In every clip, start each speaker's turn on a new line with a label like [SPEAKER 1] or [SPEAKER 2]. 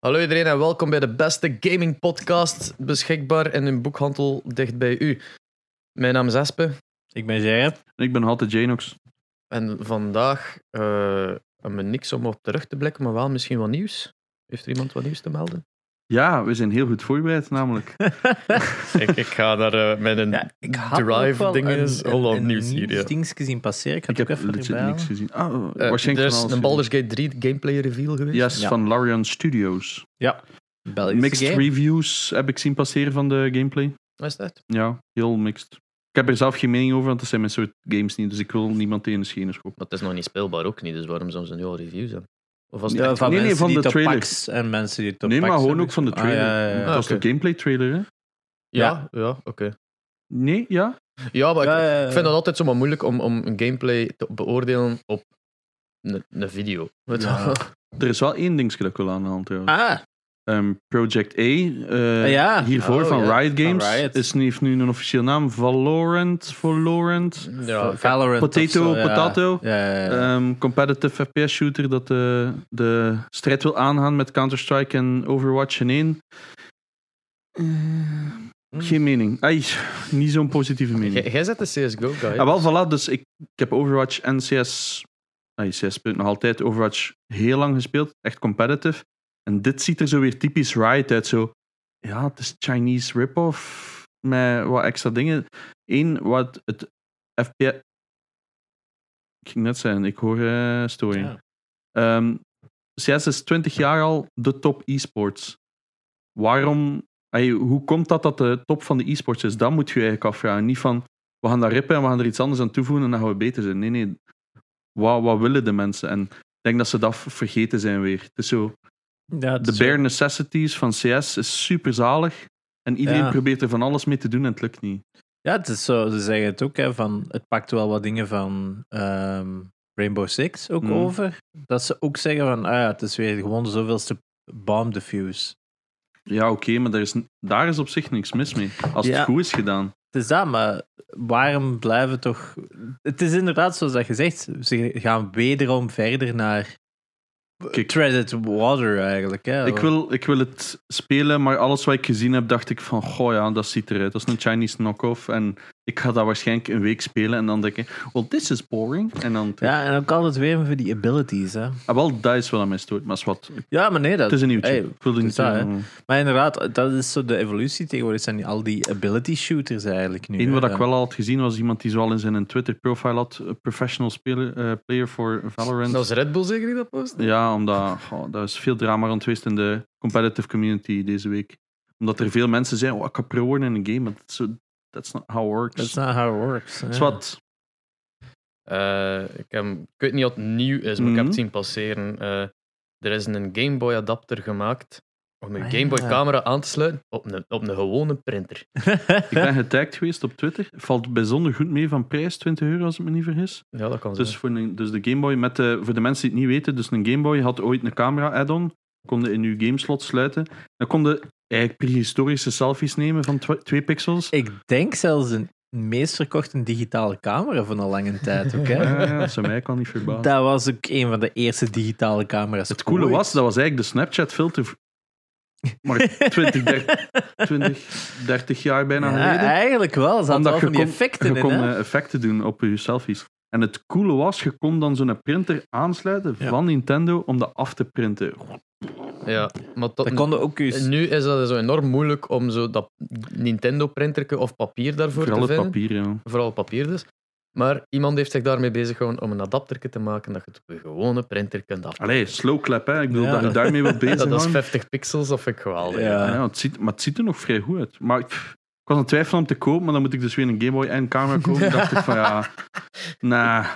[SPEAKER 1] Hallo iedereen en welkom bij de beste gaming podcast beschikbaar in een boekhandel dicht bij u. Mijn naam is Espe
[SPEAKER 2] Ik ben Gerrit.
[SPEAKER 3] Ik ben altijd Janox.
[SPEAKER 1] en vandaag eh hebben we niks om op terug te blikken, maar wel misschien wat nieuws. Heeft er iemand wat nieuws te melden?
[SPEAKER 3] Ja, we zijn heel goed voorbereid namelijk.
[SPEAKER 1] ik, ik ga daar eh, met een
[SPEAKER 2] Ja, ik had
[SPEAKER 1] Drive
[SPEAKER 2] ook wel
[SPEAKER 1] dinges,
[SPEAKER 2] een, een,
[SPEAKER 1] Holland
[SPEAKER 2] een
[SPEAKER 1] nieuws hier, ja.
[SPEAKER 2] nieuwsdingetje zien passeren. Ik,
[SPEAKER 3] Ik
[SPEAKER 2] heb
[SPEAKER 3] heb
[SPEAKER 2] ook even
[SPEAKER 3] legit
[SPEAKER 2] erbij
[SPEAKER 3] niks
[SPEAKER 2] halen.
[SPEAKER 3] gezien. Ah, oh,
[SPEAKER 1] eh,
[SPEAKER 3] waarschijnlijk
[SPEAKER 1] er is
[SPEAKER 3] van alles
[SPEAKER 1] een Baldur's Gate 3 gameplay reveal geweest.
[SPEAKER 3] Yes,
[SPEAKER 2] Ja.
[SPEAKER 3] van Larian Studios.
[SPEAKER 2] Belgische
[SPEAKER 3] Mixed
[SPEAKER 2] game.
[SPEAKER 3] reviews heb ik zien passeren van de gameplay.
[SPEAKER 1] Wat is dat?
[SPEAKER 3] Ja, heel mixed. Ik heb er zelf geen mening over, want dat zijn mijn soort games niet. Dus ik wil niemand tegen de schenen schoppen.
[SPEAKER 1] Maar het is nog niet speelbaar ook niet, dus waarom zouden ze nu al reviews hebben? Of was
[SPEAKER 2] Ja,
[SPEAKER 1] het
[SPEAKER 2] van
[SPEAKER 3] Nee, nee,
[SPEAKER 2] mensen
[SPEAKER 3] van
[SPEAKER 2] die
[SPEAKER 3] de
[SPEAKER 2] het op
[SPEAKER 3] trailer.
[SPEAKER 2] packs en mensen die het op
[SPEAKER 3] Nee, maar
[SPEAKER 2] packs
[SPEAKER 3] gewoon ook
[SPEAKER 2] hebben.
[SPEAKER 3] van de
[SPEAKER 2] Ah,
[SPEAKER 3] trailer.
[SPEAKER 2] ja, ja, ja.
[SPEAKER 3] Dat was de
[SPEAKER 1] oké.
[SPEAKER 3] gameplay trailer, hè?
[SPEAKER 1] Ja, ja, oké.
[SPEAKER 3] Nee, ja.
[SPEAKER 1] Ja, maar ik,
[SPEAKER 2] Ja, ja, ja.
[SPEAKER 1] ik vind het altijd zomaar moeilijk om, om een gameplay te beoordelen op een, een video. Weet je
[SPEAKER 2] Ja.
[SPEAKER 1] wel?
[SPEAKER 3] Er is wel één ding dat ik wil aanhalen trouwens.
[SPEAKER 2] Ah,
[SPEAKER 3] Ehm, Project A, eh,
[SPEAKER 2] ja.
[SPEAKER 3] hiervoor
[SPEAKER 1] Oh,
[SPEAKER 3] van
[SPEAKER 1] ja.
[SPEAKER 3] Riot Games,
[SPEAKER 2] Van Riot.
[SPEAKER 3] Is, heeft nu een officieel naam. Valorant, Valorant.
[SPEAKER 1] Ja,
[SPEAKER 2] Valorant
[SPEAKER 3] Potato,
[SPEAKER 2] of zo, ja.
[SPEAKER 3] potato.
[SPEAKER 2] Ja, ja, ja.
[SPEAKER 3] Ehm, competitive FPS shooter dat de, de strijd wil aangaan met Counter-Strike en Overwatch in één. Geen mening. Ai, niet zo'n positieve mening.
[SPEAKER 1] Jij jij zet de CSGO-guy.
[SPEAKER 3] Ah, wel, voilà, dus ik, ik heb Overwatch en CS... Ai, CS speelt nog altijd Overwatch heel lang gespeeld. Echt competitive. En dit ziet er zo weer typisch Riot uit. Zo, ja, het is Chinese rip-off met wat extra dingen. Eén, wat het FPS... Ik ging net zeggen, ik hoor eh story.
[SPEAKER 2] Ja.
[SPEAKER 3] Ehm, CS is 20 jaar al de top e-sports. Waarom, ey, hoe komt dat dat de top van de e-sports is? Dat moet je je eigenlijk afvragen. Niet van we gaan daar rippen en we gaan er iets anders aan toevoegen en dan gaan we beter zijn. Nee, nee. Wat, wat willen de mensen? En ik denk dat ze dat vergeten zijn weer. Het is zo,
[SPEAKER 2] Ja, het
[SPEAKER 3] de
[SPEAKER 2] is
[SPEAKER 3] bare necessities van CS is super zalig. En iedereen
[SPEAKER 2] Ja.
[SPEAKER 3] probeert er van alles mee te doen en het lukt niet.
[SPEAKER 2] Ja, het is zo, ze zeggen het ook, hè, van, het pakt wel wat dingen van ehm, Rainbow Six ook
[SPEAKER 3] Mm.
[SPEAKER 2] over. Dat ze ook zeggen van, ah ja, het is weer gewoon de zoveelste bomb defuse.
[SPEAKER 3] Ja, oké, maar daar is, daar is op zich niks mis mee. Als
[SPEAKER 2] Ja.
[SPEAKER 3] het goed is gedaan.
[SPEAKER 2] Het is dat, maar waarom blijven toch... Het is inderdaad zoals dat je zegt, ze gaan wederom verder naar
[SPEAKER 3] Kijk.
[SPEAKER 2] treaded water eigenlijk. Hè,
[SPEAKER 3] Ik wil, ik wil het spelen, maar alles wat ik gezien heb, dacht ik van, goh ja, dat ziet eruit. Dat is een Chinese knock-off. En ik ga dat waarschijnlijk een week spelen. En dan denk ik, well, this is boring. En dan,
[SPEAKER 2] Ja, en ook altijd weer voor die abilities. Hè.
[SPEAKER 3] ah, wel, dat is wel aan mij stoort, maar is wat.
[SPEAKER 2] Ja, maar nee, dat...
[SPEAKER 3] Het is een nieuwtje.
[SPEAKER 2] Hey,
[SPEAKER 3] ik wil er
[SPEAKER 2] het
[SPEAKER 3] niet
[SPEAKER 2] is dat,
[SPEAKER 3] zeggen.
[SPEAKER 2] Maar inderdaad, dat is zo de evolutie tegenwoordig. zijn die- al die ability shooters eigenlijk nu.
[SPEAKER 3] Eén
[SPEAKER 2] hè,
[SPEAKER 3] wat ik
[SPEAKER 2] dan.
[SPEAKER 3] wel al had gezien was iemand die zoal in zijn Twitter-profile had: eh, professional speler, eh, player for Valorant.
[SPEAKER 1] Dat is Red Bull zeker die dat post?
[SPEAKER 3] Ja, omdat goh, daar is veel drama rond geweest in de competitive community deze week. Omdat er veel mensen zijn: oh, ik kan pro worden in een game, maar dat is zo- that's not how it works.
[SPEAKER 2] That's not how it works.
[SPEAKER 3] Dat
[SPEAKER 2] ja.
[SPEAKER 3] is wat.
[SPEAKER 1] Eh, ik, heb- ik weet niet wat nieuw is, maar ik heb
[SPEAKER 3] Mhm.
[SPEAKER 1] het zien passeren. Eh, er is een Game Boy adapter gemaakt om een
[SPEAKER 2] Ah,
[SPEAKER 1] Game Boy
[SPEAKER 2] ja.
[SPEAKER 1] camera aan te sluiten op een, op een gewone printer.
[SPEAKER 3] Ik ben getagd geweest op Twitter. Valt bijzonder goed mee van prijs, 20 euro als ik me niet vergis.
[SPEAKER 1] Ja, dat kan zo.
[SPEAKER 3] Dus, voor een, dus de Game Boy, met de, voor de mensen die het niet weten, dus een Game Boy had ooit een camera-add-on, konden in uw gameslot sluiten. Dan konden eigenlijk prehistorische selfies nemen van tw- twee pixels.
[SPEAKER 2] ik denk zelfs een meest verkochte digitale camera van een lange tijd ook.
[SPEAKER 3] Ja,
[SPEAKER 2] Hè.
[SPEAKER 3] Ah, ja, dat zou mij kan niet verbazen.
[SPEAKER 2] Dat was ook een van de eerste digitale camera's.
[SPEAKER 3] het coole
[SPEAKER 2] ooit.
[SPEAKER 3] was, dat was eigenlijk de Snapchat-filter. Maar 20, 30, 20, 30 jaar bijna
[SPEAKER 2] Ja,
[SPEAKER 3] geleden.
[SPEAKER 2] Eigenlijk wel. Ze hadden wel van die
[SPEAKER 3] kon-
[SPEAKER 2] effecten
[SPEAKER 3] je
[SPEAKER 2] in.
[SPEAKER 3] kon
[SPEAKER 2] hè.
[SPEAKER 3] eh, effecten doen op je selfies. En het coole was, je kon dan zo'n printer aansluiten
[SPEAKER 2] Ja.
[SPEAKER 3] van Nintendo om dat af te printen.
[SPEAKER 1] ja, maar
[SPEAKER 3] eh,
[SPEAKER 1] tot
[SPEAKER 2] Dat konden ook
[SPEAKER 3] dus-
[SPEAKER 2] eens.
[SPEAKER 1] nu is dat zo enorm moeilijk om zo dat Nintendo-printerke of papier daarvoor
[SPEAKER 3] Vooral
[SPEAKER 1] te
[SPEAKER 3] het
[SPEAKER 1] vinden.
[SPEAKER 3] papier, ja.
[SPEAKER 1] vooral papier dus. Maar iemand heeft zich daarmee bezig gehouden om een adapterke te maken dat je het op je gewone printer kunt af.
[SPEAKER 3] Allee, slow clap, hè. Ik bedoel,
[SPEAKER 2] Ja.
[SPEAKER 3] dat je daarmee wilt bezig
[SPEAKER 1] dat is
[SPEAKER 3] zijn.
[SPEAKER 1] 50 pixels, dat vind ik geweldig.
[SPEAKER 2] Ja.
[SPEAKER 3] Ja, het ziet, maar het ziet er nog vrij goed uit. Maar ik, pff, ik was aan het twijfelen om te kopen, maar dan moet ik dus weer een Game Boy en camera kopen. dacht ik van, ja... Nah,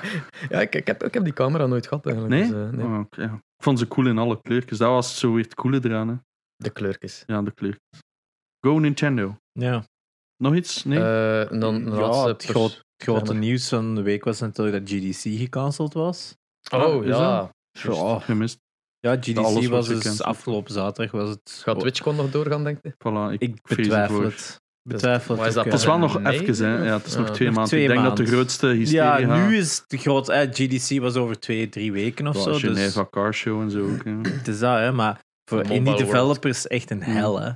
[SPEAKER 1] Ja, ik, ik, heb, ik heb die camera nooit gehad eigenlijk.
[SPEAKER 3] nee?
[SPEAKER 1] dus, eh, nee.
[SPEAKER 3] Oh, oké, ja. Ik vond ze cool in alle kleurtjes. Dat was zo weer het coole eraan, hè.
[SPEAKER 1] De kleurtjes.
[SPEAKER 3] Ja, de kleurtjes. Go Nintendo.
[SPEAKER 2] Ja.
[SPEAKER 3] Nog iets? Nee?
[SPEAKER 1] Eh, en dan een
[SPEAKER 2] Ja,
[SPEAKER 1] laatste
[SPEAKER 2] het
[SPEAKER 1] pers-
[SPEAKER 2] groot- Het grote
[SPEAKER 1] Zeg maar.
[SPEAKER 2] nieuws van de week was natuurlijk dat GDC gecanceld was.
[SPEAKER 1] Oh,
[SPEAKER 3] Ah, is
[SPEAKER 1] ja.
[SPEAKER 3] Juist,
[SPEAKER 2] oh.
[SPEAKER 3] gemist.
[SPEAKER 2] Ja, GDC
[SPEAKER 3] alles
[SPEAKER 2] was
[SPEAKER 3] was
[SPEAKER 2] dus
[SPEAKER 3] gecanceld.
[SPEAKER 2] afgelopen zaterdag. Was het...
[SPEAKER 1] Gaat TwitchCon nog doorgaan, denk je?
[SPEAKER 3] Voilà, ik,
[SPEAKER 2] Ik
[SPEAKER 3] vrees
[SPEAKER 2] betwijfel
[SPEAKER 3] ervoor.
[SPEAKER 2] het. Betwijfel
[SPEAKER 1] Maar
[SPEAKER 2] het.
[SPEAKER 1] is dat
[SPEAKER 2] ook, eh,
[SPEAKER 3] Het is
[SPEAKER 2] ja.
[SPEAKER 3] wel nog
[SPEAKER 1] Nee,
[SPEAKER 3] even, hè. Ja, het is
[SPEAKER 1] ja.
[SPEAKER 3] nog twee
[SPEAKER 2] Nog
[SPEAKER 3] maanden.
[SPEAKER 2] twee
[SPEAKER 3] ik denk dat de
[SPEAKER 2] maanden.
[SPEAKER 3] grootste
[SPEAKER 2] Ja,
[SPEAKER 3] hysterie
[SPEAKER 2] nu is het groot. eh, Hè, GDC was over twee, drie weken of zo. Dus
[SPEAKER 3] Geneva Car Show en zo ook, hè. Hmm.
[SPEAKER 2] het is dat, hè, maar voor
[SPEAKER 1] Mobile
[SPEAKER 2] indie
[SPEAKER 1] World.
[SPEAKER 2] developers echt
[SPEAKER 3] Mm.
[SPEAKER 2] een hel, hè.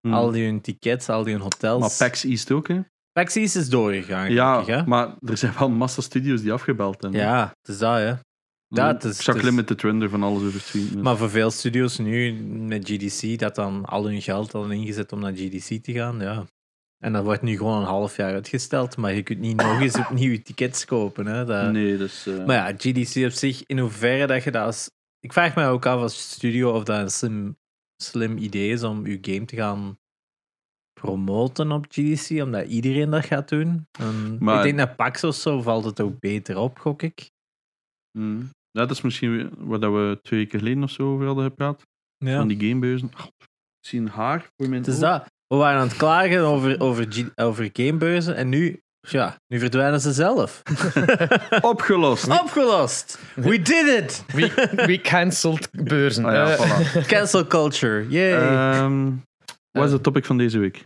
[SPEAKER 3] Hmm.
[SPEAKER 2] Al die hun tickets, al die hun hotels.
[SPEAKER 3] Maar PAX East ook, hè?
[SPEAKER 2] PAX East is doorgegaan,
[SPEAKER 3] Ja,
[SPEAKER 2] gelukkig, hè.
[SPEAKER 3] maar er zijn wel massa studios die afgebeld hebben.
[SPEAKER 2] Ja, het is dat, hè. ja, het is-
[SPEAKER 3] ik zag
[SPEAKER 2] het is-
[SPEAKER 3] Limited Render van alles over zien. dus-
[SPEAKER 2] Maar voor veel studios nu met GDC, dat dan al hun geld al ingezet om naar GDC te gaan, ja. En dat wordt nu gewoon een half jaar uitgesteld, maar je kunt niet nog eens opnieuw je tickets kopen. Hè. Dat-
[SPEAKER 3] nee, dus... eh,
[SPEAKER 2] Maar ja, GDC op zich, in hoeverre dat je dat als... Ik vraag mij ook af als studio of dat een slim, slim idee is om je game te gaan promoten op GDC, omdat iedereen dat gaat doen. En
[SPEAKER 3] Maar-
[SPEAKER 2] Ik denk dat PAX of zo valt het ook beter op, gok ik.
[SPEAKER 3] mm. Ja, dat is misschien weer wat dat we twee weken geleden of zo over hadden gepraat.
[SPEAKER 2] Ja.
[SPEAKER 3] Van die gamebeuzen. Ah, ik zie een haar voor mijn
[SPEAKER 2] Het is
[SPEAKER 3] oog.
[SPEAKER 2] dat. We waren aan het klagen over, over, G- over gamebeurzen en nu, ja, nu verdwijnen ze zelf.
[SPEAKER 3] Opgelost!
[SPEAKER 2] Opgelost! We did it!
[SPEAKER 1] We, we cancelled beurzen.
[SPEAKER 3] Ah ja,
[SPEAKER 1] Eh,
[SPEAKER 3] voilà.
[SPEAKER 2] Cancel culture, yay!
[SPEAKER 3] Ehm, wat is het topic van deze week?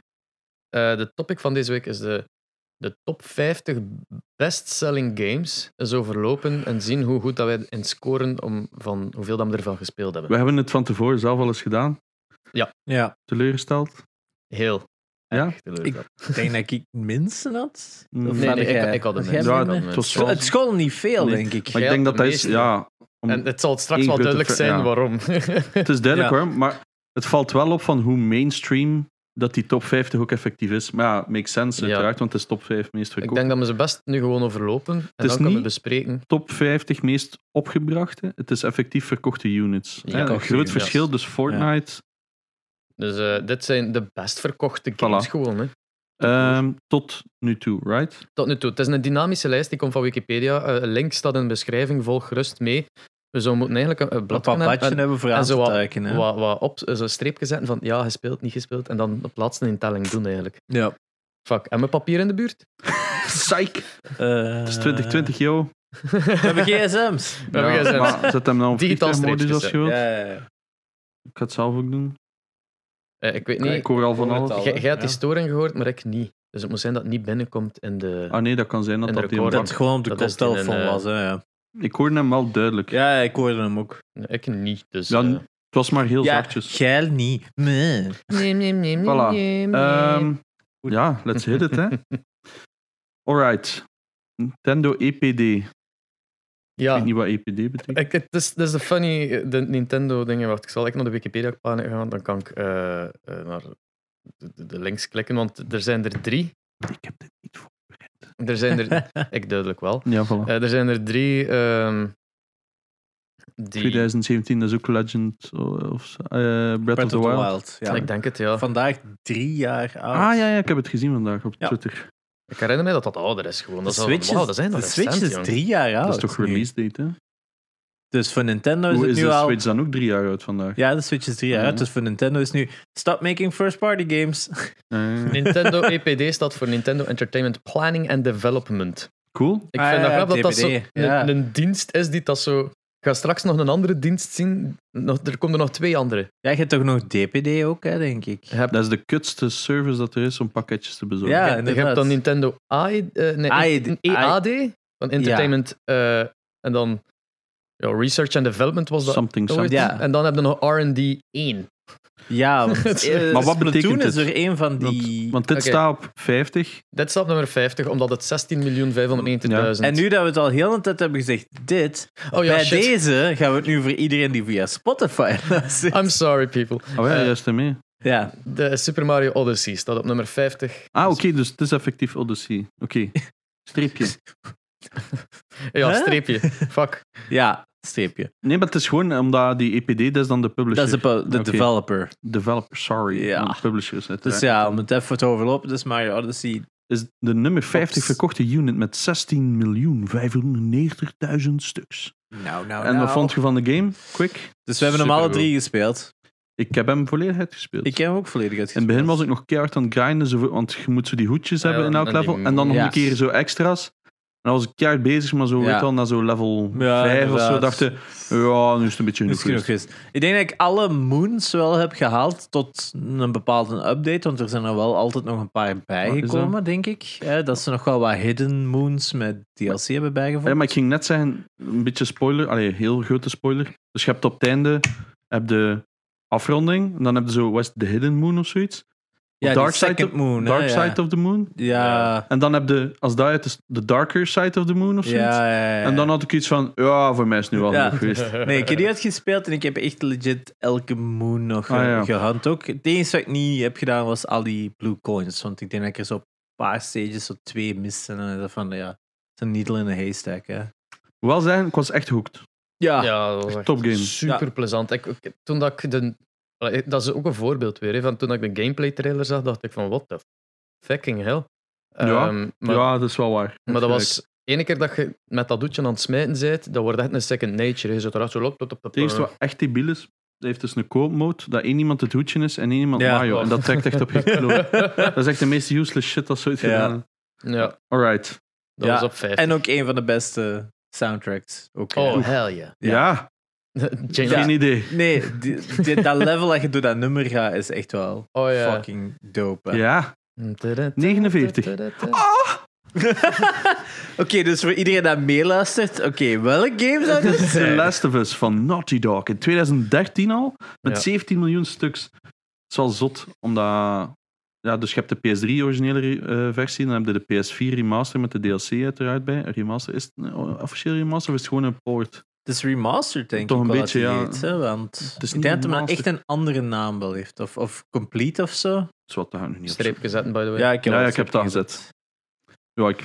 [SPEAKER 1] eh, de topic van deze week is de, de top 50 best-selling games. Zo verlopen en zien hoe goed dat wij in scoren om, van hoeveel dat we ervan gespeeld hebben.
[SPEAKER 3] We hebben het van tevoren zelf al eens gedaan.
[SPEAKER 2] ja,
[SPEAKER 3] Teleurgesteld.
[SPEAKER 1] Heel.
[SPEAKER 3] Ja?
[SPEAKER 1] erg teleurgesteld.
[SPEAKER 2] ik denk dat ik minsten had.
[SPEAKER 3] Mm.
[SPEAKER 2] Of
[SPEAKER 3] Nee,
[SPEAKER 2] had
[SPEAKER 1] nee, ik-
[SPEAKER 2] jij-
[SPEAKER 1] ik had een
[SPEAKER 2] jij
[SPEAKER 1] mens.
[SPEAKER 3] Ja,
[SPEAKER 2] minder?
[SPEAKER 1] het
[SPEAKER 3] het was
[SPEAKER 2] Het-
[SPEAKER 3] wel...
[SPEAKER 2] Het school niet veel,
[SPEAKER 3] Nee.
[SPEAKER 2] denk ik.
[SPEAKER 3] Maar ik
[SPEAKER 1] Jij
[SPEAKER 3] denk dat
[SPEAKER 1] had
[SPEAKER 3] dat
[SPEAKER 1] de
[SPEAKER 3] is...
[SPEAKER 1] meeste.
[SPEAKER 3] Ja, om-
[SPEAKER 1] En het zal straks
[SPEAKER 3] Eén
[SPEAKER 1] wel
[SPEAKER 3] grote
[SPEAKER 1] duidelijk
[SPEAKER 3] ver-
[SPEAKER 1] zijn
[SPEAKER 3] ja.
[SPEAKER 1] waarom.
[SPEAKER 3] het is duidelijk
[SPEAKER 2] Ja.
[SPEAKER 3] hoor, maar het valt wel op van hoe mainstream dat die top 50 ook effectief is. Maar ja, makes sense
[SPEAKER 1] Ja.
[SPEAKER 3] uiteraard, want het is top 5 meest
[SPEAKER 1] ik
[SPEAKER 3] verkocht.
[SPEAKER 1] denk dat we ze best nu gewoon overlopen. En
[SPEAKER 3] is
[SPEAKER 1] dan kunnen we
[SPEAKER 3] niet-
[SPEAKER 1] bespreken.
[SPEAKER 3] top 50 meest opgebrachte. Het is effectief verkochte units.
[SPEAKER 1] Ja,
[SPEAKER 3] Hè, een
[SPEAKER 1] verkochte
[SPEAKER 3] groot
[SPEAKER 1] units.
[SPEAKER 3] verschil, dus Fortnite
[SPEAKER 1] Dus eh, dit zijn de best verkochte games
[SPEAKER 3] Voilà.
[SPEAKER 1] gewoon. Hè.
[SPEAKER 3] ehm, tot nu toe, right?
[SPEAKER 1] Tot nu toe. Het is een dynamische lijst, die komt van Wikipedia. Eh, Een link staat in de beschrijving, volg gerust mee. We zouden moeten eigenlijk een, een
[SPEAKER 2] Een
[SPEAKER 1] blad hebben
[SPEAKER 2] papatje
[SPEAKER 1] en
[SPEAKER 2] hebben voor
[SPEAKER 1] en
[SPEAKER 2] aan
[SPEAKER 1] zo
[SPEAKER 2] te
[SPEAKER 1] wat-
[SPEAKER 2] tuiken.
[SPEAKER 1] wat, wat op, zo'n streepje zetten van ja, gespeeld, niet gespeeld. En dan op laatste in telling doen eigenlijk.
[SPEAKER 2] Ja.
[SPEAKER 1] Fuck, en mijn papier in de buurt?
[SPEAKER 3] Psych! Het
[SPEAKER 2] Eh.
[SPEAKER 3] is 2020, yo.
[SPEAKER 2] We hebben gsm's.
[SPEAKER 1] We hebben
[SPEAKER 3] Ja,
[SPEAKER 1] gezegd,
[SPEAKER 3] maar zet hem nou op
[SPEAKER 1] Digitaal
[SPEAKER 3] vliegtuigmodus als je
[SPEAKER 1] streepjes,
[SPEAKER 3] wilt.
[SPEAKER 2] Ja.
[SPEAKER 3] Ik ga het zelf ook doen.
[SPEAKER 1] eh, ik weet niet,
[SPEAKER 3] ik hoor al van
[SPEAKER 2] hoor het
[SPEAKER 3] alles.
[SPEAKER 2] al.
[SPEAKER 1] jij jij had die
[SPEAKER 2] Ja.
[SPEAKER 1] storing gehoord, maar ik niet. Dus het moet zijn dat het niet binnenkomt in de...
[SPEAKER 3] Ah nee, dat kan zijn dat
[SPEAKER 1] En
[SPEAKER 3] dat die
[SPEAKER 1] record.
[SPEAKER 2] Dat het gewoon op de
[SPEAKER 1] Dat is die
[SPEAKER 2] koptelefoon
[SPEAKER 1] een, eh,
[SPEAKER 2] was. Hè, ja.
[SPEAKER 3] Ik hoorde hem wel duidelijk.
[SPEAKER 2] ja, ik hoorde hem ook.
[SPEAKER 3] Ah.
[SPEAKER 1] Ik niet, dus...
[SPEAKER 3] Ja,
[SPEAKER 1] eh,
[SPEAKER 3] n- Het was maar heel
[SPEAKER 2] Ja,
[SPEAKER 3] zachtjes.
[SPEAKER 2] geil niet. Meh.
[SPEAKER 1] Nee, nee, nee, nee,
[SPEAKER 3] Voilà.
[SPEAKER 1] nee, nee.
[SPEAKER 3] Ehm, ja, let's hit it, hè. Alright. Nintendo E EPD. Ik
[SPEAKER 1] ja,
[SPEAKER 3] weet niet wat E EPD betekent.
[SPEAKER 1] ik, het is, het is de funny eh, de Nintendo dingen. Wacht, ik zal echt naar de Wikipedia-pagina gaan, dan kan ik eh, eh, naar de, de- de links klikken, want er zijn er drie.
[SPEAKER 3] Ik heb dit niet voor.
[SPEAKER 1] Er zijn er... ik duidelijk wel.
[SPEAKER 3] Ja, voilà.
[SPEAKER 1] Eh, er zijn er drie... ehm, die,
[SPEAKER 3] 2017, dat is ook Legend eh, of eh, Breath,
[SPEAKER 2] Breath of the Wild. ja.
[SPEAKER 1] Ik denk het, ja.
[SPEAKER 2] Vandaag drie jaar oud.
[SPEAKER 3] Ah ja, ja, ik heb het gezien vandaag op
[SPEAKER 2] Ja. Oh,
[SPEAKER 3] Twitter.
[SPEAKER 1] Ik herinner me dat dat ouder is gewoon.
[SPEAKER 2] De
[SPEAKER 1] Dat is al
[SPEAKER 2] Switch
[SPEAKER 1] wauw,
[SPEAKER 2] is,
[SPEAKER 1] dat zijn
[SPEAKER 2] de
[SPEAKER 1] dat
[SPEAKER 2] Switch is drie jaar oud.
[SPEAKER 3] dat is toch
[SPEAKER 2] nu.
[SPEAKER 3] release date, hè?
[SPEAKER 2] Dus voor Nintendo is
[SPEAKER 3] Hoe
[SPEAKER 2] het
[SPEAKER 3] is
[SPEAKER 2] nu
[SPEAKER 3] de
[SPEAKER 2] al...
[SPEAKER 3] Switch dan ook drie jaar oud vandaag?
[SPEAKER 2] Ja, de Switch is drie jaar
[SPEAKER 3] Mhm.
[SPEAKER 2] oud. Dus voor Nintendo is nu... Stop making first-party games.
[SPEAKER 3] Eh,
[SPEAKER 1] Nintendo EPD staat voor Nintendo Entertainment Planning and Development.
[SPEAKER 3] cool.
[SPEAKER 1] Ik
[SPEAKER 2] Ah,
[SPEAKER 1] vind
[SPEAKER 2] ja,
[SPEAKER 1] dat
[SPEAKER 2] ja,
[SPEAKER 1] knap dat dat zo
[SPEAKER 2] TBD, ja.
[SPEAKER 1] een, een dienst is die dat zo... Ik ga straks nog een andere dienst zien. Nog, er komen er nog twee andere.
[SPEAKER 2] Ja, je hebt toch nog DPD ook, hè, denk ik.
[SPEAKER 1] Je hebt,
[SPEAKER 3] Dat is de kutste service dat er is om pakketjes te bezorgen.
[SPEAKER 2] Ja,
[SPEAKER 1] je- je,
[SPEAKER 2] inderdaad.
[SPEAKER 1] hebt dan Nintendo AI, eh, nee,
[SPEAKER 2] AI
[SPEAKER 1] een EAD, van Entertainment... eh, en dan ja, Research and Development was dat.
[SPEAKER 3] Something,
[SPEAKER 1] ooit.
[SPEAKER 3] something.
[SPEAKER 2] Ja.
[SPEAKER 1] En dan heb je nog R&D 1.
[SPEAKER 2] Ja, want, eh,
[SPEAKER 3] Maar wat
[SPEAKER 2] Splatoon
[SPEAKER 3] betekent
[SPEAKER 2] is
[SPEAKER 3] dit?
[SPEAKER 2] er een van
[SPEAKER 3] Want,
[SPEAKER 2] die...
[SPEAKER 3] want dit
[SPEAKER 1] Oké.
[SPEAKER 3] staat op 50.
[SPEAKER 1] Dit staat op nummer 50, omdat het 16.590.000...
[SPEAKER 2] En nu dat we het al heel een tijd hebben gezegd, dit...
[SPEAKER 1] Oh ja,
[SPEAKER 2] bij
[SPEAKER 1] shit.
[SPEAKER 2] deze gaan we het nu voor iedereen die via Spotify luistert.
[SPEAKER 1] I'm sorry, people.
[SPEAKER 3] Oh ja,
[SPEAKER 1] Eh,
[SPEAKER 3] juist ermee.
[SPEAKER 2] Ja,
[SPEAKER 1] De Super Mario Odyssey staat op nummer 50.
[SPEAKER 3] Ah, oké, dus het is effectief Odyssey. Oké. Streepje.
[SPEAKER 1] Ja,
[SPEAKER 2] Huh?
[SPEAKER 1] streepje. Fuck.
[SPEAKER 2] ja, streepje.
[SPEAKER 3] Nee, maar het is gewoon omdat die EPD, dat is dan de
[SPEAKER 2] Dat
[SPEAKER 3] publisher.
[SPEAKER 2] is de, po- de
[SPEAKER 3] Oké.
[SPEAKER 2] developer.
[SPEAKER 3] Developer, sorry.
[SPEAKER 2] Ja.
[SPEAKER 3] De publisher is het.
[SPEAKER 2] Dus
[SPEAKER 3] hè.
[SPEAKER 2] ja, om het even te overlopen, dus Mario Odyssey.
[SPEAKER 3] is de nummer 50
[SPEAKER 2] Ops.
[SPEAKER 3] verkochte unit met 16 miljoen 590.000 stuks.
[SPEAKER 2] Nou, nou,
[SPEAKER 3] en wat vond je van de game? Quick.
[SPEAKER 2] Dus we hebben hem alle
[SPEAKER 1] Supergoed.
[SPEAKER 2] drie gespeeld.
[SPEAKER 3] Ik heb hem volledig uitgespeeld.
[SPEAKER 2] Ik heb hem ook volledig
[SPEAKER 3] In het
[SPEAKER 2] uitgespeeld.
[SPEAKER 3] begin was ik nog keihard aan het grinden, zo- want je moet zo die hoedjes
[SPEAKER 1] Ja,
[SPEAKER 3] hebben in
[SPEAKER 1] en-
[SPEAKER 3] elk
[SPEAKER 1] en die
[SPEAKER 3] level. En dan nog
[SPEAKER 2] Ja.
[SPEAKER 3] een keer zo extra's. En dan was ik keihard bezig, maar zo,
[SPEAKER 2] Ja.
[SPEAKER 3] weet je wel, na zo level
[SPEAKER 2] Ja,
[SPEAKER 3] 5 of zo,
[SPEAKER 2] inderdaad.
[SPEAKER 3] dacht je, ja, nu is het een beetje genoeg
[SPEAKER 2] Misschien nog
[SPEAKER 3] geweest.
[SPEAKER 2] eens. Ik denk dat ik alle moons wel heb gehaald tot een bepaalde update, want er zijn er wel altijd nog een paar bijgekomen, denk ik. Eh, dat ze nog wel wat hidden moons met DLC hebben
[SPEAKER 3] Ja,
[SPEAKER 2] bijgevonden.
[SPEAKER 3] maar ik ging net zeggen, een beetje spoiler, allee, heel grote spoiler. Dus je hebt op het einde heb de afronding. En dan heb je zo West the Hidden Moon of zoiets.
[SPEAKER 2] Ja,
[SPEAKER 3] Dark
[SPEAKER 2] Dark
[SPEAKER 3] Side
[SPEAKER 2] Second
[SPEAKER 3] of-
[SPEAKER 2] Moon. hè,
[SPEAKER 3] Dark
[SPEAKER 2] ja.
[SPEAKER 3] Side of the Moon.
[SPEAKER 2] Ja.
[SPEAKER 3] En dan heb je, als dat uit is, The Darker Side of the Moon of
[SPEAKER 2] Ja,
[SPEAKER 3] zoiets.
[SPEAKER 2] ja, ja, ja.
[SPEAKER 3] En dan had ik iets van, ja, voor mij is het nu wel
[SPEAKER 2] Ja.
[SPEAKER 3] genoeg geweest.
[SPEAKER 2] Nee, ik heb die uitgespeeld en ik heb echt legit elke moon nog
[SPEAKER 3] Ah,
[SPEAKER 2] eh,
[SPEAKER 3] ja.
[SPEAKER 2] gehand ook. Het enige wat ik niet heb gedaan was al die blue coins. Want ik denk dat ik er zo'n paar stages, zo twee miste. En dan van, ja, het is een needle in een haystack, hè.
[SPEAKER 3] Hoewel zeggen, ik was echt hooked.
[SPEAKER 2] Ja, ja.
[SPEAKER 1] Ja, dat was echt
[SPEAKER 3] Top game.
[SPEAKER 1] super plezant. Ik, ik- toen dat ik de, Allee, dat is ook een voorbeeld weer. Hè, van toen ik de gameplay trailer zag, dacht ik van what the fucking hell.
[SPEAKER 3] Ja,
[SPEAKER 1] Ehm, maar,
[SPEAKER 3] ja, dat is wel waar.
[SPEAKER 1] maar dat was ene keer dat je met dat doetje aan het smijten bent, dat wordt echt een second nature. Je zit eruit zo loopt.
[SPEAKER 3] Het eerste wat echt debiel is, dat heeft dus een co-op mode, dat één iemand het hoedje is en één iemand
[SPEAKER 2] Ja.
[SPEAKER 3] Mario. En dat trekt echt op je kloot. Dat is echt de meest useless shit dat ze ooit
[SPEAKER 2] Ja.
[SPEAKER 3] gedaan hebben.
[SPEAKER 1] Ja, dat
[SPEAKER 3] Alright.
[SPEAKER 2] Ja,
[SPEAKER 1] was op 5.
[SPEAKER 2] En ook een van de beste soundtracks. Ook, hè.
[SPEAKER 1] Oh, hell yeah.
[SPEAKER 3] Ja,
[SPEAKER 1] Jane
[SPEAKER 2] Ja.
[SPEAKER 3] geen idee.
[SPEAKER 2] Nee, die- die- dat level dat je door dat nummer gaat is echt wel
[SPEAKER 1] Oh ja.
[SPEAKER 2] fucking dope. hè.
[SPEAKER 3] Ja, 49.
[SPEAKER 2] Oké, dus voor iedereen dat meeluistert, oké, welke game zou dit
[SPEAKER 3] The
[SPEAKER 2] zijn?
[SPEAKER 3] Last of Us van Naughty Dog in 2013 al, met
[SPEAKER 1] Ja.
[SPEAKER 3] 17 miljoen stuks. Het is wel zot, omdat... Ja, dus je hebt de PS3 originele eh, versie, dan heb je de PS4 remaster met de DLC uiteraard bij. Een Remaster, is het een officieel remaster of is het gewoon een port?
[SPEAKER 2] Het is remastered, denk
[SPEAKER 3] Toch
[SPEAKER 2] ik.
[SPEAKER 3] een
[SPEAKER 2] wel
[SPEAKER 3] beetje,
[SPEAKER 2] dat die
[SPEAKER 3] ja.
[SPEAKER 2] heet, hè, want
[SPEAKER 3] is
[SPEAKER 2] ik
[SPEAKER 3] niet
[SPEAKER 2] denk dat het echt
[SPEAKER 3] remastered.
[SPEAKER 2] een andere naam wel heeft. Of, of complete of zo.
[SPEAKER 3] Zwat, dat ga ik nu niet op zoeken.
[SPEAKER 1] Streepje zetten, by the way.
[SPEAKER 2] Ja, ik heb,
[SPEAKER 3] Ja,
[SPEAKER 2] al
[SPEAKER 3] ik heb dat gezet. Ja, ik,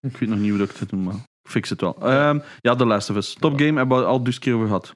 [SPEAKER 3] ik weet nog niet hoe dat ik het doe, maar ik fix het wel. Ehm, ja, The Last of Us. Top game, hebben we al dus keer over gehad.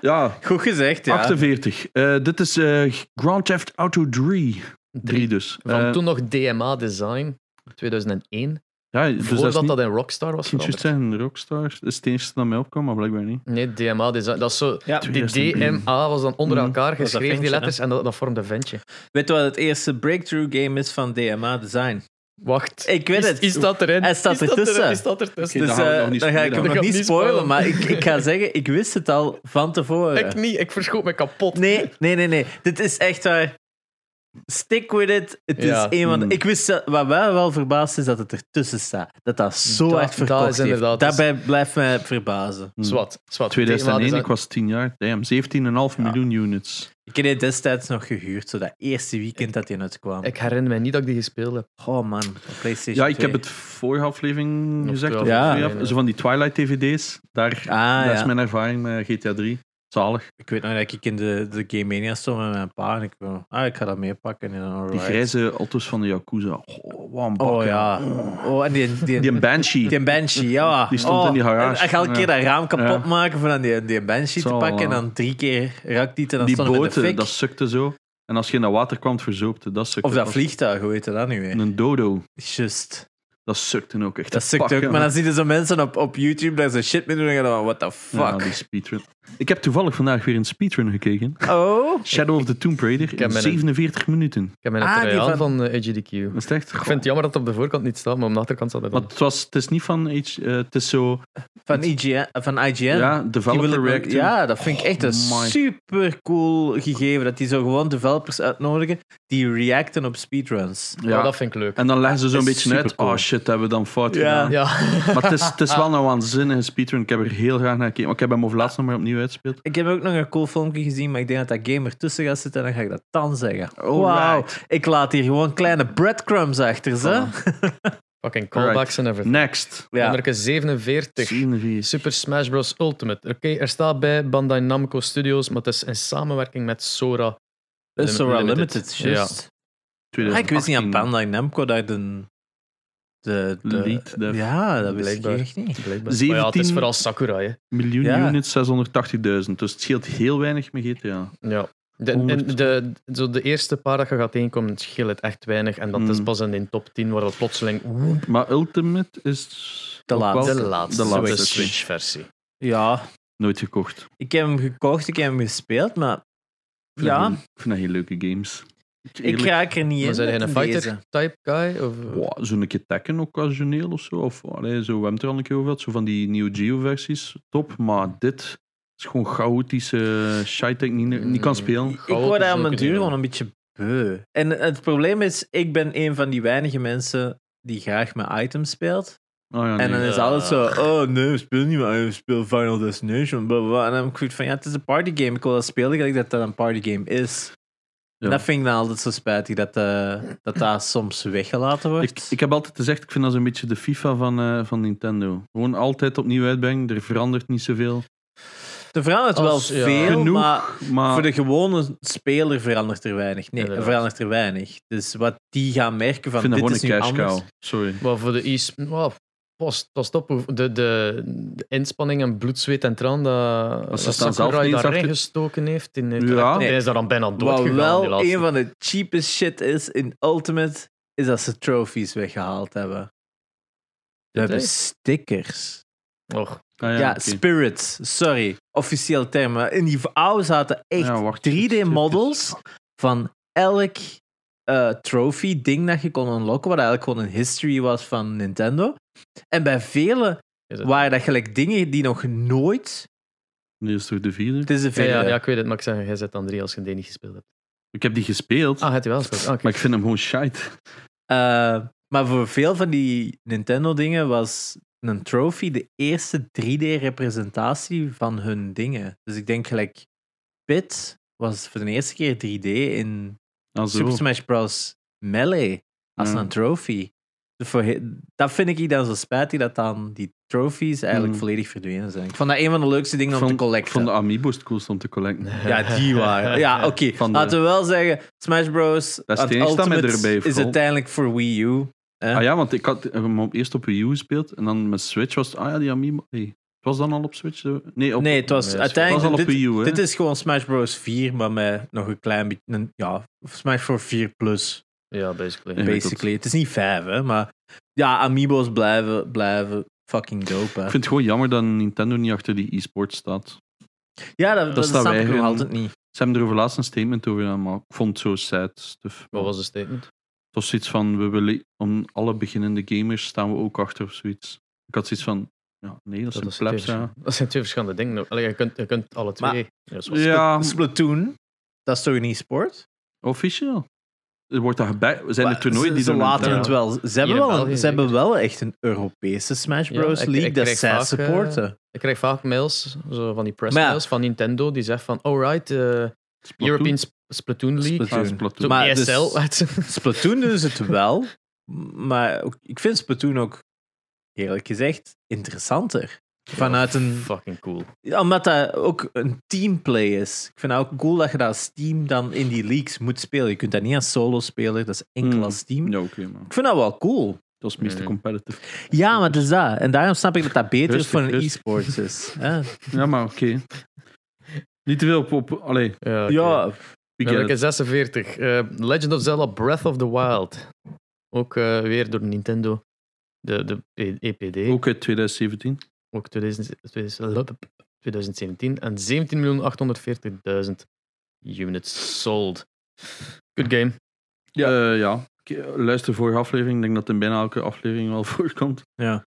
[SPEAKER 3] Ja,
[SPEAKER 2] Goed gezegd, ja.
[SPEAKER 3] 48. Eh, dit is eh, Grand Theft Auto 3. 3 dus.
[SPEAKER 1] Van
[SPEAKER 3] Eh,
[SPEAKER 1] toen nog DMA Design, 2001.
[SPEAKER 3] ja, dus dat is
[SPEAKER 1] voordat
[SPEAKER 3] niet,
[SPEAKER 1] dat in Rockstar was
[SPEAKER 3] ik ging juist
[SPEAKER 1] veranderd.
[SPEAKER 3] zeggen, Rockstar is het eerste dat mij opkwam, maar blijkbaar niet.
[SPEAKER 1] Nee, DMA Design. dus Dat is zo...
[SPEAKER 2] Ja.
[SPEAKER 1] Die
[SPEAKER 3] 2001.
[SPEAKER 1] DMA was dan onder
[SPEAKER 3] Mhm.
[SPEAKER 1] elkaar
[SPEAKER 2] dat
[SPEAKER 1] geschreven, die
[SPEAKER 2] ventje,
[SPEAKER 1] letters, en dat, dat vormde een ventje.
[SPEAKER 2] Weet je wat het eerste breakthrough game is van DMA Design?
[SPEAKER 1] Wacht.
[SPEAKER 2] Ik weet
[SPEAKER 1] is,
[SPEAKER 2] het.
[SPEAKER 1] Is dat erin?
[SPEAKER 2] Hij staat
[SPEAKER 1] is dat
[SPEAKER 2] ertussen.
[SPEAKER 1] erin? Is dat ertussen?
[SPEAKER 2] Dus
[SPEAKER 3] dat gaan we
[SPEAKER 2] eh,
[SPEAKER 3] nog niet
[SPEAKER 2] dan ga ik hem
[SPEAKER 3] spoilen.
[SPEAKER 1] Dat
[SPEAKER 2] nog
[SPEAKER 1] gaan
[SPEAKER 2] niet
[SPEAKER 1] we niet
[SPEAKER 2] spoilen,
[SPEAKER 1] spoilen.
[SPEAKER 2] maar ik, ik ga zeggen, ik wist het al van tevoren.
[SPEAKER 1] Ik niet, ik verschoot me kapot.
[SPEAKER 2] Nee, nee, nee, nee. Dit is echt waar. Stick with it. Het
[SPEAKER 1] Ja.
[SPEAKER 2] is een van de-
[SPEAKER 3] Hmm.
[SPEAKER 2] Ik wist dat- wat mij wel verbaasd is dat het ertussen staat. Dat dat zo
[SPEAKER 1] Dat-
[SPEAKER 2] hard verkocht
[SPEAKER 1] dat is inderdaad-
[SPEAKER 2] heeft. Daarbij blijft mij verbazen.
[SPEAKER 1] Zwat, zwat. dus
[SPEAKER 3] 2001,
[SPEAKER 1] DMA
[SPEAKER 3] ik was 10 jaar. Damn, 17,5 miljoen units.
[SPEAKER 2] Ik heb die destijds nog gehuurd, zo dat eerste weekend dat die uitkwam.
[SPEAKER 1] Ik herinner me niet dat ik die gespeeld heb.
[SPEAKER 2] oh man, op PlayStation.
[SPEAKER 3] Ja, ik heb
[SPEAKER 2] 2.
[SPEAKER 3] het vorige aflevering
[SPEAKER 1] Of
[SPEAKER 3] gezegd. Of
[SPEAKER 1] twaalf.
[SPEAKER 2] Ja.
[SPEAKER 3] twee af-
[SPEAKER 1] Nee, nee.
[SPEAKER 3] Zo van die Twilight-DVD's. Daar,
[SPEAKER 2] Ah,
[SPEAKER 3] dat
[SPEAKER 2] ja.
[SPEAKER 3] is mijn ervaring met GTA 3. Zalig.
[SPEAKER 2] Ik weet nog dat ik in de, de Game Mania stond met mijn pa en ik wou, ah, ik ga dat meepakken. En dan,
[SPEAKER 3] Die
[SPEAKER 2] alright.
[SPEAKER 3] grijze auto's van de Yakuza. Oh, wat een bakken.
[SPEAKER 2] Oh ja. Oh, en die, die,
[SPEAKER 3] Die een Banshee.
[SPEAKER 2] Die Banshee, ja.
[SPEAKER 3] Die stond
[SPEAKER 2] Oh,
[SPEAKER 3] in die garage.
[SPEAKER 2] En ik ga elke keer
[SPEAKER 3] Ja.
[SPEAKER 2] dat raam kapot
[SPEAKER 3] Ja.
[SPEAKER 2] maken van die, die Banshee te
[SPEAKER 3] Zal
[SPEAKER 2] pakken. En
[SPEAKER 3] wel.
[SPEAKER 2] dan drie keer raakt die het en dan
[SPEAKER 3] die
[SPEAKER 2] stond hem in de
[SPEAKER 3] boten,
[SPEAKER 2] fik.
[SPEAKER 3] dat sukte zo. En als je in dat water kwam, het verzoopte. Dat sukte.
[SPEAKER 2] Of dat
[SPEAKER 3] Als-
[SPEAKER 2] vliegtuig, hoe heet dat nu weer?
[SPEAKER 3] Een dodo.
[SPEAKER 2] Just.
[SPEAKER 3] Dat sukte ook echt.
[SPEAKER 2] Dat sukt ook.
[SPEAKER 3] pakken.
[SPEAKER 2] Maar dan zie je zo mensen op, op YouTube dat ze shit mee doen en dan van, what the
[SPEAKER 3] Ja, die
[SPEAKER 2] fuck?
[SPEAKER 3] speedrun. Ik heb toevallig vandaag weer een speedrun gekeken.
[SPEAKER 2] Oh.
[SPEAKER 3] Shadow of the Tomb Raider
[SPEAKER 1] heb
[SPEAKER 3] in
[SPEAKER 1] mijn-
[SPEAKER 3] 47 minuten.
[SPEAKER 1] Ik heb mijn
[SPEAKER 2] Ah, die
[SPEAKER 1] materiaal
[SPEAKER 2] van-
[SPEAKER 1] van, eh, AGDQ.
[SPEAKER 3] Dat is echt...
[SPEAKER 1] Ik vind het jammer dat het op de voorkant niet staat, maar op de achterkant staat het
[SPEAKER 3] Maar
[SPEAKER 1] wel.
[SPEAKER 3] het, was, het is niet van... H, eh, het is zo...
[SPEAKER 2] Van IGN. Van IGN.
[SPEAKER 3] Ja,
[SPEAKER 2] Die wil
[SPEAKER 3] developer
[SPEAKER 2] ik-
[SPEAKER 3] react. Oh
[SPEAKER 2] ja, dat vind ik echt een
[SPEAKER 3] my.
[SPEAKER 2] super cool gegeven. Dat die zo gewoon developers uitnodigen die reacten op speedruns.
[SPEAKER 1] Ja.
[SPEAKER 3] Ja.
[SPEAKER 1] Oh, dat vind ik leuk.
[SPEAKER 3] En dan leggen ze zo'n
[SPEAKER 2] is
[SPEAKER 3] beetje uit.
[SPEAKER 2] supercool.
[SPEAKER 3] Oh shit, dat hebben we dan fout
[SPEAKER 2] Ja.
[SPEAKER 3] gedaan.
[SPEAKER 1] Ja.
[SPEAKER 3] Maar het is, het is wel een waanzinnige speedrun. Ik heb er heel graag naar gekeken. Maar ik heb hem over laatst nog maar opnieuw uitgespeeld.
[SPEAKER 2] Ik heb ook nog een cool filmpje gezien, maar ik denk dat dat game ertussen gaat zitten en dan ga ik dat dan zeggen.
[SPEAKER 3] Alright.
[SPEAKER 2] Wauw, ik laat hier gewoon kleine breadcrumbs achter, ze.
[SPEAKER 3] Voilà.
[SPEAKER 1] Fucking callbacks en everything.
[SPEAKER 3] Next.
[SPEAKER 2] Ja.
[SPEAKER 1] Nummer 47.
[SPEAKER 3] 47.
[SPEAKER 1] Super Smash Bros. Ultimate. Oké, er staat bij Bandai Namco Studios, maar het is in samenwerking met Sora.
[SPEAKER 2] Dat is Sora
[SPEAKER 1] Limited.
[SPEAKER 2] Limited,
[SPEAKER 1] Ja.
[SPEAKER 2] juist. Ah,
[SPEAKER 3] 2018.
[SPEAKER 2] ik wist niet aan Bandai Namco dat de... de, de
[SPEAKER 3] Lead, de-
[SPEAKER 2] ja, dat wist
[SPEAKER 1] Blijkbaar.
[SPEAKER 2] ik echt niet.
[SPEAKER 1] Blijkbaar. Maar ja, het
[SPEAKER 3] 17.
[SPEAKER 1] is vooral Sakura, hè.
[SPEAKER 3] Miljoen
[SPEAKER 2] Ja.
[SPEAKER 3] units, 680.000. Dus het scheelt heel weinig met GTA.
[SPEAKER 1] Ja. De, en
[SPEAKER 3] 100.
[SPEAKER 1] de, zo de eerste paar dat je gaat inkomen, scheelt het echt weinig. En dat is
[SPEAKER 3] Mm.
[SPEAKER 1] pas in de top 10 waar dat plotseling...
[SPEAKER 3] Maar Ultimate is...
[SPEAKER 2] De
[SPEAKER 3] ook wel-
[SPEAKER 2] laatste.
[SPEAKER 1] De laatste,
[SPEAKER 3] De laatste Switch.
[SPEAKER 1] Switch-versie.
[SPEAKER 2] Ja,
[SPEAKER 3] Nooit gekocht.
[SPEAKER 2] ik heb hem gekocht, ik heb hem gespeeld, maar
[SPEAKER 3] Ik vind dat
[SPEAKER 2] Ja.
[SPEAKER 3] geen- Ik vind dat geen leuke games.
[SPEAKER 2] ik raak er niet
[SPEAKER 1] Maar
[SPEAKER 2] in.
[SPEAKER 1] zijn jij
[SPEAKER 2] met
[SPEAKER 1] een
[SPEAKER 2] deze.
[SPEAKER 1] fighter-type guy? Of...
[SPEAKER 3] Wow, Zo'n keer Tekken occasioneel of zo. Of, allee, zo we hebben het er al een keer over gehad. Zo van die Neo Geo-versies. Top. Maar dit is gewoon chaotische shit dat ik niet, niet kan
[SPEAKER 1] Mm.
[SPEAKER 3] spelen.
[SPEAKER 2] Ik
[SPEAKER 1] Chaotisch
[SPEAKER 2] word daar
[SPEAKER 1] ook
[SPEAKER 2] mijn
[SPEAKER 1] niet,
[SPEAKER 2] duur
[SPEAKER 1] ja.
[SPEAKER 2] gewoon een beetje beu. En het probleem is, ik ben een van die weinige mensen die graag met items speelt.
[SPEAKER 3] Oh ja,
[SPEAKER 2] En dan
[SPEAKER 3] nee.
[SPEAKER 2] is
[SPEAKER 1] Ja.
[SPEAKER 2] alles zo, oh nee, we spelen niet meer, we spelen Final Destination. blah, blah, blah. En dan heb ik goed van, ja, het is een partygame. Ik wil dat spelen gelijk dat dat een partygame is.
[SPEAKER 3] Ja.
[SPEAKER 2] Dat vind ik dan altijd zo spijtig, dat eh, dat, dat soms weggelaten wordt.
[SPEAKER 3] Ik, ik heb altijd gezegd, ik vind dat een beetje de FIFA van, eh, van Nintendo. Gewoon altijd opnieuw uitbrengen, er verandert niet zoveel.
[SPEAKER 2] er verandert
[SPEAKER 1] Als-
[SPEAKER 2] wel
[SPEAKER 1] ja.
[SPEAKER 2] veel,
[SPEAKER 3] Genoeg,
[SPEAKER 2] maar
[SPEAKER 3] Maar
[SPEAKER 2] voor de gewone speler verandert er weinig. Nee, er
[SPEAKER 1] Inderdaad.
[SPEAKER 2] verandert er weinig. Dus wat die gaan merken
[SPEAKER 3] ik
[SPEAKER 2] van,
[SPEAKER 3] vind dat
[SPEAKER 2] dit is
[SPEAKER 3] gewoon een
[SPEAKER 2] nu
[SPEAKER 3] cash
[SPEAKER 2] anders.
[SPEAKER 3] cow. Sorry.
[SPEAKER 1] Maar voor de is Wow, was, was top. De, de, de inspanning en bloed, zweet en traan dat, dat
[SPEAKER 3] ze staan zelf
[SPEAKER 1] Sakurai
[SPEAKER 3] niet eens
[SPEAKER 1] daarin
[SPEAKER 3] achter-
[SPEAKER 1] gestoken heeft. In, heeft
[SPEAKER 3] Ja.
[SPEAKER 1] er echt-
[SPEAKER 2] Nee.
[SPEAKER 1] Hij is daar dan bijna dood
[SPEAKER 2] Wat
[SPEAKER 1] gegaan, die
[SPEAKER 2] wel
[SPEAKER 1] laatste.
[SPEAKER 2] een van de cheapest shit is in Ultimate, is dat ze trophies weggehaald hebben. We hebben
[SPEAKER 1] is-
[SPEAKER 2] stickers.
[SPEAKER 1] Och,
[SPEAKER 3] Ah, ja,
[SPEAKER 2] Ja,
[SPEAKER 3] oké.
[SPEAKER 2] spirits, sorry. Officieel term. maar In die oude zaten echt
[SPEAKER 3] Ja, wacht, shit,
[SPEAKER 2] 3D-models van elk eh trophy-ding dat je kon unlocken, wat eigenlijk gewoon een history was van Nintendo. En bij vele
[SPEAKER 1] is het.
[SPEAKER 2] waren dat gelijk dingen die nog nooit...
[SPEAKER 3] Nu is het toch de vierde?
[SPEAKER 2] Het is de
[SPEAKER 1] Ja, ja,
[SPEAKER 2] vierde.
[SPEAKER 1] ja, ik weet het, maar ik zeg, jij zet aan drie als je die niet gespeeld hebt.
[SPEAKER 3] Ik heb die gespeeld,
[SPEAKER 1] Ah, heb je wel gespeeld? Ah, oké.
[SPEAKER 3] maar ik vind hem gewoon shite.
[SPEAKER 2] Eh, maar voor veel van die Nintendo-dingen was een trophy de eerste 3D-representatie van hun dingen. Dus ik denk gelijk Pit was voor de eerste keer 3D in
[SPEAKER 3] Ah, zo.
[SPEAKER 2] Super Smash Bros. Melee als
[SPEAKER 3] Ja.
[SPEAKER 2] een trophy. Dus voor he- Dat vind ik dan zo spijtig dat dan die trophies eigenlijk
[SPEAKER 3] Mm.
[SPEAKER 2] volledig verdwenen zijn. Ik vond dat een van de leukste dingen om
[SPEAKER 3] Van-
[SPEAKER 2] te collecten.
[SPEAKER 3] Van de Amiibo's het coolst om te collecten.
[SPEAKER 2] Ja, die waren. Ja, oké.
[SPEAKER 3] Van de-
[SPEAKER 2] Laten we wel zeggen, Smash Bros. aan
[SPEAKER 3] Dat is het
[SPEAKER 2] het
[SPEAKER 3] enige dat mij
[SPEAKER 2] Ultimate
[SPEAKER 3] erbij
[SPEAKER 2] is
[SPEAKER 3] valt.
[SPEAKER 2] uiteindelijk voor Wii U. hè?
[SPEAKER 3] Ah ja, want ik had hem op- eerst op Wii U gespeeld en dan met Switch was het, ah ja, die Amiibo. Hey, het was dan al op Switch? zo? Nee, op,
[SPEAKER 2] Nee, het was
[SPEAKER 1] Nee, het
[SPEAKER 2] uiteindelijk.
[SPEAKER 3] was al op
[SPEAKER 2] dit,
[SPEAKER 3] Wii U, hè?
[SPEAKER 2] dit is gewoon Smash Bros. 4, maar met nog een klein beetje. een- Ja, Smash Bros. 4 plus,
[SPEAKER 1] Ja, basically.
[SPEAKER 3] Ja, klopt.
[SPEAKER 2] basically. Het is niet 5, hè? Maar ja, Amiibo's blijven, blijven fucking dope. Hè.
[SPEAKER 3] Ik vind het gewoon jammer dat Nintendo niet achter die e-sport staat.
[SPEAKER 2] ja, dat, dat,
[SPEAKER 3] dat
[SPEAKER 2] snap ik
[SPEAKER 3] wij
[SPEAKER 2] nog
[SPEAKER 3] hun-
[SPEAKER 2] altijd niet.
[SPEAKER 3] Ze hebben er over laatst een statement over gedaan, maar ik vond het zo sad stuff.
[SPEAKER 1] Wat was de statement?
[SPEAKER 3] Het was zoiets van, we willen, om alle beginnende gamers staan we ook achter of zoiets. Ik had zoiets van, ja, nee, dat,
[SPEAKER 1] Dat,
[SPEAKER 3] zijn plebs,
[SPEAKER 1] twee,
[SPEAKER 3] ja.
[SPEAKER 1] verschillende- dat zijn twee verschillende dingen. Allee, je, kunt, je kunt alle
[SPEAKER 2] Maar-
[SPEAKER 1] twee. Ja, dat is wel-
[SPEAKER 3] Ja,
[SPEAKER 2] Spl- Splatoon, dat is toch niet sport?
[SPEAKER 3] officieel. Er Wordt dat geba- zijn er toernooien
[SPEAKER 2] ze,
[SPEAKER 3] die
[SPEAKER 2] ze
[SPEAKER 3] doen
[SPEAKER 2] laten
[SPEAKER 1] ja.
[SPEAKER 2] het wel. Ze hebben
[SPEAKER 1] in
[SPEAKER 2] wel, een-
[SPEAKER 1] België
[SPEAKER 2] ze hebben wel echt een Europese Smash
[SPEAKER 1] Ja,
[SPEAKER 2] Bros.
[SPEAKER 1] ik-
[SPEAKER 2] League
[SPEAKER 1] ik
[SPEAKER 2] dat
[SPEAKER 1] krijg
[SPEAKER 2] zij
[SPEAKER 1] vaak, eh,
[SPEAKER 2] supporten.
[SPEAKER 1] Ik krijg vaak mails, zo van die
[SPEAKER 2] Maar ja.
[SPEAKER 1] pressmails van Nintendo, die zegt van, alright, eh, European Sp- Splatoon League. Ah,
[SPEAKER 2] Splatoon.
[SPEAKER 1] Zo
[SPEAKER 2] Maar dus-
[SPEAKER 1] ESL.
[SPEAKER 2] Splatoon doen ze het wel, maar ook- ik vind Splatoon ook, eerlijk gezegd, interessanter. Vanuit een,
[SPEAKER 1] Fucking cool.
[SPEAKER 2] omdat dat ook een teamplay is. Ik vind het ook cool dat je dat als team dan in die leagues moet spelen. Je kunt dat niet als solo speler, dat is enkel
[SPEAKER 3] Hmm.
[SPEAKER 2] als team.
[SPEAKER 3] Ja, oké, maar
[SPEAKER 2] Ik vind dat wel cool.
[SPEAKER 3] dat is meestal
[SPEAKER 1] Mm.
[SPEAKER 3] competitive.
[SPEAKER 2] Ja, maar het is dat. En daarom snap ik dat dat beter
[SPEAKER 3] Rustig,
[SPEAKER 2] voor een
[SPEAKER 3] rustig.
[SPEAKER 2] e-sports is. hè.
[SPEAKER 3] Ja, maar oké. Niet te veel op... op allee, we
[SPEAKER 1] Ja, oké.
[SPEAKER 2] Ja,
[SPEAKER 1] Dan heb
[SPEAKER 3] get
[SPEAKER 1] ik
[SPEAKER 3] it.
[SPEAKER 1] een 46. Eh, Legend of Zelda Breath of the Wild. Ook eh, weer door Nintendo. De, de E- EPD. Ook,
[SPEAKER 3] Ook uit 2017.
[SPEAKER 1] 2000 2000 2017. En 17.840.000 units sold. Good game.
[SPEAKER 3] Ja. Eh, ja. Ik- Luister vorige aflevering, ik denk dat het in bijna elke aflevering wel voorkomt.
[SPEAKER 2] ja.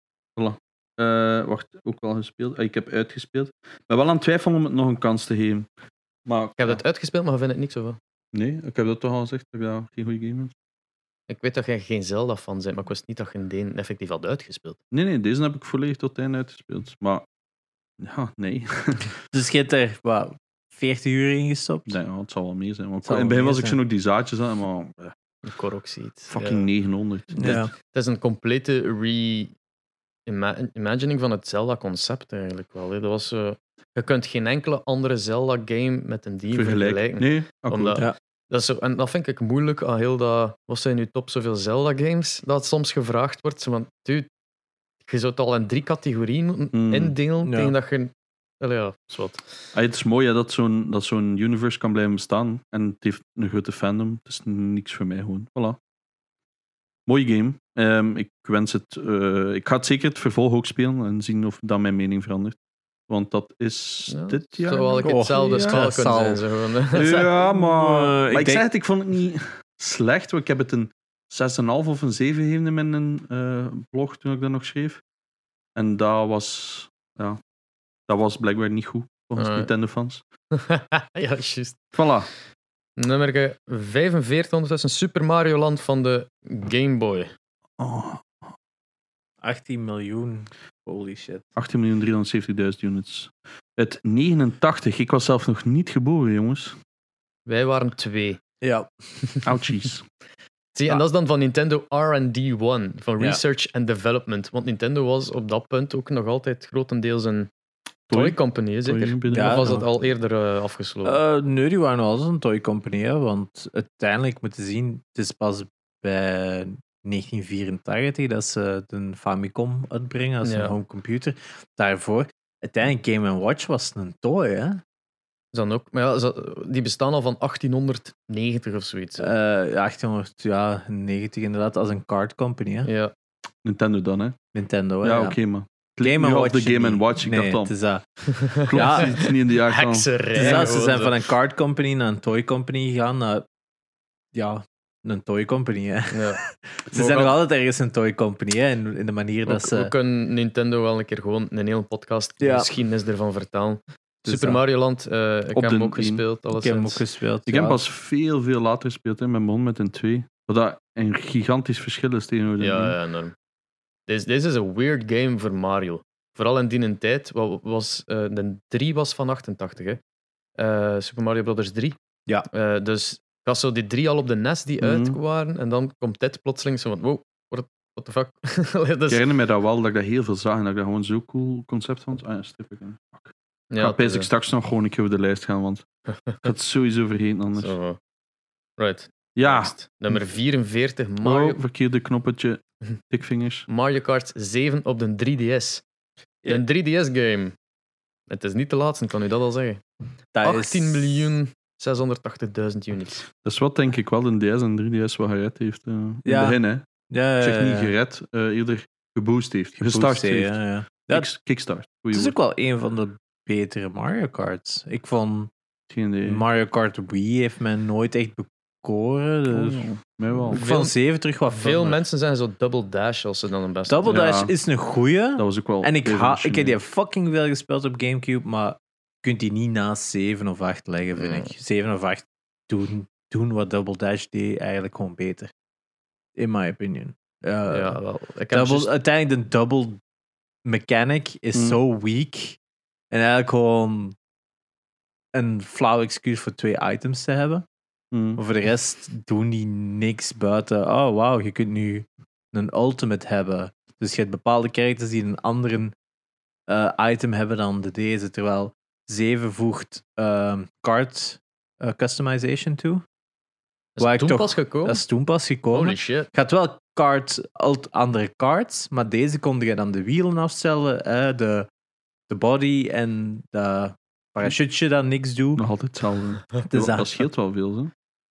[SPEAKER 3] Eh, wacht, ook wel gespeeld. Ah, ik heb uitgespeeld. Ik ben wel aan het twijfelen om het nog een kans te geven. Maar
[SPEAKER 1] Ik heb dat uitgespeeld, maar ik vind het niet zoveel.
[SPEAKER 3] Nee, ik heb dat toch al gezegd. Ik heb dat geen goede game is.
[SPEAKER 1] Ik weet dat jij geen Zelda fan bent, maar ik wist niet dat je Deen effectief had uitgespeeld.
[SPEAKER 3] Nee, nee, deze heb ik volledig tot het einde uitgespeeld. Maar ja, nee.
[SPEAKER 2] Dus je hebt er wat, 40 uur in gestopt?
[SPEAKER 3] Ik denk, oh, het zal wel meer zijn. Want ik-
[SPEAKER 2] zal
[SPEAKER 3] in het
[SPEAKER 2] wel
[SPEAKER 3] begin was
[SPEAKER 2] meer
[SPEAKER 3] ik zo nog die zaadjes aan, maar eh,
[SPEAKER 1] Een Korok-seed.
[SPEAKER 3] fucking 900.
[SPEAKER 2] Ja.
[SPEAKER 1] Het is een complete re-imagining van het Zelda-concept eigenlijk wel. hè. Dat was, eh, je kunt geen enkele andere Zelda-game met een die vergelijken.
[SPEAKER 3] Vergelijk. Nee, ah,
[SPEAKER 1] Omdat-
[SPEAKER 3] akkoord.
[SPEAKER 2] Ja.
[SPEAKER 1] Dat is zo, en dat vind ik moeilijk aan heel dat... Wat zijn nu top zoveel Zelda-games? Dat het soms gevraagd wordt, zo van... Dude, je zou het al in drie categorieën moeten
[SPEAKER 3] Mm.
[SPEAKER 1] indelen,
[SPEAKER 2] Ja.
[SPEAKER 1] tegen dat je... Allee, ja, is wat.
[SPEAKER 3] Ah, het is mooi hè, dat zo'n dat zo'n universe kan blijven bestaan. En het heeft een grote fandom. Het is niks voor mij gewoon. Voilà. Mooie game. Ehm, ik wens het. eh, ik ga het zeker het vervolg ook spelen en zien of dat mijn mening verandert. Want dat is
[SPEAKER 1] Ja,
[SPEAKER 3] dit jaar.
[SPEAKER 1] zou wel
[SPEAKER 3] nog?
[SPEAKER 1] ik hetzelfde
[SPEAKER 3] ja.
[SPEAKER 1] spel kunnen
[SPEAKER 2] zal.
[SPEAKER 1] zijn. Zo, gewoon, hè.
[SPEAKER 2] Het zou-
[SPEAKER 3] Ja,
[SPEAKER 2] Eh,
[SPEAKER 3] maar. maar
[SPEAKER 2] ik
[SPEAKER 3] ik,
[SPEAKER 2] denk-
[SPEAKER 3] zeg het, ik vond het niet slecht. want Ik heb het een 6,5 of een 7 gegeven in mijn eh, blog toen ik dat nog schreef. En dat was. Ja, dat was blijkbaar niet goed volgens
[SPEAKER 1] Nee.
[SPEAKER 3] Nintendo-fans.
[SPEAKER 1] ja, juist.
[SPEAKER 3] Eh. Voilà.
[SPEAKER 1] Nummer 45 ondertussen Super Mario Land van de Game Boy.
[SPEAKER 3] Oh,
[SPEAKER 2] 18 miljoen. Holy shit.
[SPEAKER 3] 18.370.000 units. Het 89. Ik was zelf nog niet geboren, jongens.
[SPEAKER 1] Wij waren twee.
[SPEAKER 2] Ja.
[SPEAKER 3] Ouchies.
[SPEAKER 1] Zie, en
[SPEAKER 2] Ja.
[SPEAKER 1] dat is dan van Nintendo RD1, van
[SPEAKER 2] Ah. Ja.
[SPEAKER 1] Research and Development. Want Nintendo was op dat punt ook nog altijd grotendeels een toy company, hè, zeker.
[SPEAKER 2] Ja,
[SPEAKER 1] of was
[SPEAKER 3] dat
[SPEAKER 1] dat al eerder eh, afgesloten?
[SPEAKER 2] Eh nee, die waren wel eens een toy company, hè, want uiteindelijk moeten zien, het is pas bij 1984 dat ze de Famicom uitbrengen als
[SPEAKER 1] Ja.
[SPEAKER 2] een home computer. Daarvoor, uiteindelijk Game Watch was een toy, hè?
[SPEAKER 1] Is dan ook, maar ja, is dat- die bestaan al van 1890 of zoiets. hè.
[SPEAKER 2] Eh, ja, 1890 inderdaad, als een card company, hè?
[SPEAKER 1] ja.
[SPEAKER 3] Nintendo dan, hè?
[SPEAKER 2] Nintendo, hè?
[SPEAKER 3] ja,
[SPEAKER 2] Oh, ja.
[SPEAKER 3] oké, maar.
[SPEAKER 2] Game
[SPEAKER 3] Nu
[SPEAKER 2] Watch.
[SPEAKER 3] of de Game
[SPEAKER 2] niet.
[SPEAKER 3] Watch, ik
[SPEAKER 2] nee,
[SPEAKER 3] dacht al.
[SPEAKER 2] Het is dat.
[SPEAKER 3] Klopt,
[SPEAKER 2] Ja.
[SPEAKER 3] het is niet in de jaartal.
[SPEAKER 1] Hekserij.
[SPEAKER 2] Het is dat, ze
[SPEAKER 1] gewoon
[SPEAKER 2] zijn
[SPEAKER 1] zo.
[SPEAKER 2] van een card company naar een toy company gegaan, naar, ja, een toy company, hè?
[SPEAKER 1] Ja.
[SPEAKER 2] Ze zijn nog altijd ergens een toy company, hè? In, in de manier dat eh,
[SPEAKER 1] We-
[SPEAKER 2] ze.
[SPEAKER 1] We kunnen Nintendo wel een keer gewoon een hele podcast de
[SPEAKER 2] Ja.
[SPEAKER 1] geschiedenis ervan vertalen.
[SPEAKER 2] Dus
[SPEAKER 1] Super
[SPEAKER 2] dat-
[SPEAKER 1] Mario Land, eh, ik
[SPEAKER 3] Op
[SPEAKER 1] heb
[SPEAKER 3] de
[SPEAKER 1] hem ook
[SPEAKER 3] tien.
[SPEAKER 1] gespeeld. Alles
[SPEAKER 2] Ik heb hem ook gespeeld.
[SPEAKER 3] Ik
[SPEAKER 2] ja.
[SPEAKER 3] heb pas veel, veel later gespeeld. Hè. Mijn begon met een 2. Wat dat een gigantisch verschil is tegenover de
[SPEAKER 1] Ja,
[SPEAKER 3] één.
[SPEAKER 1] ja, enorm. Deze deze is een weird game voor Mario. Vooral in die tijd. wa- Was, eh, de 3 was van 88, hè? Eh, Super Mario Bros. 3.
[SPEAKER 2] Ja.
[SPEAKER 1] Eh, dus ik had zo die drie al op de nest die
[SPEAKER 3] Mhm.
[SPEAKER 1] uit waren. En dan komt dit plotseling zo van: wow, what what the fuck. Allee,
[SPEAKER 3] Ik
[SPEAKER 1] dus,
[SPEAKER 3] herinner me dat wel, dat ik dat heel veel zag en dat ik dat gewoon zo'n cool concept vond. Ah ja, strippen. Fuck.
[SPEAKER 1] ja,
[SPEAKER 3] ik ga
[SPEAKER 1] het is,
[SPEAKER 3] basic
[SPEAKER 1] eh,
[SPEAKER 3] straks nog gewoon een keer over de lijst gaan, want ik had het sowieso vergeten anders.
[SPEAKER 1] zo. eh, Right.
[SPEAKER 3] Ja,
[SPEAKER 1] next. Nummer 44, Mario,
[SPEAKER 3] oh, verkeerde knoppetje, tikvingers.
[SPEAKER 1] Mario Kart 7 op de 3DS.
[SPEAKER 2] Ja.
[SPEAKER 1] Een 3DS-game. Het is niet de laatste, ik kan u dat al zeggen.
[SPEAKER 2] Dat is-
[SPEAKER 1] 18 miljoen 680.000 units.
[SPEAKER 3] Dat is wat denk ik wel een DS en 3DS wat gered heeft. eh in
[SPEAKER 2] Ja.
[SPEAKER 3] het begin, hè.
[SPEAKER 2] Ja,
[SPEAKER 3] Ik
[SPEAKER 2] ja,
[SPEAKER 3] zeg niet
[SPEAKER 2] ja.
[SPEAKER 3] gered, eh, eerder geboost heeft. Gestart
[SPEAKER 2] Boost, hè,
[SPEAKER 3] heeft.
[SPEAKER 2] ja, ja.
[SPEAKER 3] Kick- Kickstart.
[SPEAKER 2] Het
[SPEAKER 3] Goeie
[SPEAKER 2] is ook
[SPEAKER 3] woord.
[SPEAKER 2] wel een van de betere Mario Karts. Ik vond
[SPEAKER 3] Geen idee.
[SPEAKER 2] Mario Kart Wii heeft mij nooit echt bekoren.
[SPEAKER 3] Oh,
[SPEAKER 2] Dus...
[SPEAKER 3] ja. Mij wel.
[SPEAKER 2] Ik
[SPEAKER 1] Veel-
[SPEAKER 2] vond 7 terug wat
[SPEAKER 1] Veel
[SPEAKER 2] fun, maar-
[SPEAKER 1] mensen zijn zo double dash als ze dan een beste
[SPEAKER 2] Double
[SPEAKER 3] Ja.
[SPEAKER 2] Dash is een goeie.
[SPEAKER 3] Dat was ook wel... eh,
[SPEAKER 2] En ik, ha- ik heb
[SPEAKER 3] revolutionair.
[SPEAKER 2] die fucking veel gespeeld op Gamecube, maar je kunt die niet naast 7 of 8 leggen, vind
[SPEAKER 1] Nee.
[SPEAKER 2] ik. 7 of 8 doen, doen wat Double Dash deed eigenlijk gewoon beter. In my opinion. Eh,
[SPEAKER 1] doen. Ja, wel. Ik heb
[SPEAKER 2] double,
[SPEAKER 1] juist-
[SPEAKER 2] Uiteindelijk de double mechanic is
[SPEAKER 3] Mm.
[SPEAKER 2] zo weak. En eigenlijk gewoon een flauw excuus voor twee items te hebben.
[SPEAKER 3] Mm.
[SPEAKER 2] Maar voor de rest doen die niks buiten. Oh, wauw, je kunt nu een ultimate hebben. Dus je hebt bepaalde characters die een andere eh, item hebben dan de deze. Terwijl 7 voegt ehm card eh, customization toe.
[SPEAKER 1] is
[SPEAKER 2] waar ik
[SPEAKER 1] toen
[SPEAKER 2] toch-
[SPEAKER 1] pas gekomen.
[SPEAKER 2] Dat is toen pas gekomen.
[SPEAKER 1] Holy shit.
[SPEAKER 2] Je had wel card, alt andere cards, maar deze kon je dan de wielen afstellen, eh, de, de body en de parachute dat niks doet.
[SPEAKER 3] Nog altijd hetzelfde.
[SPEAKER 2] Dus
[SPEAKER 3] dat scheelt wel veel, hè.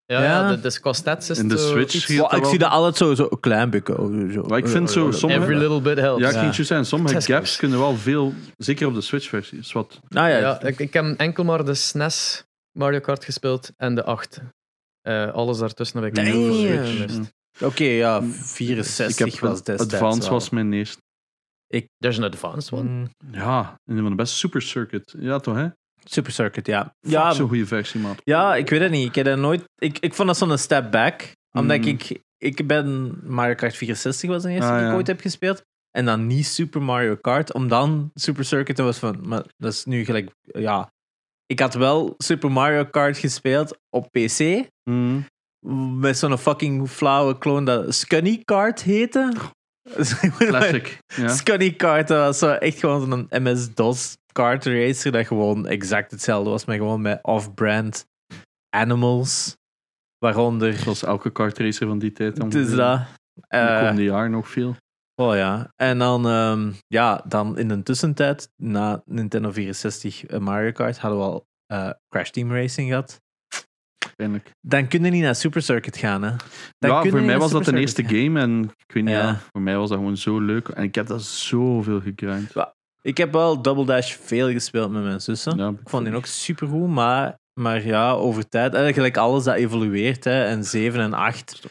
[SPEAKER 1] Ja, ja.
[SPEAKER 2] Ja.
[SPEAKER 1] dat- dat is qua stats is
[SPEAKER 3] In de
[SPEAKER 1] het, eh,
[SPEAKER 3] Switch
[SPEAKER 1] iets-
[SPEAKER 3] scheelt
[SPEAKER 2] Wel,
[SPEAKER 3] dat
[SPEAKER 2] ik
[SPEAKER 3] wel.
[SPEAKER 2] zie dat altijd zo, zo een klein bukken. Zo. Eh,
[SPEAKER 3] Maar ik vind zo sommige-
[SPEAKER 1] Every little bit helps.
[SPEAKER 3] Ja,
[SPEAKER 1] Ja,
[SPEAKER 3] ik ging
[SPEAKER 2] Ja.
[SPEAKER 3] het juist zeggen, sommige
[SPEAKER 1] Test
[SPEAKER 3] gaps
[SPEAKER 1] case.
[SPEAKER 3] kunnen wel veel, zeker op de Switch-versie. is wat
[SPEAKER 2] Nou ja,
[SPEAKER 1] ik, ik heb enkel maar de SNES Mario Kart gespeeld en de 8. Eh, alles daartussen heb ik
[SPEAKER 2] Damn.
[SPEAKER 1] heel veel Switch gemist.
[SPEAKER 3] Mm.
[SPEAKER 2] oké, ja, 64
[SPEAKER 3] ik heb
[SPEAKER 2] was destijds.
[SPEAKER 3] Advance
[SPEAKER 2] wel.
[SPEAKER 3] was mijn eerste.
[SPEAKER 1] Dat is een advanced one.
[SPEAKER 2] Mm,
[SPEAKER 3] Ja, een van de beste Super Circuit. Ja, toch, hè?
[SPEAKER 2] Super Circuit, ja.
[SPEAKER 3] Ja,
[SPEAKER 2] Ja,
[SPEAKER 3] zo'n goede versie, maat.
[SPEAKER 2] ja, ik weet het niet. Ik, heb dat nooit, ik, ik vond dat zo'n step back. Omdat
[SPEAKER 3] Mm.
[SPEAKER 2] ik, ik ben Mario Kart 64 was de eerste
[SPEAKER 3] Ah,
[SPEAKER 2] die
[SPEAKER 3] ja.
[SPEAKER 2] ik ooit heb gespeeld. En dan niet Super Mario Kart. Om dan Super Circuit te was van... Maar dat is nu gelijk... Ja. Ik had wel Super Mario Kart gespeeld op PC.
[SPEAKER 3] Mm.
[SPEAKER 2] Met zo'n fucking flauwe clone dat Scunny Kart heette.
[SPEAKER 3] Classic. ja.
[SPEAKER 2] Scotty Kart dat was zo echt gewoon zo'n MS-DOS kart racer dat gewoon exact hetzelfde was, maar gewoon met off-brand animals. Waaronder...
[SPEAKER 3] Zoals elke kartracer van die tijd. dan.
[SPEAKER 2] Het is dat.
[SPEAKER 3] In de
[SPEAKER 2] Eh,
[SPEAKER 3] komende jaar nog veel.
[SPEAKER 2] oh ja. En dan, ehm, ja, dan in de tussentijd, na Nintendo 64 en Mario Kart, hadden we al eh, Crash Team Racing gehad.
[SPEAKER 3] Eindelijk.
[SPEAKER 2] Dan kun je niet naar Super Circuit gaan, hè. Dan kun je
[SPEAKER 3] Ja, voor
[SPEAKER 2] niet
[SPEAKER 3] mij
[SPEAKER 2] naar
[SPEAKER 3] was dat
[SPEAKER 2] Super
[SPEAKER 3] de
[SPEAKER 2] Circuit
[SPEAKER 3] eerste
[SPEAKER 2] gaan.
[SPEAKER 3] game en ik weet niet,
[SPEAKER 2] Ja.
[SPEAKER 3] ja, voor mij was dat gewoon zo leuk. En ik heb dat zoveel gegrind.
[SPEAKER 2] Ik heb wel Double Dash veel gespeeld met mijn zussen.
[SPEAKER 3] Ja,
[SPEAKER 2] Ik vond die ook supergoed, maar, maar ja, over tijd. Eigenlijk alles dat evolueert, hè, en 7 en 8.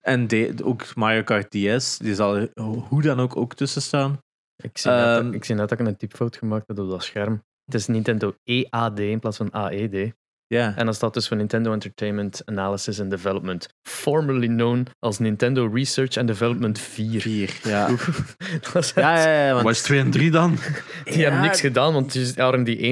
[SPEAKER 2] En de- ook Mario Kart DS, die zal er hoe dan ook ook tussen staan.
[SPEAKER 1] Ik, zie net,
[SPEAKER 2] Ehm.
[SPEAKER 1] dat- E ik zie net dat ik een typfout gemaakt heb op dat scherm. Het is Nintendo EAD in plaats van AED.
[SPEAKER 2] Ja.
[SPEAKER 1] E En dan staat dus voor Nintendo Entertainment Analysis and Development. Formerly known als Nintendo Research and Development 4.
[SPEAKER 2] Vier. Ja.
[SPEAKER 1] Oef. Dat is echt-
[SPEAKER 2] Ja, ja, ja, want-
[SPEAKER 3] Was 2 en 3 dan?
[SPEAKER 1] Die hebben niks gedaan, want die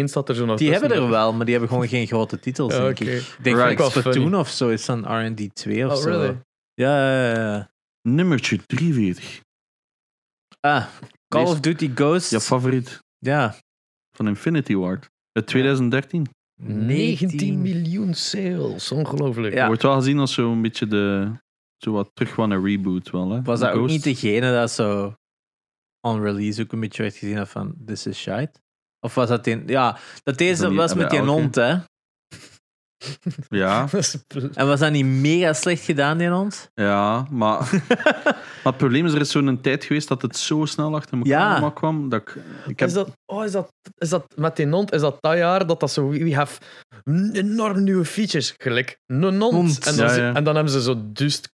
[SPEAKER 1] RMD1 staat er zo nog
[SPEAKER 2] Die hebben
[SPEAKER 1] tussen.
[SPEAKER 2] er wel, maar die hebben gewoon geen grote titels,
[SPEAKER 1] Ja,
[SPEAKER 2] denk
[SPEAKER 1] oké.
[SPEAKER 2] ik. Ik denk
[SPEAKER 3] Right.
[SPEAKER 2] dat
[SPEAKER 1] Ook wel
[SPEAKER 2] Splatoon
[SPEAKER 1] funny.
[SPEAKER 2] of zo is dan R&D 2 of
[SPEAKER 1] Oh,
[SPEAKER 2] zo.
[SPEAKER 1] really?
[SPEAKER 2] Ja, ja, ja, ja.
[SPEAKER 3] Nummertje 43.
[SPEAKER 2] Ah, Call
[SPEAKER 3] Lees-
[SPEAKER 2] of Duty Ghosts.
[SPEAKER 3] Je favoriet
[SPEAKER 2] ja.
[SPEAKER 3] van Infinity Ward. Uit 2013.
[SPEAKER 1] 19 miljoen sales, ongelooflijk.
[SPEAKER 2] Ja.
[SPEAKER 3] Wordt wel gezien als zo'n beetje de... Zo wat terug van een reboot wel, hè?
[SPEAKER 2] Was dat ook
[SPEAKER 3] Ghost.
[SPEAKER 2] niet degene dat zo on release ook een beetje werd gezien had van this is shite? Of was dat in... Ja, dat
[SPEAKER 3] Dat
[SPEAKER 2] deze
[SPEAKER 3] niet- Ah,
[SPEAKER 2] was met die
[SPEAKER 3] elke-
[SPEAKER 2] hond, hè?
[SPEAKER 3] Ja,
[SPEAKER 1] Dat is pl-
[SPEAKER 2] En was dat niet mega slecht gedaan, die hond?
[SPEAKER 3] ja, maar... maar het probleem is, er is zo'n tijd geweest dat het zo snel achter elkaar
[SPEAKER 2] Ja.
[SPEAKER 3] allemaal kwam, dat ik... ik heb,
[SPEAKER 1] Is dat, oh, is dat, is dat met die nond, is dat dat jaar dat dat zo, we have enorm nieuwe features, gelijk een nond.
[SPEAKER 2] Hond.
[SPEAKER 1] En, dan,
[SPEAKER 3] Ja,
[SPEAKER 1] ze-
[SPEAKER 3] ja.
[SPEAKER 1] en dan hebben ze zo duist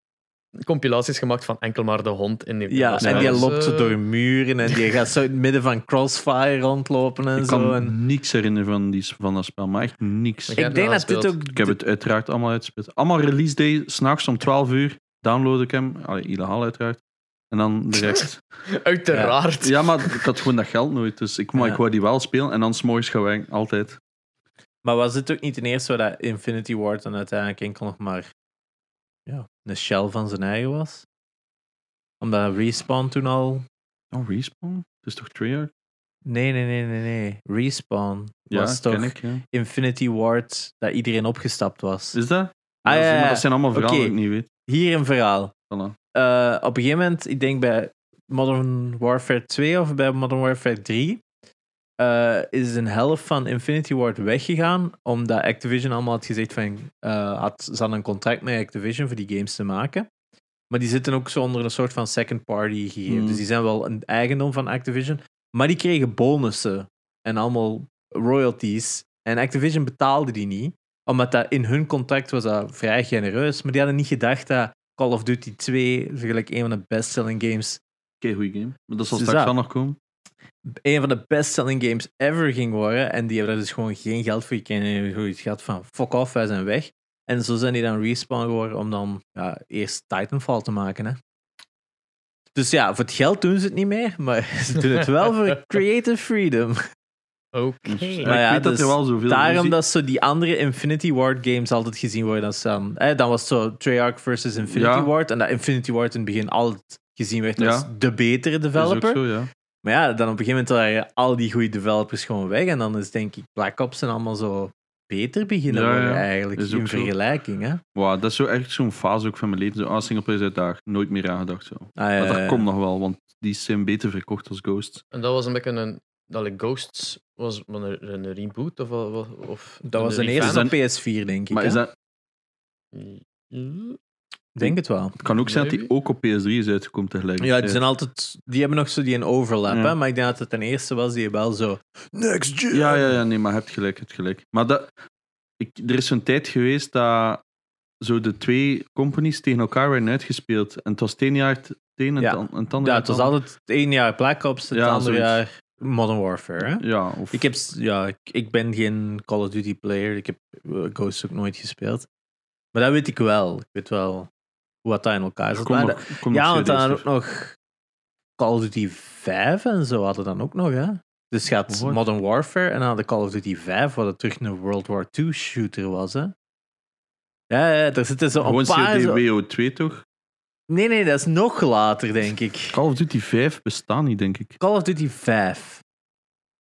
[SPEAKER 1] compilaties gemaakt van enkel maar de hond in die
[SPEAKER 2] Ja, en
[SPEAKER 1] dat
[SPEAKER 2] die
[SPEAKER 1] is,
[SPEAKER 2] loopt zo
[SPEAKER 1] eh,
[SPEAKER 2] door muren en die gaat zo in het midden van Crossfire rondlopen en
[SPEAKER 3] ik
[SPEAKER 2] zo.
[SPEAKER 3] kan
[SPEAKER 2] En
[SPEAKER 3] niks herinneren van, die, van dat spel, maar echt niks.
[SPEAKER 1] Ik
[SPEAKER 2] ik denk dat dit
[SPEAKER 1] speelt.
[SPEAKER 2] ook...
[SPEAKER 3] Ik heb het uiteraard allemaal uitgespeeld. Allemaal release day, s'nachts om 12 uur download ik hem. Allee, illegaal uiteraard. En dan de rest.
[SPEAKER 1] Uiteraard.
[SPEAKER 3] ja, maar ik had gewoon dat geld nooit, dus ik, maar
[SPEAKER 2] Ja.
[SPEAKER 3] ik wou die wel spelen. En dan s'morgens gaan wij altijd.
[SPEAKER 2] Maar was het ook niet ten eerste waar dat Infinity Ward dan uiteindelijk enkel nog maar ja, een shell van zijn eigen was? Omdat Respawn toen al...
[SPEAKER 3] Oh, Respawn? Het is toch Treyarch?
[SPEAKER 2] Nee, nee, nee, nee, nee. Respawn
[SPEAKER 3] Ja,
[SPEAKER 2] was
[SPEAKER 3] ken
[SPEAKER 2] toch
[SPEAKER 3] ik. Ja.
[SPEAKER 2] Infinity Ward dat iedereen opgestapt was.
[SPEAKER 3] Is dat?
[SPEAKER 2] Ah,
[SPEAKER 3] Ja,
[SPEAKER 2] ja, ja.
[SPEAKER 3] Maar dat zijn allemaal verhalen
[SPEAKER 2] Oké.
[SPEAKER 3] die ik niet weet.
[SPEAKER 2] Hier een verhaal.
[SPEAKER 3] Voilà.
[SPEAKER 2] Eh, op een gegeven moment, ik denk bij Modern Warfare 2 of bij Modern Warfare 3, eh, is een helft van Infinity Ward weggegaan, omdat Activision allemaal had gezegd van, eh, had, ze hadden een contract met Activision voor die games te maken. Maar die zitten ook zo onder een soort van second party gegeven.
[SPEAKER 3] Hmm.
[SPEAKER 2] Dus die zijn wel een eigendom van Activision. Maar die kregen bonussen en allemaal royalties. En Activision betaalde die niet. Omdat dat in hun contract was dat vrij genereus. Maar die hadden niet gedacht dat Call of Duty 2, gelijk een van de bestselling games,
[SPEAKER 3] Oké, goeie game. Maar dat zal
[SPEAKER 2] Is
[SPEAKER 3] straks
[SPEAKER 2] Dus dat?
[SPEAKER 3] wel nog komen.
[SPEAKER 2] een van de bestselling games ever ging worden. En die hebben daar dus gewoon geen geld voor gekregen. En die hebben zoiets gehad van fuck off, wij zijn weg. En zo zijn die dan respawn geworden om dan ja, eerst Titanfall te maken. Hè. Dus ja, voor het geld doen ze het niet meer, maar ze doen het wel voor creative freedom.
[SPEAKER 1] Oké.
[SPEAKER 3] Dus,
[SPEAKER 2] Maar
[SPEAKER 3] ik
[SPEAKER 2] ja,
[SPEAKER 3] weet dat er
[SPEAKER 2] dus
[SPEAKER 3] wel zoveel
[SPEAKER 2] Daarom
[SPEAKER 3] muziek-
[SPEAKER 2] dat zo die andere Infinity Ward games altijd gezien worden als... ehm, eh, dan was het zo Treyarch versus Infinity
[SPEAKER 3] Ja.
[SPEAKER 2] Ward. En dat Infinity Ward in het begin altijd gezien werd als
[SPEAKER 3] Ja.
[SPEAKER 2] de betere
[SPEAKER 3] Dat is
[SPEAKER 2] developer.
[SPEAKER 3] ook zo, ja.
[SPEAKER 2] Maar ja, dan op een gegeven moment waren al die goede developers gewoon weg. En dan is denk ik Black Ops en allemaal zo beter beginnen
[SPEAKER 3] Ja,
[SPEAKER 2] worden
[SPEAKER 3] ja.
[SPEAKER 2] eigenlijk.
[SPEAKER 3] Is ook
[SPEAKER 2] In
[SPEAKER 3] zo.
[SPEAKER 2] vergelijking, hè. Ah,
[SPEAKER 3] Wow, dat is zo echt zo'n fase ook van mijn leven. Zo, ah, singleplayer is uitdagend. Nooit meer aangedacht zo.
[SPEAKER 2] Ah, ja,
[SPEAKER 3] maar
[SPEAKER 2] ja,
[SPEAKER 3] dat
[SPEAKER 2] ja.
[SPEAKER 3] komt nog wel, want die zijn beter verkocht als Ghost.
[SPEAKER 1] En dat was een beetje een... Dat like, Ghosts was een, een reboot of... wa- wa- of
[SPEAKER 2] Dat was de
[SPEAKER 1] een
[SPEAKER 2] eerste op
[SPEAKER 1] revamp?
[SPEAKER 2] PS4, denk ik.
[SPEAKER 3] Maar is
[SPEAKER 2] hè.
[SPEAKER 3] dat,
[SPEAKER 2] Denk het wel.
[SPEAKER 3] het kan ook zijn dat die ook op PS3 is uitgekomen tegelijk.
[SPEAKER 2] Ja, die zijn altijd... Die hebben nog zo die een overlap,
[SPEAKER 3] Ja.
[SPEAKER 2] hè. Maar ik denk dat het ten eerste was die wel zo... Next gen!
[SPEAKER 3] ja, ja, ja, nee, maar je hebt gelijk, je hebt gelijk. Maar dat, ik, er is zo'n tijd geweest dat zo de twee companies tegen elkaar werden uitgespeeld. En het was het ene jaar het een en
[SPEAKER 2] Ja.
[SPEAKER 3] het an- en het andere
[SPEAKER 2] Ja,
[SPEAKER 3] jaar
[SPEAKER 2] het was
[SPEAKER 3] ander.
[SPEAKER 2] altijd het één jaar Black Ops, het
[SPEAKER 3] Ja,
[SPEAKER 2] andere
[SPEAKER 3] zoiets.
[SPEAKER 2] jaar Modern Warfare. Hè?
[SPEAKER 3] Ja, of...
[SPEAKER 2] Ik, heb, s- ja, ik, ik ben geen Call of Duty player. Ik heb eh, Ghost ook nooit gespeeld. Maar dat weet ik wel. Ik weet wel hoe dat daar in elkaar
[SPEAKER 3] er
[SPEAKER 2] zit.
[SPEAKER 3] komt
[SPEAKER 2] Maar
[SPEAKER 3] nog-
[SPEAKER 2] dat-
[SPEAKER 3] komt nog
[SPEAKER 2] ja, want dan
[SPEAKER 3] CD's
[SPEAKER 2] hadden
[SPEAKER 3] terug.
[SPEAKER 2] we ook nog Call of Duty 5 en zo hadden dan ook nog. Hè? Dus gaat
[SPEAKER 3] What?
[SPEAKER 2] Modern Warfare en dan hadden Call of Duty 5, wat het terug een World War II shooter was. Hè? Ja, ja, er zitten zo
[SPEAKER 3] Gewoon
[SPEAKER 2] een paar... zo-
[SPEAKER 3] CDWO2 toch?
[SPEAKER 2] Nee, nee, dat is nog later, denk ik.
[SPEAKER 3] Call of Duty 5 bestaan niet, denk ik.
[SPEAKER 2] Call of Duty 5.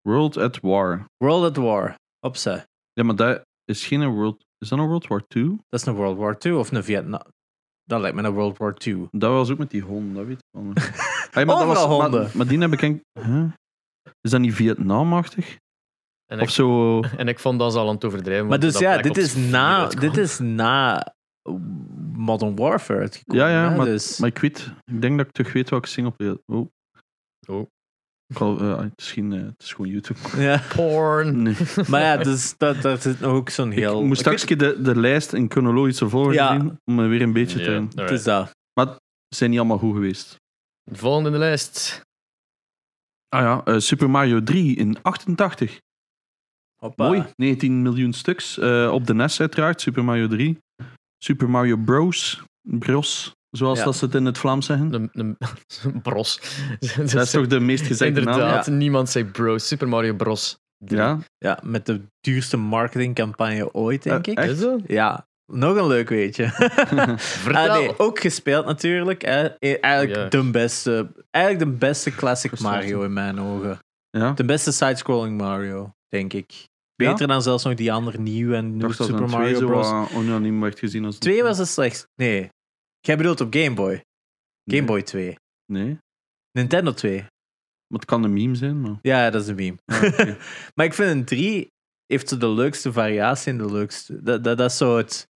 [SPEAKER 3] World at War.
[SPEAKER 2] World at War. Opsa.
[SPEAKER 3] Ja, maar dat is geen een World... Is dat een World War 2?
[SPEAKER 2] Dat is een World War II of een Vietnam. Dat lijkt me een World War II.
[SPEAKER 3] Dat was ook met die honden, dat weet ik wel. nog. Hey,
[SPEAKER 2] Overal
[SPEAKER 3] maar,
[SPEAKER 2] honden.
[SPEAKER 3] maar die heb ik... enk- Huh? Is dat niet Vietnamachtig?
[SPEAKER 1] En
[SPEAKER 3] Of
[SPEAKER 1] ik,
[SPEAKER 3] zo...
[SPEAKER 1] en ik vond dat ze al aan het overdrijven.
[SPEAKER 2] Maar
[SPEAKER 1] want
[SPEAKER 2] dus
[SPEAKER 1] dat
[SPEAKER 2] ja,
[SPEAKER 1] Black
[SPEAKER 2] dit
[SPEAKER 1] Ops
[SPEAKER 2] is,
[SPEAKER 1] 4
[SPEAKER 2] na,
[SPEAKER 1] uitkwam.
[SPEAKER 2] dit is na Modern Warfare uitgekomen.
[SPEAKER 3] Ja, ja,
[SPEAKER 2] hè, dus.
[SPEAKER 3] Maar ik weet... Ik denk dat ik toch weet welke singleplayer... Oh.
[SPEAKER 1] Oh.
[SPEAKER 3] Ik al- eh, het, is geen, eh, het is gewoon YouTube.
[SPEAKER 2] ja.
[SPEAKER 1] Porn.
[SPEAKER 3] Nee.
[SPEAKER 2] maar ja, dus dat, dat is nog ook zo'n heel...
[SPEAKER 3] ik moest straks een keer de, de lijst in chronologische volgorde
[SPEAKER 2] Ja.
[SPEAKER 3] zien, om er weer een beetje
[SPEAKER 1] Ja,
[SPEAKER 3] te...
[SPEAKER 2] Het
[SPEAKER 1] alright.
[SPEAKER 2] is dat.
[SPEAKER 3] Ze zijn niet allemaal goed geweest.
[SPEAKER 1] Volgende in de lijst.
[SPEAKER 3] Ah ja, eh, Super Mario 3 in 88.
[SPEAKER 2] Hoppa.
[SPEAKER 3] Mooi, 19 miljoen stuks. Eh, op de NES uiteraard, Super Mario 3. Super Mario Bros. Bros, zoals
[SPEAKER 2] Ja.
[SPEAKER 3] dat ze het in het Vlaams zeggen.
[SPEAKER 1] Een, een, een bros. Dus
[SPEAKER 3] Dat is toch de meest gezegde naam?
[SPEAKER 1] Inderdaad, niemand zei bros. Super Mario Bros.
[SPEAKER 3] Ja,
[SPEAKER 2] Ja, met de duurste marketingcampagne ooit, denk
[SPEAKER 3] Eh,
[SPEAKER 2] ik.
[SPEAKER 3] echt?
[SPEAKER 1] Is dat?
[SPEAKER 2] Ja, nog een leuk weetje.
[SPEAKER 1] Vertel.
[SPEAKER 2] Ah, nee, ook gespeeld natuurlijk. hè. E-
[SPEAKER 3] Oh,
[SPEAKER 2] Eigenlijk,
[SPEAKER 1] Juist.
[SPEAKER 2] de beste, eigenlijk de beste classic
[SPEAKER 3] Frustratie.
[SPEAKER 2] Mario in mijn ogen.
[SPEAKER 3] ja.
[SPEAKER 2] De beste side-scrolling Mario, denk ik.
[SPEAKER 3] Ja?
[SPEAKER 2] Beter dan zelfs nog die andere nieuwe en
[SPEAKER 3] Ik
[SPEAKER 2] nieuwe
[SPEAKER 3] dacht dat
[SPEAKER 2] Super
[SPEAKER 3] een twee
[SPEAKER 2] Mario
[SPEAKER 3] zo
[SPEAKER 2] Bros.
[SPEAKER 3] wat onaniem werd gezien als...
[SPEAKER 2] Twee was het slechts. Nee. Jij bedoelt op Game Boy.
[SPEAKER 3] Nee.
[SPEAKER 2] Game Boy 2.
[SPEAKER 3] Nee,
[SPEAKER 2] Nintendo 2.
[SPEAKER 3] maar het kan een meme zijn, maar...
[SPEAKER 2] Ja, dat is een meme.
[SPEAKER 3] Ah, oké.
[SPEAKER 2] maar ik vind een 3 heeft zo de leukste variatie en de leukste. Dat, dat, dat is zo het.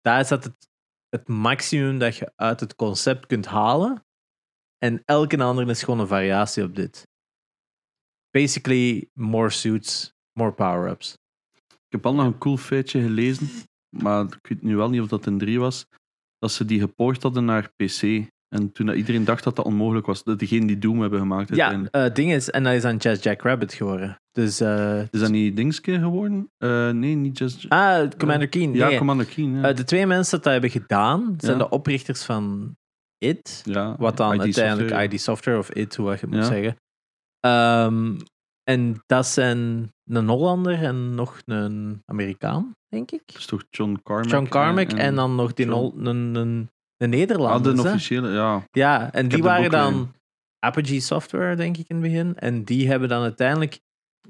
[SPEAKER 2] Daar zat het, het maximum dat je uit het concept kunt halen. En elke andere is gewoon een variatie op dit. Basically, more suits, more power-ups.
[SPEAKER 3] Ik heb al nog een cool feitje gelezen, maar ik weet nu wel niet of dat een 3 was, dat ze die gepoord hadden naar PC. En toen dat iedereen dacht dat dat onmogelijk was, dat degene die Doom hebben gemaakt
[SPEAKER 2] Ja,
[SPEAKER 3] uiteindelijk.
[SPEAKER 2] eh ding is, en dat is aan Jazz Jack Rabbit geworden. Dus, eh,
[SPEAKER 3] Is dat niet Dingske geworden? Eh, nee, niet Just...
[SPEAKER 2] ah, Commander Keen.
[SPEAKER 3] ja,
[SPEAKER 2] nee.
[SPEAKER 3] Commander Keen. Ja.
[SPEAKER 2] Eh, de twee mensen dat dat hebben gedaan, zijn
[SPEAKER 3] Ja.
[SPEAKER 2] de oprichters van It.
[SPEAKER 3] Ja,
[SPEAKER 2] Wat dan
[SPEAKER 3] ID
[SPEAKER 2] uiteindelijk
[SPEAKER 3] software.
[SPEAKER 2] ID Software of IT, hoe je het moet
[SPEAKER 3] Ja.
[SPEAKER 2] zeggen. Ehm, en dat zijn een Hollander en nog een Amerikaan, denk ik.
[SPEAKER 3] Dat is toch John Carmack?
[SPEAKER 2] John Carmack en, dan nog die
[SPEAKER 3] John-
[SPEAKER 2] Nol- een, een, een
[SPEAKER 3] Ah,
[SPEAKER 2] Nederlander.
[SPEAKER 3] de officiële, ja.
[SPEAKER 2] Ja, en die
[SPEAKER 3] heb dat
[SPEAKER 2] waren
[SPEAKER 3] boek
[SPEAKER 2] dan
[SPEAKER 3] gelezen.
[SPEAKER 2] Apogee Software, denk ik, in het begin. En die hebben dan uiteindelijk...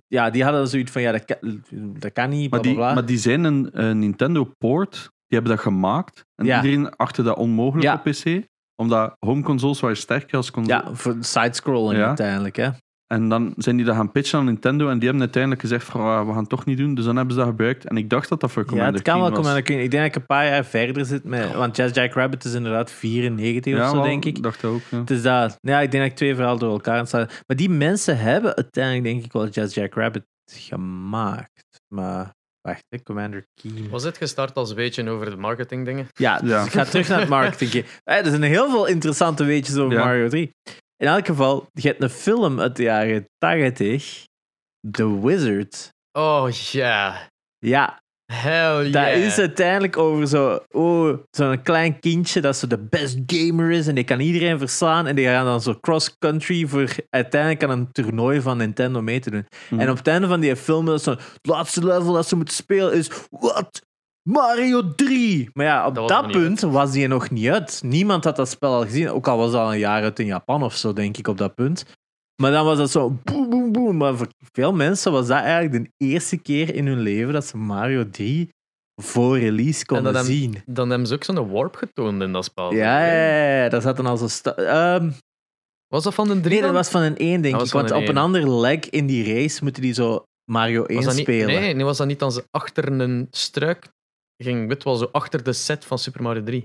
[SPEAKER 2] Ja, die hadden zoiets van, ja, dat kan, dat kan niet, bla,
[SPEAKER 3] Maar die,
[SPEAKER 2] bla, bla.
[SPEAKER 3] maar die zijn een, een Nintendo port, die hebben dat gemaakt. En
[SPEAKER 2] Ja.
[SPEAKER 3] iedereen achtte dat onmogelijk
[SPEAKER 2] Ja.
[SPEAKER 3] op PC, omdat home consoles waren sterker als consoles.
[SPEAKER 2] Ja, voor side-scrolling
[SPEAKER 3] Ja.
[SPEAKER 2] uiteindelijk, hè.
[SPEAKER 3] En dan zijn die dat gaan pitchen aan Nintendo en die hebben uiteindelijk gezegd van "Ah, we gaan het toch niet doen. Dus dan hebben ze dat gebruikt. En ik dacht dat dat voor
[SPEAKER 2] Ja,
[SPEAKER 3] Commander
[SPEAKER 2] het kan wel
[SPEAKER 3] Keen was.
[SPEAKER 2] Commander Keen. Ik denk dat ik een paar jaar verder zit met... Want Jazz Jack Rabbit is inderdaad 94
[SPEAKER 3] ja,
[SPEAKER 2] of zo,
[SPEAKER 3] wel,
[SPEAKER 2] denk ik.
[SPEAKER 3] dacht dat ook. Ja.
[SPEAKER 2] Het is dat. Ja, ik denk dat ik twee verhalen door elkaar aan sta. Maar die mensen hebben uiteindelijk, denk ik wel, Jazz Jack Rabbit gemaakt. Maar... Wacht, hè, Commander Keen.
[SPEAKER 1] Was dit gestart als weetje over de marketingdingen?
[SPEAKER 2] Ja, dus
[SPEAKER 3] Ja.
[SPEAKER 2] ik ga terug naar het marketing. Eh, er zijn heel veel interessante weetjes over
[SPEAKER 3] Ja.
[SPEAKER 2] Mario 3. In elk geval, je hebt een film uit de jaren 80, The Wizard.
[SPEAKER 1] Oh ja.
[SPEAKER 2] Ja,
[SPEAKER 1] Hell yeah.
[SPEAKER 2] Dat is uiteindelijk over zo, oh, zo'n klein kindje dat zo de best gamer is en die kan iedereen verslaan. En die gaan dan zo cross-country voor uiteindelijk aan een toernooi van Nintendo mee te doen.
[SPEAKER 3] Mhm.
[SPEAKER 1] Hmm.
[SPEAKER 2] En op het einde van die film, dat is zo'n, het laatste level dat ze moeten spelen is, wat? Mario 3! Maar ja, op
[SPEAKER 1] Dat
[SPEAKER 2] dat,
[SPEAKER 1] was nog niet
[SPEAKER 2] punt was die nog niet uit. Niemand had dat spel al gezien, ook al was dat al een jaar uit in Japan of zo, denk ik, op dat punt. Maar dan was dat zo boem, boem, boem. Maar voor veel mensen was dat eigenlijk de eerste keer in hun leven dat ze Mario 3 voor release konden
[SPEAKER 1] hebben-
[SPEAKER 2] zien.
[SPEAKER 1] Dan Oh, hebben ze ook zo'n warp getoond in dat spel.
[SPEAKER 2] Ja, ja, ja, daar zaten al zo... sta- Ehm,
[SPEAKER 1] Was dat van de drie?
[SPEAKER 2] nee, dat
[SPEAKER 1] dan?
[SPEAKER 2] was van een 1, denk
[SPEAKER 1] Dat was
[SPEAKER 2] ik.
[SPEAKER 1] van
[SPEAKER 2] Want
[SPEAKER 1] een
[SPEAKER 2] op een
[SPEAKER 1] één.
[SPEAKER 2] ander leg in die race moeten die zo Mario 1
[SPEAKER 1] was dat niet,
[SPEAKER 2] spelen.
[SPEAKER 1] Nee, nee, was dat niet dan ze achter een struik ging? Wit wel zo achter de set van Super Mario 3.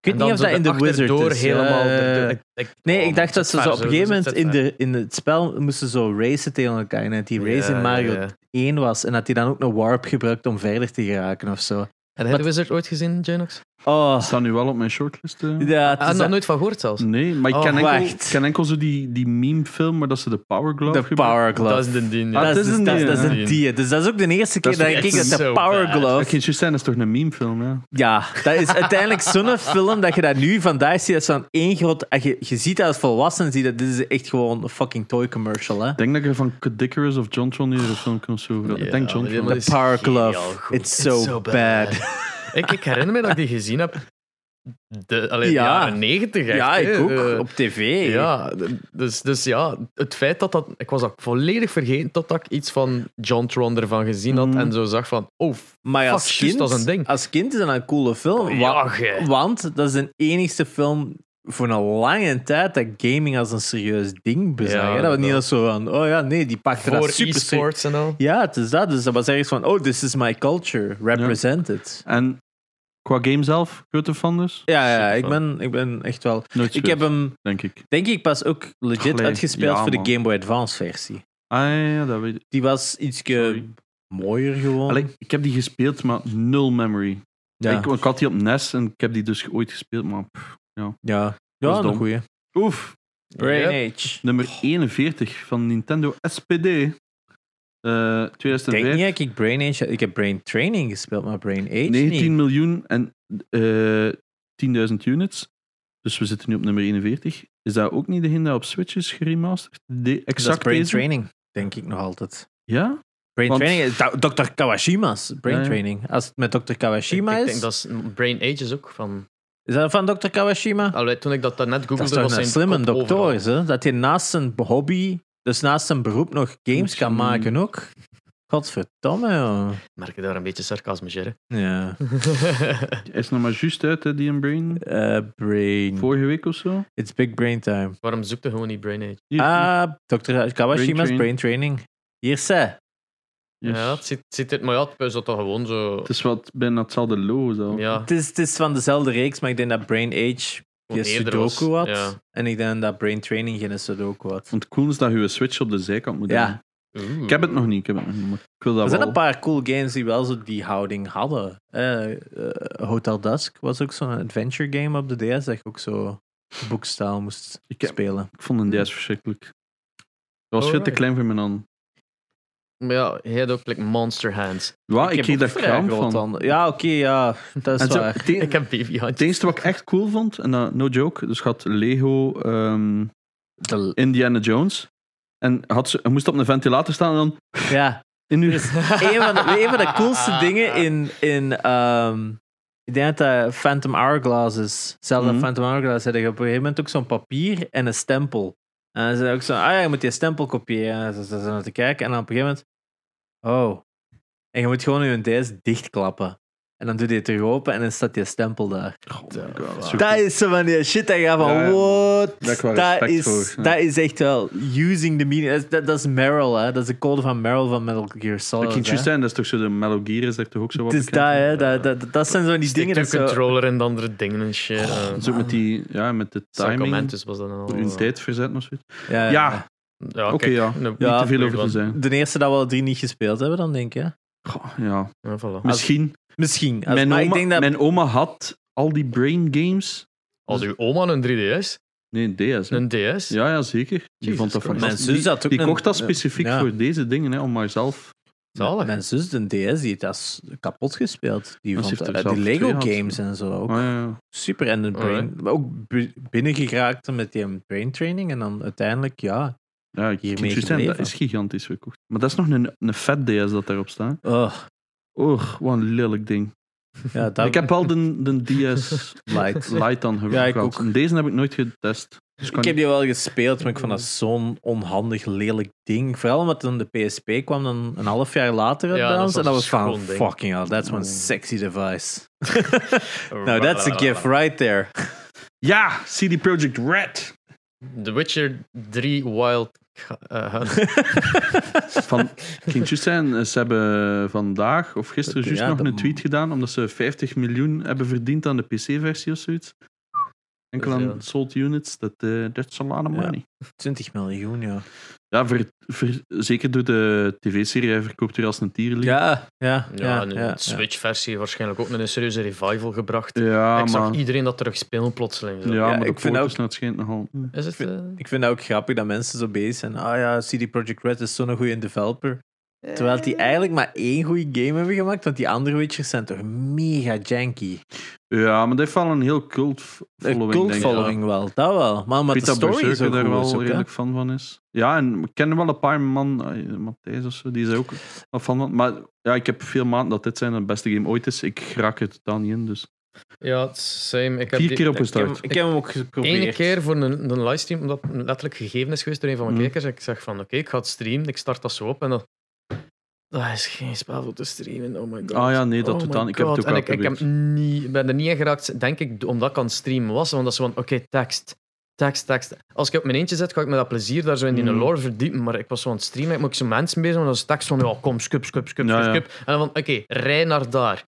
[SPEAKER 2] Ik weet niet of dat in de Wizard
[SPEAKER 1] door
[SPEAKER 2] is.
[SPEAKER 1] helemaal.
[SPEAKER 2] Eh,
[SPEAKER 1] erdoor- ik- ik-
[SPEAKER 2] nee,
[SPEAKER 1] oh,
[SPEAKER 2] ik dacht
[SPEAKER 1] het
[SPEAKER 2] dat
[SPEAKER 1] zit
[SPEAKER 2] ze zo
[SPEAKER 1] ver,
[SPEAKER 2] op een gegeven
[SPEAKER 1] het
[SPEAKER 2] moment
[SPEAKER 1] zit
[SPEAKER 2] in,
[SPEAKER 1] ver.
[SPEAKER 2] de, in het spel moesten zo racen tegen elkaar. En dat die race
[SPEAKER 1] Ja,
[SPEAKER 2] in Mario
[SPEAKER 1] ja, ja.
[SPEAKER 2] 1 was. En dat die dan ook een warp gebruikt om verder te geraken of zo. Oh,
[SPEAKER 1] Heb jij
[SPEAKER 2] Wat-
[SPEAKER 1] de Wizard ooit gezien, Janox?
[SPEAKER 2] Oh,
[SPEAKER 3] Ze staan nu wel op mijn shortlist. eh.
[SPEAKER 2] ja, het
[SPEAKER 1] Ah,
[SPEAKER 2] is
[SPEAKER 1] nog
[SPEAKER 2] dat-
[SPEAKER 1] nooit van gehoord zelfs.
[SPEAKER 2] Mm,
[SPEAKER 3] Nee, maar ik
[SPEAKER 1] Oh,
[SPEAKER 3] ken, enkel,
[SPEAKER 2] wacht.
[SPEAKER 3] ik ken enkel zo die, die meme-film waar dat ze de Power Glove
[SPEAKER 2] de
[SPEAKER 3] gebruiken.
[SPEAKER 2] Power Glove.
[SPEAKER 1] Dat is de dien.
[SPEAKER 3] Ah,
[SPEAKER 1] ja.
[SPEAKER 2] dat is,
[SPEAKER 3] het is
[SPEAKER 2] een
[SPEAKER 3] een
[SPEAKER 2] dat,
[SPEAKER 3] die,
[SPEAKER 2] dat is
[SPEAKER 1] hè?
[SPEAKER 2] een die. Dus dat is ook de eerste keer
[SPEAKER 1] Dat
[SPEAKER 2] dat,
[SPEAKER 1] is
[SPEAKER 2] ik
[SPEAKER 1] echt
[SPEAKER 2] denk dat de
[SPEAKER 1] zo
[SPEAKER 2] Power
[SPEAKER 1] bad.
[SPEAKER 3] Dat
[SPEAKER 2] Glove...
[SPEAKER 3] kan je zijn, dat is toch een meme-film, ja.
[SPEAKER 2] Ja, dat is uiteindelijk zo'n film dat je dat nu vandaag ziet. Dat is zo'n één groot... en Je, je ziet dat als volwassenen zie dat dit is echt gewoon een fucking toy commercial, hè.
[SPEAKER 3] Ik denk dat je van Kid Icarus of John Tron hier een film kunt zoeken.
[SPEAKER 1] Ja,
[SPEAKER 3] ik denk John
[SPEAKER 1] maar
[SPEAKER 3] Tron.
[SPEAKER 1] die-
[SPEAKER 2] The Power
[SPEAKER 1] is geniaal
[SPEAKER 2] Glove.
[SPEAKER 1] goed.
[SPEAKER 2] It's so, bad.
[SPEAKER 1] ik, ik herinner me dat ik die gezien heb. De, allee, de
[SPEAKER 2] Ja.
[SPEAKER 1] jaren negentig.
[SPEAKER 2] Ja, ik ook.
[SPEAKER 1] Eh,
[SPEAKER 2] op tv.
[SPEAKER 1] ja, d- dus, dus ja, het feit dat dat... Ik was dat volledig vergeten totdat ik iets van John Tron ervan gezien
[SPEAKER 2] Mm.
[SPEAKER 1] had
[SPEAKER 3] Mhm.
[SPEAKER 1] en zo zag van... Oh, f-
[SPEAKER 2] Maar
[SPEAKER 1] Fuck,
[SPEAKER 2] als
[SPEAKER 1] juist,
[SPEAKER 2] kind,
[SPEAKER 1] dat is een ding.
[SPEAKER 2] als kind is dat een coole film.
[SPEAKER 1] ja,
[SPEAKER 2] Oh, wa-
[SPEAKER 1] ge.
[SPEAKER 2] Want dat is de enigste film voor een lange tijd dat gaming als een serieus ding bezag.
[SPEAKER 1] Ja,
[SPEAKER 2] hè. dat was niet
[SPEAKER 1] inderdaad.
[SPEAKER 2] als zo van, oh ja, nee, die pakte dat
[SPEAKER 1] Voor
[SPEAKER 2] super serieus.
[SPEAKER 1] e-sports en al.
[SPEAKER 2] Ja, het is dat. Dus dat was ergens van, oh, this is my culture, represented.
[SPEAKER 3] En qua game zelf, grote fan dus?
[SPEAKER 2] Ja, ja,
[SPEAKER 3] Super
[SPEAKER 2] ik,
[SPEAKER 3] fan.
[SPEAKER 2] ben, ik ben echt wel...
[SPEAKER 3] Nooit
[SPEAKER 2] Ik
[SPEAKER 3] gespeeld,
[SPEAKER 2] heb hem,
[SPEAKER 3] denk ik.
[SPEAKER 2] denk ik, pas ook legit
[SPEAKER 3] Allee,
[SPEAKER 2] uitgespeeld
[SPEAKER 3] ja,
[SPEAKER 2] voor
[SPEAKER 3] man.
[SPEAKER 2] de Game Boy Advance versie.
[SPEAKER 3] Ah, ja, ja, dat weet ik.
[SPEAKER 2] Die was iets
[SPEAKER 3] Sorry.
[SPEAKER 2] mooier gewoon.
[SPEAKER 3] Allee, ik heb die gespeeld, maar nul memory.
[SPEAKER 2] ja,
[SPEAKER 3] Ik, ik had die op NES en ik heb die dus ooit gespeeld, maar... pff.
[SPEAKER 2] ja.
[SPEAKER 3] Dat is
[SPEAKER 2] ja een
[SPEAKER 3] dom.
[SPEAKER 2] goeie.
[SPEAKER 3] Oef,
[SPEAKER 1] Ja.
[SPEAKER 2] Brain Age.
[SPEAKER 3] nummer 41 van Nintendo SPD. Eh,
[SPEAKER 2] Ik denk niet
[SPEAKER 3] 2005.
[SPEAKER 2] dat ik Brain Age... Ik heb Brain Training gespeeld, maar Brain Age
[SPEAKER 3] 19
[SPEAKER 2] niet.
[SPEAKER 3] miljoen en eh 10.000 units. Dus we zitten nu op nummer 41. Is dat ook niet degene dat op Switch is geremasterd? De,
[SPEAKER 2] Dat is
[SPEAKER 3] exact
[SPEAKER 2] Brain
[SPEAKER 3] deze?
[SPEAKER 2] Training, denk ik nog altijd.
[SPEAKER 3] Ja?
[SPEAKER 2] Brain
[SPEAKER 3] Want-
[SPEAKER 2] Training, Do- Dr. Kawashima's Brain
[SPEAKER 3] Ja, ja.
[SPEAKER 2] Training. Als het met Dr. Kawashima
[SPEAKER 1] ik,
[SPEAKER 2] is,
[SPEAKER 1] ik denk dat is Brain Age is ook van.
[SPEAKER 2] is dat van Dr. Kawashima?
[SPEAKER 1] Allee, toen ik dat daarnet
[SPEAKER 2] dat is
[SPEAKER 1] googelde, was
[SPEAKER 2] toch
[SPEAKER 1] zijn
[SPEAKER 2] een slimme
[SPEAKER 1] kop overal.
[SPEAKER 2] dokter, hè? dat hij naast zijn hobby, dus naast zijn beroep, nog games kan
[SPEAKER 3] Moet je-
[SPEAKER 2] maken ook. Godverdomme, joh.
[SPEAKER 1] Merk je daar een beetje sarcasme, Jerry?
[SPEAKER 2] Ja.
[SPEAKER 3] Hij is nog maar juist uit, hè, die in Brain.
[SPEAKER 2] Eh, brain.
[SPEAKER 3] Vorige week of zo.
[SPEAKER 2] It's big brain time.
[SPEAKER 1] Waarom zoek je gewoon niet Brain Age?
[SPEAKER 3] Hier,
[SPEAKER 2] Ah, Dr. Kawashima's
[SPEAKER 3] Brain
[SPEAKER 2] Brain, Training. Hier, ze.
[SPEAKER 3] hier.
[SPEAKER 1] Ja, het zit, zit het, maar ja, het is dat gewoon zo.
[SPEAKER 3] Dus- Het is wat bijna hetzelfde logo. Zo.
[SPEAKER 1] Ja,
[SPEAKER 2] Het is, het is van dezelfde reeks, maar ik denk dat Brain Age
[SPEAKER 1] gewoon
[SPEAKER 2] geen
[SPEAKER 1] eerder was.
[SPEAKER 2] Sudoku had.
[SPEAKER 1] Ja.
[SPEAKER 2] En ik denk dat Brain Training geen Sudoku had.
[SPEAKER 3] Want het cool is dat je je Switch op de zijkant moet
[SPEAKER 2] Ja.
[SPEAKER 3] doen. Ik heb het nog niet, ik heb het nog niet. maar ik wil dat
[SPEAKER 2] Er zijn
[SPEAKER 3] wel.
[SPEAKER 2] een paar cool games die wel zo die houding hadden. Eh, eh, Hotel Dusk was ook zo'n adventure game op de DS dat je ook zo boekstaal moest
[SPEAKER 3] Ik heb-
[SPEAKER 2] spelen.
[SPEAKER 3] Ik vond een
[SPEAKER 2] Hmm.
[SPEAKER 3] DS verschrikkelijk. Dat was veel te
[SPEAKER 1] Alright.
[SPEAKER 3] klein voor mijn hand.
[SPEAKER 1] Maar ja, hij had ook like, Monster Hands.
[SPEAKER 3] Ja, Ah, ik,
[SPEAKER 2] heb
[SPEAKER 3] kreeg
[SPEAKER 2] ook
[SPEAKER 3] daar
[SPEAKER 2] vrij
[SPEAKER 3] kramp
[SPEAKER 2] grote
[SPEAKER 3] van.
[SPEAKER 2] handen. Ja, oké, ja. Dat is
[SPEAKER 3] En zo,
[SPEAKER 2] waar.
[SPEAKER 3] het e-
[SPEAKER 1] Ik heb baby
[SPEAKER 3] Het enige wat ik echt cool vond, en dat, no joke, dus had Lego ehm,
[SPEAKER 2] De-
[SPEAKER 3] Indiana Jones. En had ze, hij moest op een ventilator staan en dan
[SPEAKER 2] ja,
[SPEAKER 3] in uw... Oh
[SPEAKER 2] Dus- een van de, een van de coolste dingen in. in ehm, ik denk dat dat Phantom Hourglass is. Zelfde
[SPEAKER 3] Mhm.
[SPEAKER 2] Phantom Hourglass had je op een gegeven moment ook zo'n papier en een stempel. En dan zei ook zo: ah ja, je moet die stempel kopiëren. En dan zijn ze naar te kijken. En dan op een gegeven moment: oh. En je moet gewoon je DS dichtklappen. En dan doet hij het terug open en dan staat die stempel daar.
[SPEAKER 3] Oh my god, zo
[SPEAKER 2] Dat
[SPEAKER 3] cool.
[SPEAKER 2] is zo van die shit dat je gaat van,
[SPEAKER 3] Ja, ja.
[SPEAKER 2] what?
[SPEAKER 3] Daar heb ik wel
[SPEAKER 2] Dat
[SPEAKER 3] respect
[SPEAKER 2] is,
[SPEAKER 3] voor, ja.
[SPEAKER 2] dat is echt wel using the meaning. Dat is- Dat, dat is Meryl, hè. Dat is de code van Meryl van Metal Gear
[SPEAKER 3] Dat
[SPEAKER 2] Solid.
[SPEAKER 3] kan
[SPEAKER 2] hè.
[SPEAKER 3] juist zijn, dat is toch zo de Metal Gear is dat toch ook zo wat
[SPEAKER 2] Het is
[SPEAKER 3] bekend?
[SPEAKER 2] dat, hè. Dat, dat, dat zijn zo die dingen.
[SPEAKER 1] de
[SPEAKER 2] Dat zo,
[SPEAKER 1] controller en de andere dingen en shit. eh.
[SPEAKER 3] Dat is Dus ook Oh, met die, ja, met de timing,
[SPEAKER 1] Sacramentus was dat dan al. eh.
[SPEAKER 3] in tijd verzet of zoiets.
[SPEAKER 2] eh, ja,
[SPEAKER 3] Ja,
[SPEAKER 1] Ja,
[SPEAKER 3] oké,
[SPEAKER 1] kijk,
[SPEAKER 3] ja.
[SPEAKER 1] een-
[SPEAKER 3] Niet
[SPEAKER 2] Ja,
[SPEAKER 3] te veel
[SPEAKER 1] weird
[SPEAKER 3] over te
[SPEAKER 1] one.
[SPEAKER 3] zijn.
[SPEAKER 2] De eerste dat we al drie niet gespeeld hebben, dan denk je.
[SPEAKER 3] Goh, ja,
[SPEAKER 1] Ja, voilà.
[SPEAKER 3] misschien.
[SPEAKER 2] Misschien. Als-
[SPEAKER 3] Mijn
[SPEAKER 2] maar ik
[SPEAKER 3] oma,
[SPEAKER 2] denk dat...
[SPEAKER 3] mijn oma had al die brain games.
[SPEAKER 1] Als uw oma een 3DS,
[SPEAKER 3] Nee, DS. hè.
[SPEAKER 1] een DS.
[SPEAKER 3] Ja, ja, zeker. Die
[SPEAKER 1] Jesus
[SPEAKER 3] vond dat
[SPEAKER 1] Christ.
[SPEAKER 2] mijn
[SPEAKER 3] fantastisch.
[SPEAKER 2] zus
[SPEAKER 3] Die,
[SPEAKER 2] had ook
[SPEAKER 3] die
[SPEAKER 2] een-
[SPEAKER 3] kocht dat specifiek
[SPEAKER 2] Ja.
[SPEAKER 3] voor deze dingen, hè, om maar zelf...
[SPEAKER 1] Zalig.
[SPEAKER 2] Mijn zus, de DS, die heeft dat s- kapot gespeeld. Die,
[SPEAKER 3] Maar ze
[SPEAKER 2] vond,
[SPEAKER 3] heeft er
[SPEAKER 2] eh, die
[SPEAKER 3] zelf twee
[SPEAKER 2] Lego
[SPEAKER 3] gehad.
[SPEAKER 2] games en zo. Ook
[SPEAKER 3] Ah, ja, ja.
[SPEAKER 2] super en de brain.
[SPEAKER 1] Alright.
[SPEAKER 2] Maar ook bi- binnengeraakt met die um, brain training. En dan uiteindelijk, ja.
[SPEAKER 3] Ja,
[SPEAKER 2] Hiermee
[SPEAKER 3] ik kan het juist zeggen, dat
[SPEAKER 2] gebleven.
[SPEAKER 3] is gigantisch verkocht. Maar dat is nog een, een fat DS dat daarop staat.
[SPEAKER 2] Oh,
[SPEAKER 3] Och, wat een lelijk ding.
[SPEAKER 2] ja dat...
[SPEAKER 3] Ik heb wel de, de DS
[SPEAKER 2] Light.
[SPEAKER 3] Lite dan
[SPEAKER 2] Ja, ik
[SPEAKER 3] gebruikt.
[SPEAKER 2] ook.
[SPEAKER 3] En Deze heb ik nooit getest. Dus kan
[SPEAKER 2] Ik heb die wel gespeeld, maar ik vond dat zo'n onhandig, lelijk ding. Vooral omdat dan de PSP kwam dan een half jaar later
[SPEAKER 1] Ja,
[SPEAKER 2] ja,
[SPEAKER 1] dat is
[SPEAKER 2] en dat
[SPEAKER 1] een
[SPEAKER 2] was van
[SPEAKER 1] schoon ding.
[SPEAKER 2] fucking hell, that's one
[SPEAKER 3] Mm.
[SPEAKER 2] sexy device.
[SPEAKER 1] Oh,
[SPEAKER 3] Nou,
[SPEAKER 2] Now that's a gift right there.
[SPEAKER 3] Ja, CD Projekt Red.
[SPEAKER 1] The Witcher 3 Wild. eh, Hunt.
[SPEAKER 3] Van, ik kan het juist zeggen, ze hebben vandaag of gisteren
[SPEAKER 2] Oké,
[SPEAKER 3] juist
[SPEAKER 2] ja,
[SPEAKER 3] nog
[SPEAKER 2] dat-
[SPEAKER 3] een tweet gedaan omdat ze 50 miljoen hebben verdiend aan de PC-versie of zoiets. Enkel
[SPEAKER 1] Dat is
[SPEAKER 3] aan
[SPEAKER 1] veel.
[SPEAKER 3] sold units, dat eh, that's a lot of
[SPEAKER 2] Dus Ja.
[SPEAKER 3] money.
[SPEAKER 2] 20 miljoen, ja.
[SPEAKER 3] Ja, ver- ver- zeker door de tv-serie, hij verkoopt weer als een tierlier.
[SPEAKER 2] Ja, ja,
[SPEAKER 1] Ja,
[SPEAKER 2] ja.
[SPEAKER 1] en de
[SPEAKER 2] ja, ja.
[SPEAKER 1] Switch-versie waarschijnlijk ook een serieuze revival gebracht.
[SPEAKER 3] Ja,
[SPEAKER 1] ik zag
[SPEAKER 3] maar, ja,
[SPEAKER 1] iedereen dat terug spelen plotseling. Zo.
[SPEAKER 2] Ja,
[SPEAKER 3] maar
[SPEAKER 2] ik
[SPEAKER 3] de
[SPEAKER 2] vind Hmm.
[SPEAKER 3] poorters, nou, het schijnt nogal...
[SPEAKER 1] Is het? eh,
[SPEAKER 2] Ik vind dat ook grappig dat mensen zo bezig zijn. Ah ja, CD Projekt Red is zo'n goede developer. Terwijl die eigenlijk maar één goede game hebben gemaakt, want die andere Witchers zijn toch mega janky.
[SPEAKER 3] Ja, maar dat heeft wel een heel cult f-
[SPEAKER 2] Een
[SPEAKER 3] following,
[SPEAKER 2] Eh, cult
[SPEAKER 3] denk ik.
[SPEAKER 2] following wel, dat wel. Maar omdat de
[SPEAKER 3] Peter
[SPEAKER 2] story is
[SPEAKER 3] Berserker
[SPEAKER 2] ook
[SPEAKER 3] daar
[SPEAKER 2] goed
[SPEAKER 3] wel
[SPEAKER 2] is ook, hè.
[SPEAKER 3] redelijk fan van is. Ja, en we kennen wel een paar man, eh, Matthijs of zo, die is er ook wel fan van. Maar ja, ik heb veel maanden dat dit zijn de beste game ooit is. Ik raak er totaal niet in, dus...
[SPEAKER 1] Ja, same. Ik heb die-
[SPEAKER 3] Vier keer
[SPEAKER 2] Ik heb,
[SPEAKER 3] opgestart.
[SPEAKER 2] ik heb hem ook geprobeerd.
[SPEAKER 1] Eén keer voor een, een livestream, omdat het letterlijk gegeven is geweest door een van mijn
[SPEAKER 3] Mm.
[SPEAKER 1] kijkers. En ik zeg van, oké, ik ga het streamen. Ik start dat zo op en dan... Dat is geen spel voor te streamen, oh my god.
[SPEAKER 3] Ah ja, nee, dat
[SPEAKER 1] oh my
[SPEAKER 3] totaal niet. Ik heb het
[SPEAKER 1] god. en
[SPEAKER 3] ook wel
[SPEAKER 1] ik, ik heb
[SPEAKER 3] geprobeerd.
[SPEAKER 1] niet, ben er niet in geraakt, denk ik, omdat ik aan het streamen was. Want dat is van, oké, tekst. Tekst, tekst. Als ik op mijn eentje zit, ga ik me dat plezier daar zo in die
[SPEAKER 3] Mm.
[SPEAKER 1] lore verdiepen. Maar ik was zo aan het streamen, ik moet ik zo mensen bezig, maar dat is tekst van, ja, kom, skup, skup, skup,
[SPEAKER 3] Ja,
[SPEAKER 1] skup,
[SPEAKER 3] ja.
[SPEAKER 1] skup. En dan van, oké, rij naar daar.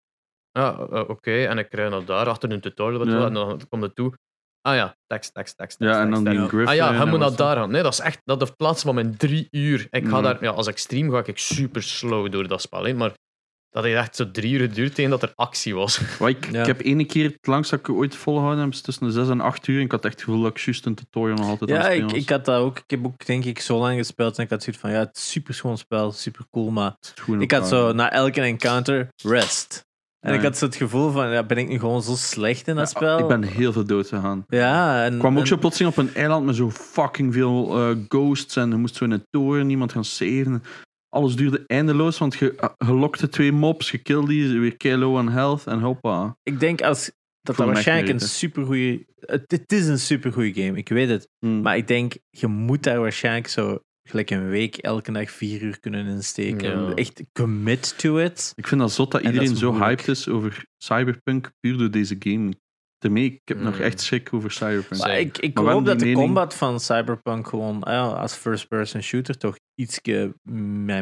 [SPEAKER 1] Ja, eh, oké, en ik rij naar daar, achter een tutorial, weet je
[SPEAKER 3] Ja.
[SPEAKER 1] wel, en dan komt het toe. Ah ja, tekst, tekst, tekst. tekst,
[SPEAKER 3] Ja, en
[SPEAKER 1] tekst,
[SPEAKER 3] dan die eh,
[SPEAKER 1] tekst.
[SPEAKER 3] Griffin.
[SPEAKER 1] Ah ja, hij
[SPEAKER 3] en
[SPEAKER 1] moet naar
[SPEAKER 3] wat zo.
[SPEAKER 1] daar gaan. Nee, dat is echt, dat heeft plaats van mijn drie uur. Ik ga
[SPEAKER 3] Mhm.
[SPEAKER 1] daar, ja, als ik stream ga ik super slow door dat spel, hè, maar Dat heeft echt zo drie uur geduurd tegen dat er actie was.
[SPEAKER 3] Maar ik,
[SPEAKER 2] Ja.
[SPEAKER 3] ik heb ene keer het langst dat ik ooit volgehouden heb, is tussen de 6 en 8 uur. En ik had echt het gevoel dat ik juist een tutorial nog altijd aan
[SPEAKER 2] Ja,
[SPEAKER 3] het
[SPEAKER 2] ik,
[SPEAKER 3] spelen
[SPEAKER 2] ik had dat ook. Ik heb ook denk ik zo lang gespeeld en ik had zoiets van ja, het is een super schoon spel, super cool, maar
[SPEAKER 3] was. Het is goed in
[SPEAKER 2] ik had
[SPEAKER 3] elkaar.
[SPEAKER 2] zo na elke encounter rest. En
[SPEAKER 3] Ja.
[SPEAKER 2] ik had zo het gevoel van ja, ben ik nu gewoon zo slecht in dat
[SPEAKER 3] Ja,
[SPEAKER 2] spel?
[SPEAKER 3] Ik ben heel veel dood gegaan.
[SPEAKER 2] ja, en
[SPEAKER 3] Ik kwam ook
[SPEAKER 2] en-
[SPEAKER 3] zo plotseling op een eiland met zo fucking veel eh, ghosts. En je moest zo in een toren niemand gaan saven. Alles duurde eindeloos, want je eh, je lokte twee mobs, je kilde die, weer kei low on health en hoppa.
[SPEAKER 2] Ik denk als, dat dat
[SPEAKER 3] Voel me echt
[SPEAKER 2] waarschijnlijk een
[SPEAKER 3] niet weten.
[SPEAKER 2] supergoeie... Het, het is een supergoeie game, ik weet het.
[SPEAKER 3] Hmm.
[SPEAKER 2] Maar ik denk, je moet daar waarschijnlijk zo gelijk een week elke dag vier uur kunnen insteken.
[SPEAKER 1] Ja.
[SPEAKER 2] Echt commit to it.
[SPEAKER 3] Ik vind dat zot dat
[SPEAKER 2] En dat
[SPEAKER 3] iedereen
[SPEAKER 2] is
[SPEAKER 3] zo
[SPEAKER 2] moeilijk.
[SPEAKER 3] hyped is over Cyberpunk puur door deze game. Daarmee, ik heb nog
[SPEAKER 1] Mm.
[SPEAKER 3] echt schrik over Cyberpunk.
[SPEAKER 1] Zeker.
[SPEAKER 2] Hmm. Maar ik, ik
[SPEAKER 3] Maar we
[SPEAKER 2] hoop
[SPEAKER 3] hebben
[SPEAKER 2] dat de
[SPEAKER 3] die mening-
[SPEAKER 2] combat van Cyberpunk gewoon ja, als first-person shooter toch iets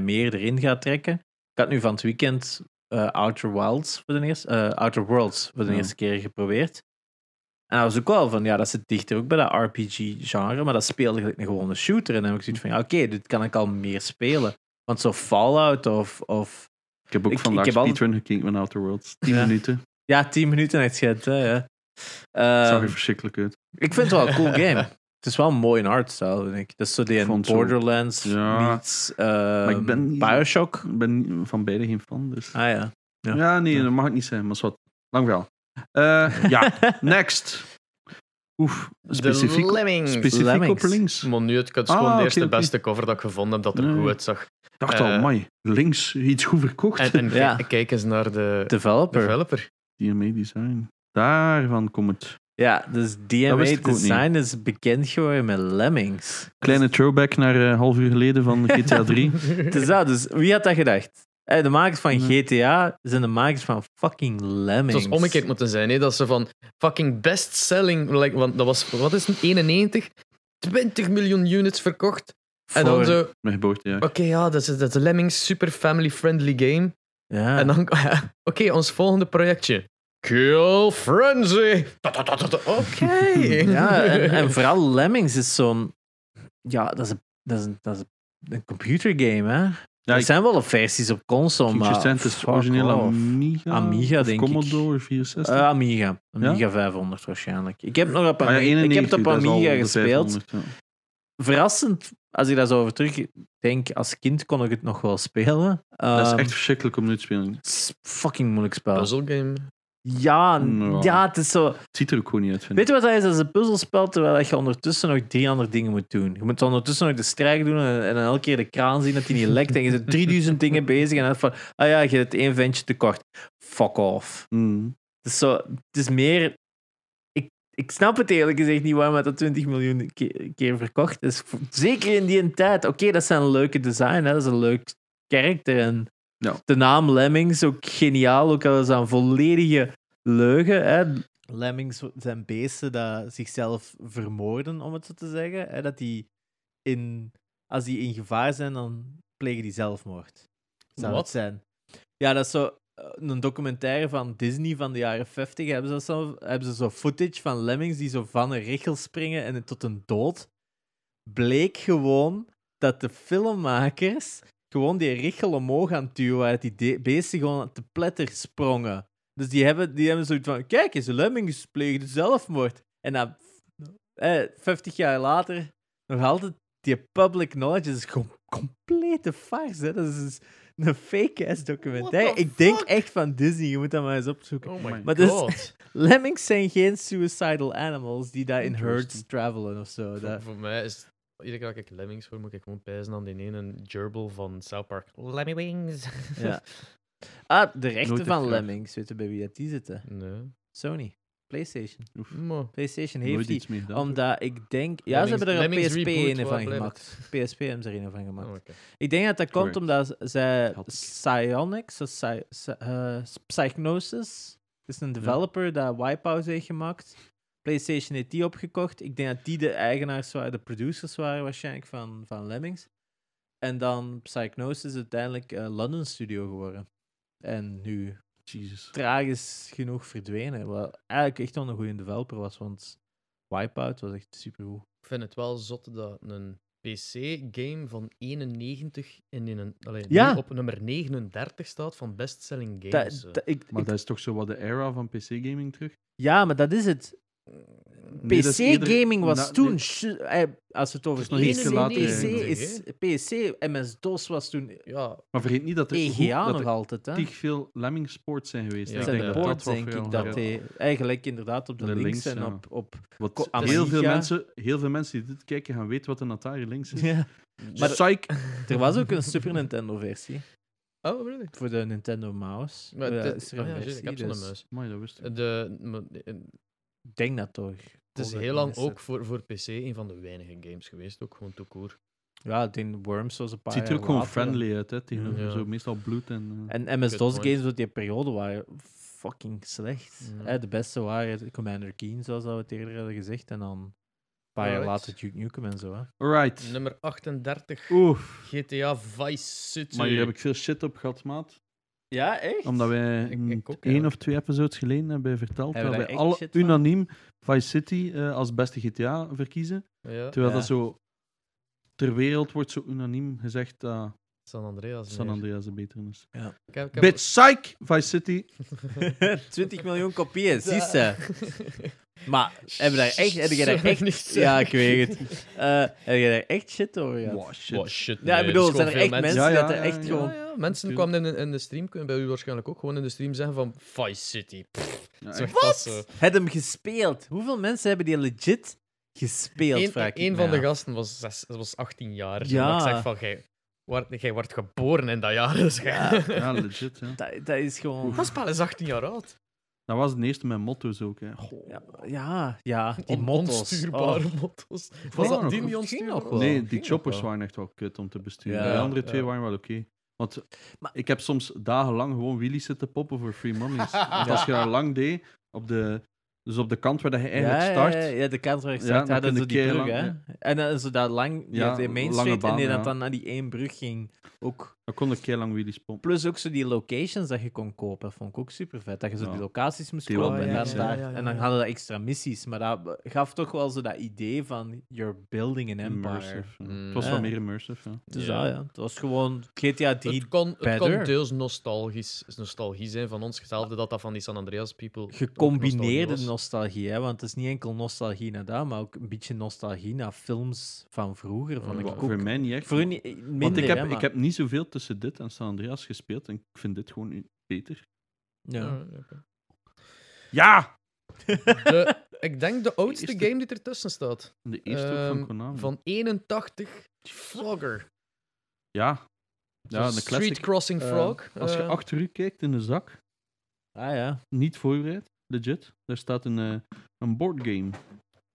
[SPEAKER 2] meer erin gaat trekken. Ik had nu van het weekend eh, Outer, Wilds voor de eerste, eh, Outer Worlds voor de
[SPEAKER 3] Ja.
[SPEAKER 2] eerste keer geprobeerd. En dat was ook wel van, ja, dat zit dichter ook bij dat RPG-genre, maar dat speelde gelijk een gewone shooter. En dan heb ik zoiets van, ja, oké, dit kan ik al meer spelen. Want zo Fallout of, of
[SPEAKER 3] Ik heb ook
[SPEAKER 2] ik- ik
[SPEAKER 3] vandaag
[SPEAKER 2] heb al-
[SPEAKER 3] speedrun gekeken met Outer Worlds. 10
[SPEAKER 2] Ja.
[SPEAKER 3] minuten. Het
[SPEAKER 2] ja, 10 minuten en het schijnt, hè, ja. Ehm,
[SPEAKER 3] zag er verschrikkelijk uit.
[SPEAKER 2] Ik vind het wel een cool game. Het is wel een mooi in hardstyle, vind ik. Dat is zo die
[SPEAKER 3] Ik
[SPEAKER 2] in
[SPEAKER 3] vond het
[SPEAKER 2] Borderlands
[SPEAKER 3] Ja.
[SPEAKER 2] meets ehm,
[SPEAKER 3] ik ben niet-
[SPEAKER 2] Bioshock.
[SPEAKER 3] Ik ben niet- van beide geen fan. Dus.
[SPEAKER 2] Ah ja.
[SPEAKER 3] ja.
[SPEAKER 2] ja.
[SPEAKER 3] nee,
[SPEAKER 2] Ja.
[SPEAKER 3] dat mag ik niet zijn, maar zwart. Lang wel. Eh, ja, next. Oef, specifiek,
[SPEAKER 1] De Lemmings.
[SPEAKER 3] specifiek
[SPEAKER 2] Lemmings.
[SPEAKER 3] op links.
[SPEAKER 1] Maar nu, het het is
[SPEAKER 3] Ah,
[SPEAKER 1] gewoon de
[SPEAKER 3] oké,
[SPEAKER 1] eerste
[SPEAKER 3] oké.
[SPEAKER 1] beste cover dat ik gevonden heb dat er
[SPEAKER 3] Nee.
[SPEAKER 1] goed uitzag.
[SPEAKER 3] Ik dacht
[SPEAKER 1] Eh,
[SPEAKER 3] al, mooi. links, iets goed verkocht.
[SPEAKER 1] En, en
[SPEAKER 2] Ja.
[SPEAKER 1] kijk- kijk eens naar de
[SPEAKER 2] Developer.
[SPEAKER 1] developer.
[SPEAKER 3] DMA Design. Daarvan komt het.
[SPEAKER 2] Ja, dus
[SPEAKER 3] Dat wist
[SPEAKER 2] DMA
[SPEAKER 3] ik ook
[SPEAKER 2] Design is bekend geworden met Lemmings.
[SPEAKER 3] Kleine throwback naar eh, half uur geleden van GTA 3.
[SPEAKER 2] Het is dat, dus wie had dat gedacht? Eh, De makers van
[SPEAKER 3] Nee.
[SPEAKER 2] GTA zijn de makers van fucking
[SPEAKER 1] Het
[SPEAKER 2] Lemmings.
[SPEAKER 1] was omgekeerd moeten zijn, hè? dat ze van fucking bestselling, like, want dat was, wat is het, 91? 20 miljoen units verkocht. En dan
[SPEAKER 2] Voor-
[SPEAKER 1] zo,
[SPEAKER 3] Mijn geboortejaar.
[SPEAKER 1] oké, ja, dat is, dat is een Lemmings, super family-friendly game.
[SPEAKER 2] Ja.
[SPEAKER 1] En dan, oké, ons volgende projectje. Kill Frenzy. Ta, ta, ta, ta, ta. Oké.
[SPEAKER 2] Ja, en, en vooral Lemmings is zo'n... Ja, dat is een, dat is een, dat is een computergame, hè? er
[SPEAKER 3] ik-
[SPEAKER 2] zijn wel versies op console,
[SPEAKER 3] Future
[SPEAKER 2] maar...
[SPEAKER 3] Sand is
[SPEAKER 2] fuck
[SPEAKER 3] origineel
[SPEAKER 2] off.
[SPEAKER 3] Amiga.
[SPEAKER 2] Amiga,
[SPEAKER 3] of
[SPEAKER 2] denk ik.
[SPEAKER 3] Commodore 64.
[SPEAKER 2] Eh, Amiga. Amiga 500 waarschijnlijk. Ik heb, nog op
[SPEAKER 3] Ah ja,
[SPEAKER 2] Amiga, ik heb
[SPEAKER 3] 91,
[SPEAKER 2] het op
[SPEAKER 3] dat is al
[SPEAKER 2] Amiga
[SPEAKER 3] de
[SPEAKER 2] gespeeld.
[SPEAKER 3] 500, ja.
[SPEAKER 2] Verrassend, als ik daar zo over terug denk, als kind kon ik het nog wel spelen.
[SPEAKER 3] Dat
[SPEAKER 2] Ehm,
[SPEAKER 3] is echt verschrikkelijk om nu te spelen.
[SPEAKER 2] het is een fucking moeilijk spel.
[SPEAKER 1] Puzzle game.
[SPEAKER 2] Ja,
[SPEAKER 3] Ja.
[SPEAKER 2] ja, het is zo...
[SPEAKER 3] Het ziet er ook gewoon niet uit, vind
[SPEAKER 2] Weet
[SPEAKER 3] ik.
[SPEAKER 2] je wat dat is? Dat is een puzzelspel, terwijl je ondertussen nog drie andere dingen moet doen. Je moet ondertussen nog de strijk doen en, en dan elke keer de kraan zien dat die niet lekt. En je zit 3000 dingen bezig en dan van... Ah ja, je hebt één ventje tekort. Fuck off.
[SPEAKER 3] Mm.
[SPEAKER 2] Het is, zo, het is meer. Ik, ik snap het eerlijk gezegd niet waarom dat 20 miljoen keer, keer verkocht is. Voor- Zeker in die tijd. Oké, dat zijn leuke design, hè, dat is een leuk karakter. En
[SPEAKER 3] Ja.
[SPEAKER 2] de naam Lemmings ook geniaal, ook al is dat een volledige leugen. Hè. Lemmings zijn beesten dat zichzelf vermoorden, om het zo te zeggen. Hè, dat die in, als die in gevaar zijn, dan plegen die zelfmoord. Zou
[SPEAKER 1] Wat?
[SPEAKER 2] het zijn. Ja, dat is zo eh, een documentaire van Disney van de jaren 50. Hebben ze, zo, hebben ze zo footage van lemmings die zo van een richel springen en tot een dood. Bleek gewoon dat de filmmakers gewoon die richel omhoog aan het duwen waren. Die de- beesten gewoon te pletter sprongen. Dus die hebben, die hebben zoiets van: kijk eens, lemmings pleegde zelfmoord. En dan, eh, 50 jaar later, nog altijd die public knowledge is gewoon complete farce. Hè? Dat is dus een fake-ass documentaire.
[SPEAKER 1] What the
[SPEAKER 2] Ik denk
[SPEAKER 1] fuck?
[SPEAKER 2] echt van Disney, je moet dat maar eens opzoeken.
[SPEAKER 1] Oh my
[SPEAKER 2] Maar
[SPEAKER 1] god.
[SPEAKER 2] dus- Lemmings zijn geen suicidal animals die daar in herds
[SPEAKER 3] Interesting.
[SPEAKER 2] travelen of zo.
[SPEAKER 1] voor,
[SPEAKER 2] Dat...
[SPEAKER 1] voor mij is... Iedere keer dat ik Lemmings hoor, moet ik gewoon pijzen aan die ene gerbil van South Park. Lemmy Wings.
[SPEAKER 2] Ja. Ah, de rechten
[SPEAKER 3] Nooit
[SPEAKER 2] van
[SPEAKER 3] gevraagd.
[SPEAKER 2] Lemmings, weten bij wie dat die zitten?
[SPEAKER 1] Nee.
[SPEAKER 2] Sony. PlayStation.
[SPEAKER 3] Oef,
[SPEAKER 1] Maar...
[SPEAKER 2] PlayStation heeft
[SPEAKER 3] nooit
[SPEAKER 2] die.
[SPEAKER 3] iets meer gedaan.
[SPEAKER 2] Omdat ik denk... Ja, ze
[SPEAKER 1] Lemmings-
[SPEAKER 2] hebben er een
[SPEAKER 1] Lemmings
[SPEAKER 2] PSP
[SPEAKER 1] reboot,
[SPEAKER 2] een
[SPEAKER 1] waar
[SPEAKER 2] van
[SPEAKER 1] blijft
[SPEAKER 2] gemaakt.
[SPEAKER 1] het?
[SPEAKER 2] PSP hebben ze er een van gemaakt.
[SPEAKER 1] Oh, oké.
[SPEAKER 2] Ik denk dat dat komt
[SPEAKER 3] Correct.
[SPEAKER 2] omdat zij
[SPEAKER 3] Had ik.
[SPEAKER 2] Psionics, of Psy- Psy- eh, Psychnosis, is een developer dat Wipeout heeft gemaakt. PlayStation heeft die opgekocht. Ik denk dat die de eigenaars waren, de producers waren waarschijnlijk van, van Lemmings. En dan Psychnosis is uiteindelijk eh, London Studio geworden. En nu
[SPEAKER 3] Jesus.
[SPEAKER 2] tragisch genoeg verdwenen. Wat eigenlijk echt wel een goede developer was, want Wipeout was echt supergoed.
[SPEAKER 1] Ik vind het wel zot dat een PC-game van 91 en in een, allee,
[SPEAKER 2] Ja.
[SPEAKER 1] nu op nummer 39 staat van bestselling
[SPEAKER 2] Da-
[SPEAKER 1] games. eh.
[SPEAKER 2] da- ik,
[SPEAKER 3] eh. Maar
[SPEAKER 2] ik-
[SPEAKER 3] dat is toch zo wat de era van PC-gaming terug?
[SPEAKER 2] ja, maar dat is het.
[SPEAKER 3] Nee, dat is eerder-
[SPEAKER 2] PC-gaming was
[SPEAKER 3] na-
[SPEAKER 2] toen.
[SPEAKER 3] nee.
[SPEAKER 2] sh- eh, Als we het over
[SPEAKER 1] is nog iets
[SPEAKER 3] later,
[SPEAKER 2] PC
[SPEAKER 1] eigenlijk.
[SPEAKER 2] is. PC, MS-DOS was toen.
[SPEAKER 1] ja,
[SPEAKER 3] Maar vergeet niet dat er, hoe-
[SPEAKER 2] EGA
[SPEAKER 3] dat
[SPEAKER 2] nog
[SPEAKER 3] er
[SPEAKER 2] altijd. Hè?
[SPEAKER 3] tig veel lemming sports zijn geweest.
[SPEAKER 1] Ja,
[SPEAKER 2] Dat
[SPEAKER 3] ik
[SPEAKER 2] zijn
[SPEAKER 3] denk
[SPEAKER 2] de
[SPEAKER 3] dat
[SPEAKER 2] boards,
[SPEAKER 3] dat wat
[SPEAKER 2] denk
[SPEAKER 3] voor
[SPEAKER 2] ik,
[SPEAKER 3] jou-
[SPEAKER 2] dat
[SPEAKER 1] ja.
[SPEAKER 2] hij eigenlijk inderdaad op de,
[SPEAKER 3] De
[SPEAKER 2] links,
[SPEAKER 3] links,
[SPEAKER 2] en
[SPEAKER 3] ja.
[SPEAKER 2] op... op
[SPEAKER 3] Wat
[SPEAKER 2] Ko- aan
[SPEAKER 3] heel,
[SPEAKER 2] de
[SPEAKER 3] veel
[SPEAKER 2] Liga.
[SPEAKER 3] mensen, heel veel mensen die dit kijken gaan weten wat een Atari links is.
[SPEAKER 1] Maar-
[SPEAKER 3] Maar
[SPEAKER 2] Dus-
[SPEAKER 3] Psych,
[SPEAKER 2] Er was ook een Super Nintendo-versie
[SPEAKER 1] Oh, really?
[SPEAKER 2] voor de Nintendo Mouse.
[SPEAKER 1] Maar
[SPEAKER 2] Ja,
[SPEAKER 1] dit-
[SPEAKER 2] is er
[SPEAKER 1] ah
[SPEAKER 3] oh
[SPEAKER 2] een
[SPEAKER 1] ja, juist, ik
[SPEAKER 2] versie,
[SPEAKER 1] heb zo'n
[SPEAKER 2] dus
[SPEAKER 1] muis.
[SPEAKER 3] Amai, dat wist ik.
[SPEAKER 1] De, maar, eh,
[SPEAKER 2] Ik denk dat toch.
[SPEAKER 1] het is
[SPEAKER 2] Kon
[SPEAKER 1] heel
[SPEAKER 2] dat
[SPEAKER 1] lang
[SPEAKER 2] missen.
[SPEAKER 1] ook voor, voor PC een van de weinige games geweest, ook gewoon te koer.
[SPEAKER 2] Ja, ik denk Worms was een paar
[SPEAKER 3] Het ziet er
[SPEAKER 2] jaar
[SPEAKER 3] ook gewoon
[SPEAKER 2] later.
[SPEAKER 3] friendly uit, hè, tegenover
[SPEAKER 1] Ja.
[SPEAKER 3] zo meestal bloed en... eh,
[SPEAKER 2] En MS-DOS
[SPEAKER 1] Good point.
[SPEAKER 2] games uit die periode waren fucking slecht.
[SPEAKER 3] Mm.
[SPEAKER 1] Ja.
[SPEAKER 2] Hè, de beste waren Commander Keen, zoals dat we het eerder hadden gezegd. En dan een paar jaar
[SPEAKER 1] Alright.
[SPEAKER 2] later Duke Nukem en zo. Hè.
[SPEAKER 3] Alright.
[SPEAKER 1] Nummer 38,
[SPEAKER 3] Oef.
[SPEAKER 1] GTA Vice City.
[SPEAKER 3] Maar hier heb ik veel shit op gehad, maat.
[SPEAKER 2] Ja, echt?
[SPEAKER 3] Omdat wij
[SPEAKER 1] Ik- ik
[SPEAKER 3] een-
[SPEAKER 1] ook
[SPEAKER 3] één
[SPEAKER 1] eigenlijk.
[SPEAKER 3] of twee episodes geleden hebben verteld
[SPEAKER 2] Hebben
[SPEAKER 3] dat
[SPEAKER 2] we
[SPEAKER 3] wij
[SPEAKER 2] daar echt
[SPEAKER 3] alle
[SPEAKER 2] shit van?
[SPEAKER 3] unaniem Vice City eh, als beste GTA verkiezen.
[SPEAKER 1] Ja,
[SPEAKER 3] Terwijl
[SPEAKER 2] Ja.
[SPEAKER 3] dat zo... Ter wereld wordt zo unaniem gezegd dat
[SPEAKER 1] San Andreas.
[SPEAKER 3] San
[SPEAKER 1] nee.
[SPEAKER 3] Andreas de betere is.
[SPEAKER 1] Ik heb- ik heb-
[SPEAKER 3] Bitch, psych! Vice City.
[SPEAKER 2] 20 miljoen kopieën, zie je. Maar hebben daar echt, heb je daar
[SPEAKER 1] Sorry, niet
[SPEAKER 2] echt...
[SPEAKER 1] zeggen.
[SPEAKER 2] Ja, ik weet het. Eh, heb je daar echt shit over gehad?
[SPEAKER 3] Wow, shit.
[SPEAKER 1] Wow, Oh, shit.
[SPEAKER 2] Ja, ik
[SPEAKER 1] nee,
[SPEAKER 2] bedoel,
[SPEAKER 1] dat is
[SPEAKER 2] zijn
[SPEAKER 1] gewoon veel
[SPEAKER 2] er echt mensen
[SPEAKER 3] Ja,
[SPEAKER 2] dat
[SPEAKER 3] ja,
[SPEAKER 2] er echt
[SPEAKER 3] ja,
[SPEAKER 2] gewoon...
[SPEAKER 1] Ja, ja, mensen
[SPEAKER 3] Tuurlijk.
[SPEAKER 1] kwamen in, in de stream, kunnen bij u waarschijnlijk ook gewoon in de stream zeggen van Vice City.
[SPEAKER 3] Ja,
[SPEAKER 1] Zeg,
[SPEAKER 3] echt.
[SPEAKER 1] dat is, eh,
[SPEAKER 2] Het hem gespeeld. Hoeveel mensen hebben die legit gespeeld,
[SPEAKER 1] Eén
[SPEAKER 2] vraag ik
[SPEAKER 1] één
[SPEAKER 2] me
[SPEAKER 1] van de
[SPEAKER 2] af.
[SPEAKER 1] gasten was, zes, was 18 jaar.
[SPEAKER 2] Ja.
[SPEAKER 1] Ja. Ik zeg van, jij wordt, jij wordt geboren in dat jaar. Dus jij-
[SPEAKER 3] Ja, legit. Hè.
[SPEAKER 2] Dat, dat is gewoon...
[SPEAKER 1] Dat spel is 18 jaar oud.
[SPEAKER 3] Dat was het eerste met motto's ook. Hè.
[SPEAKER 2] Ja, ja, ja, die
[SPEAKER 1] On-
[SPEAKER 2] motto's.
[SPEAKER 1] Onstuurbare
[SPEAKER 2] Oh.
[SPEAKER 1] motto's.
[SPEAKER 3] Wow,
[SPEAKER 1] Was dat die
[SPEAKER 3] goed.
[SPEAKER 1] niet
[SPEAKER 2] Ging
[SPEAKER 1] onstuurbaar
[SPEAKER 2] nog
[SPEAKER 1] was?
[SPEAKER 2] wel.
[SPEAKER 3] Nee, die
[SPEAKER 2] ging
[SPEAKER 3] choppers
[SPEAKER 2] nog wel.
[SPEAKER 3] waren echt wel kut om te besturen.
[SPEAKER 2] Ja,
[SPEAKER 3] de andere twee
[SPEAKER 1] ja.
[SPEAKER 3] waren wel oké. Want
[SPEAKER 2] Maar-
[SPEAKER 3] ik heb soms dagenlang gewoon wheelies zitten poppen voor free mummies. Want als je daar lang deed, op de, dus op de kant waar dat je eigenlijk
[SPEAKER 2] ja,
[SPEAKER 3] start,
[SPEAKER 2] Ja, ja, ja, de kant waar ik
[SPEAKER 3] Ja,
[SPEAKER 2] start,
[SPEAKER 3] dan
[SPEAKER 2] hadden
[SPEAKER 3] kun
[SPEAKER 2] ze
[SPEAKER 3] je
[SPEAKER 2] die brug,
[SPEAKER 3] keilang-
[SPEAKER 2] hè. En dan zo dat lang, die
[SPEAKER 3] Ja,
[SPEAKER 2] had die Main
[SPEAKER 3] lange
[SPEAKER 2] Street, en die dat
[SPEAKER 3] baan, ja.
[SPEAKER 2] dan naar die één brug ging. Ook,
[SPEAKER 3] dan kon ik heel lang wheelies pompen.
[SPEAKER 2] plus ook zo die locations dat je kon kopen, vond ik ook super vet. Dat je zo
[SPEAKER 3] Ja.
[SPEAKER 2] die locaties moest
[SPEAKER 3] Die
[SPEAKER 2] kopen
[SPEAKER 3] wel
[SPEAKER 2] en dan,
[SPEAKER 3] mensen,
[SPEAKER 2] daar,
[SPEAKER 1] ja, ja,
[SPEAKER 2] en dan
[SPEAKER 1] ja.
[SPEAKER 2] hadden dat extra missies. Maar dat gaf toch wel zo dat idee van, you're building an empire.
[SPEAKER 3] Immersive. ja.
[SPEAKER 1] Mm.
[SPEAKER 3] Het was
[SPEAKER 2] Ja.
[SPEAKER 3] wel meer immersive. Ja.
[SPEAKER 2] Dus
[SPEAKER 1] Ja.
[SPEAKER 2] ja. ja, het was gewoon GTA 3
[SPEAKER 1] Het kan, het kan
[SPEAKER 2] better.
[SPEAKER 1] deels nostalgisch, nostalgie zijn van ons. Hetzelfde dat dat van die San Andreas people. ook nostalgie
[SPEAKER 2] gecombineerde
[SPEAKER 1] was.
[SPEAKER 2] nostalgie, hè? want het is niet enkel nostalgie naar dat, maar ook een beetje nostalgie naar films van vroeger. Vond ik
[SPEAKER 1] Ja,
[SPEAKER 2] ook.
[SPEAKER 3] Mm. Voor mij niet echt.
[SPEAKER 2] Voor u niet, eh, minder,
[SPEAKER 3] Want ik
[SPEAKER 2] hè,
[SPEAKER 3] heb, ik
[SPEAKER 2] maar-
[SPEAKER 3] heb niet zoveel tussen dit en San Andreas gespeeld. En ik vind dit gewoon u- beter.
[SPEAKER 2] Ja.
[SPEAKER 1] Ja, oké.
[SPEAKER 3] Ja!
[SPEAKER 1] De- ik denk de oudste
[SPEAKER 3] Eerste-
[SPEAKER 1] game die ertussen staat.
[SPEAKER 3] De eerste ook van
[SPEAKER 1] Ehm,
[SPEAKER 3] Konami.
[SPEAKER 1] Van 81. Frogger.
[SPEAKER 3] Ja. Ja, de
[SPEAKER 1] Street
[SPEAKER 3] classic.
[SPEAKER 1] Crossing
[SPEAKER 2] Eh,
[SPEAKER 1] Frog.
[SPEAKER 3] Als je
[SPEAKER 1] eh,
[SPEAKER 3] achter u kijkt in de zak,
[SPEAKER 2] Ah ja.
[SPEAKER 3] niet voorbereid, legit. Daar staat een, eh, een boardgame.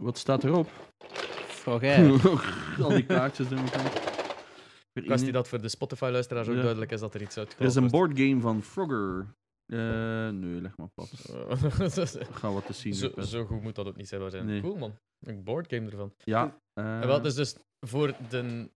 [SPEAKER 3] Wat staat erop?
[SPEAKER 2] Vraag jij.
[SPEAKER 3] Al die kaartjes door elkaar.
[SPEAKER 1] Ik
[SPEAKER 3] Weer
[SPEAKER 1] Eh. wist
[SPEAKER 3] één-
[SPEAKER 1] niet dat voor de Spotify-luisteraars ook
[SPEAKER 3] Mhm. Ja.
[SPEAKER 1] duidelijk is dat er iets Dus,
[SPEAKER 3] Er
[SPEAKER 1] uitgehaald
[SPEAKER 3] is een
[SPEAKER 1] wordt.
[SPEAKER 3] boardgame van Frogger. Eh, nee, leg maar plat. Ik ga wat te zien.
[SPEAKER 1] eh, zo,
[SPEAKER 3] hebben.
[SPEAKER 1] zo goed moet dat ook niet zijn. waar zijn.
[SPEAKER 3] Nee.
[SPEAKER 1] Cool, man. Een boardgame ervan.
[SPEAKER 3] Ja. eh,
[SPEAKER 1] En wel, dus, dus voor de,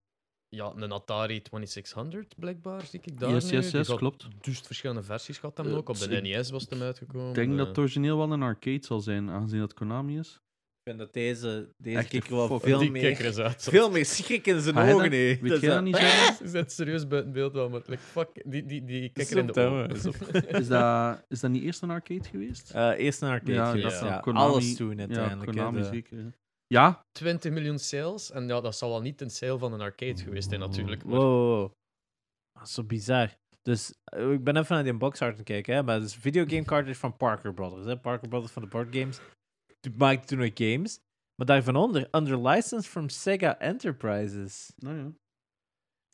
[SPEAKER 1] ja, een Atari 2600, blijkbaar, zie ik daar
[SPEAKER 3] Yes,
[SPEAKER 1] nu.
[SPEAKER 3] yes,
[SPEAKER 1] Die
[SPEAKER 3] yes,
[SPEAKER 1] gaat
[SPEAKER 3] klopt.
[SPEAKER 1] Duist verschillende versies gehad hem
[SPEAKER 3] Eh,
[SPEAKER 1] ook. Op de
[SPEAKER 3] ik
[SPEAKER 1] NES was het hem uitgekomen. Eh,
[SPEAKER 3] Ik denk dat het origineel wel een arcade zal zijn, aangezien dat Konami is.
[SPEAKER 2] Ik vind dat deze, deze
[SPEAKER 3] Echte
[SPEAKER 2] kikker wel
[SPEAKER 3] fuck.
[SPEAKER 2] veel
[SPEAKER 1] Die kikker
[SPEAKER 2] meer,
[SPEAKER 1] is uit.
[SPEAKER 2] veel meer schrik in zijn
[SPEAKER 3] Maar hij
[SPEAKER 2] ogen
[SPEAKER 3] dat-
[SPEAKER 2] heeft. Dus, eh,
[SPEAKER 3] Weet jij dat niet, Jeroen?
[SPEAKER 1] Ze zit serieus buiten beeld wel, maar like, fuck, die, die, die kikker in de
[SPEAKER 2] Zot, hè,
[SPEAKER 1] ogen.
[SPEAKER 2] man.
[SPEAKER 1] Zot.
[SPEAKER 3] Is dat, is dat niet eerst een arcade geweest?
[SPEAKER 2] Eh, eerst een arcade
[SPEAKER 3] Ja,
[SPEAKER 2] geweest,
[SPEAKER 1] dat
[SPEAKER 2] ja.
[SPEAKER 3] dan Konami-
[SPEAKER 2] Alles toen
[SPEAKER 3] ja,
[SPEAKER 2] uiteindelijk. hè,
[SPEAKER 3] Konami
[SPEAKER 2] de-
[SPEAKER 3] zeker. hè. Ja,
[SPEAKER 1] 20 miljoen sales. En ja, dat zal wel niet een sale van een arcade geweest zijn, natuurlijk. Maar
[SPEAKER 2] Wow, wow, wow. Dat is Ah, zo bizar. Dus eh, ik ben even naar die box art aan het kijken, hè, maar dat is een videogame cartridge van Parker Brothers. Hè. Parker Brothers van de board games. Die maakte toen ook games. Maar daarvanonder, under license from Sega Enterprises.
[SPEAKER 3] nou ja.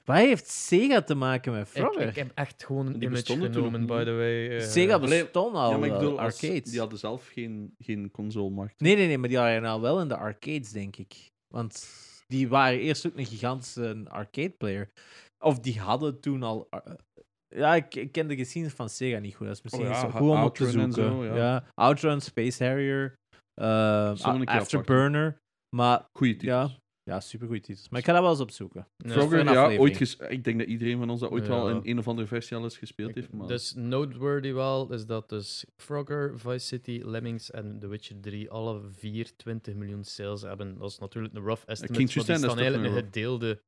[SPEAKER 2] Wat heeft Sega te maken met
[SPEAKER 1] ik,
[SPEAKER 2] Frogger?
[SPEAKER 1] ik heb echt gewoon een
[SPEAKER 3] Die
[SPEAKER 1] image
[SPEAKER 3] bestonden toen
[SPEAKER 1] genomen,
[SPEAKER 3] nog
[SPEAKER 1] by
[SPEAKER 3] niet.
[SPEAKER 1] the way. eh.
[SPEAKER 2] Sega
[SPEAKER 3] Allee,
[SPEAKER 2] bestond al
[SPEAKER 3] ja, maar ik
[SPEAKER 2] wel,
[SPEAKER 3] bedoel, als-
[SPEAKER 2] arcades.
[SPEAKER 3] die hadden zelf geen, geen consolemarkt.
[SPEAKER 2] Nee, nee, nee, maar die waren nou wel in de arcades, denk ik. Want die waren eerst ook een gigantische arcade player. Of die hadden toen al. eh, Ja, ik, ik ken de geschiedenis van Sega niet goed. Dat is misschien
[SPEAKER 3] Oh ja,
[SPEAKER 2] niet zo
[SPEAKER 3] ha-
[SPEAKER 2] goed om op te
[SPEAKER 3] Outrun
[SPEAKER 2] zoeken.
[SPEAKER 3] en zo, ja.
[SPEAKER 2] Outrun, Space Harrier, eh,
[SPEAKER 3] Zullen we een keer apart
[SPEAKER 2] Afterburner. Maar
[SPEAKER 3] Goeie titels.
[SPEAKER 2] ja, Ja, supergoeie titels. Maar ik ga dat wel eens opzoeken.
[SPEAKER 1] Ja.
[SPEAKER 2] Frogger,
[SPEAKER 3] Vroeger,
[SPEAKER 2] een
[SPEAKER 3] ja,
[SPEAKER 2] aflevering.
[SPEAKER 3] ooit ges- ik denk dat iedereen van ons dat ooit wel
[SPEAKER 1] Ja.
[SPEAKER 3] in een of andere versie al eens gespeeld heeft. Maar
[SPEAKER 1] Dus noteworthy wel is dat dus Frogger, Vice City, Lemmings en The Witcher 3 alle vier 20 miljoen sales hebben. Dat is natuurlijk een rough estimate,
[SPEAKER 3] klinkt
[SPEAKER 1] maar
[SPEAKER 3] juist
[SPEAKER 1] die
[SPEAKER 3] aan, dat
[SPEAKER 1] staan
[SPEAKER 3] is toch
[SPEAKER 1] eigenlijk
[SPEAKER 3] een
[SPEAKER 1] een gedeelde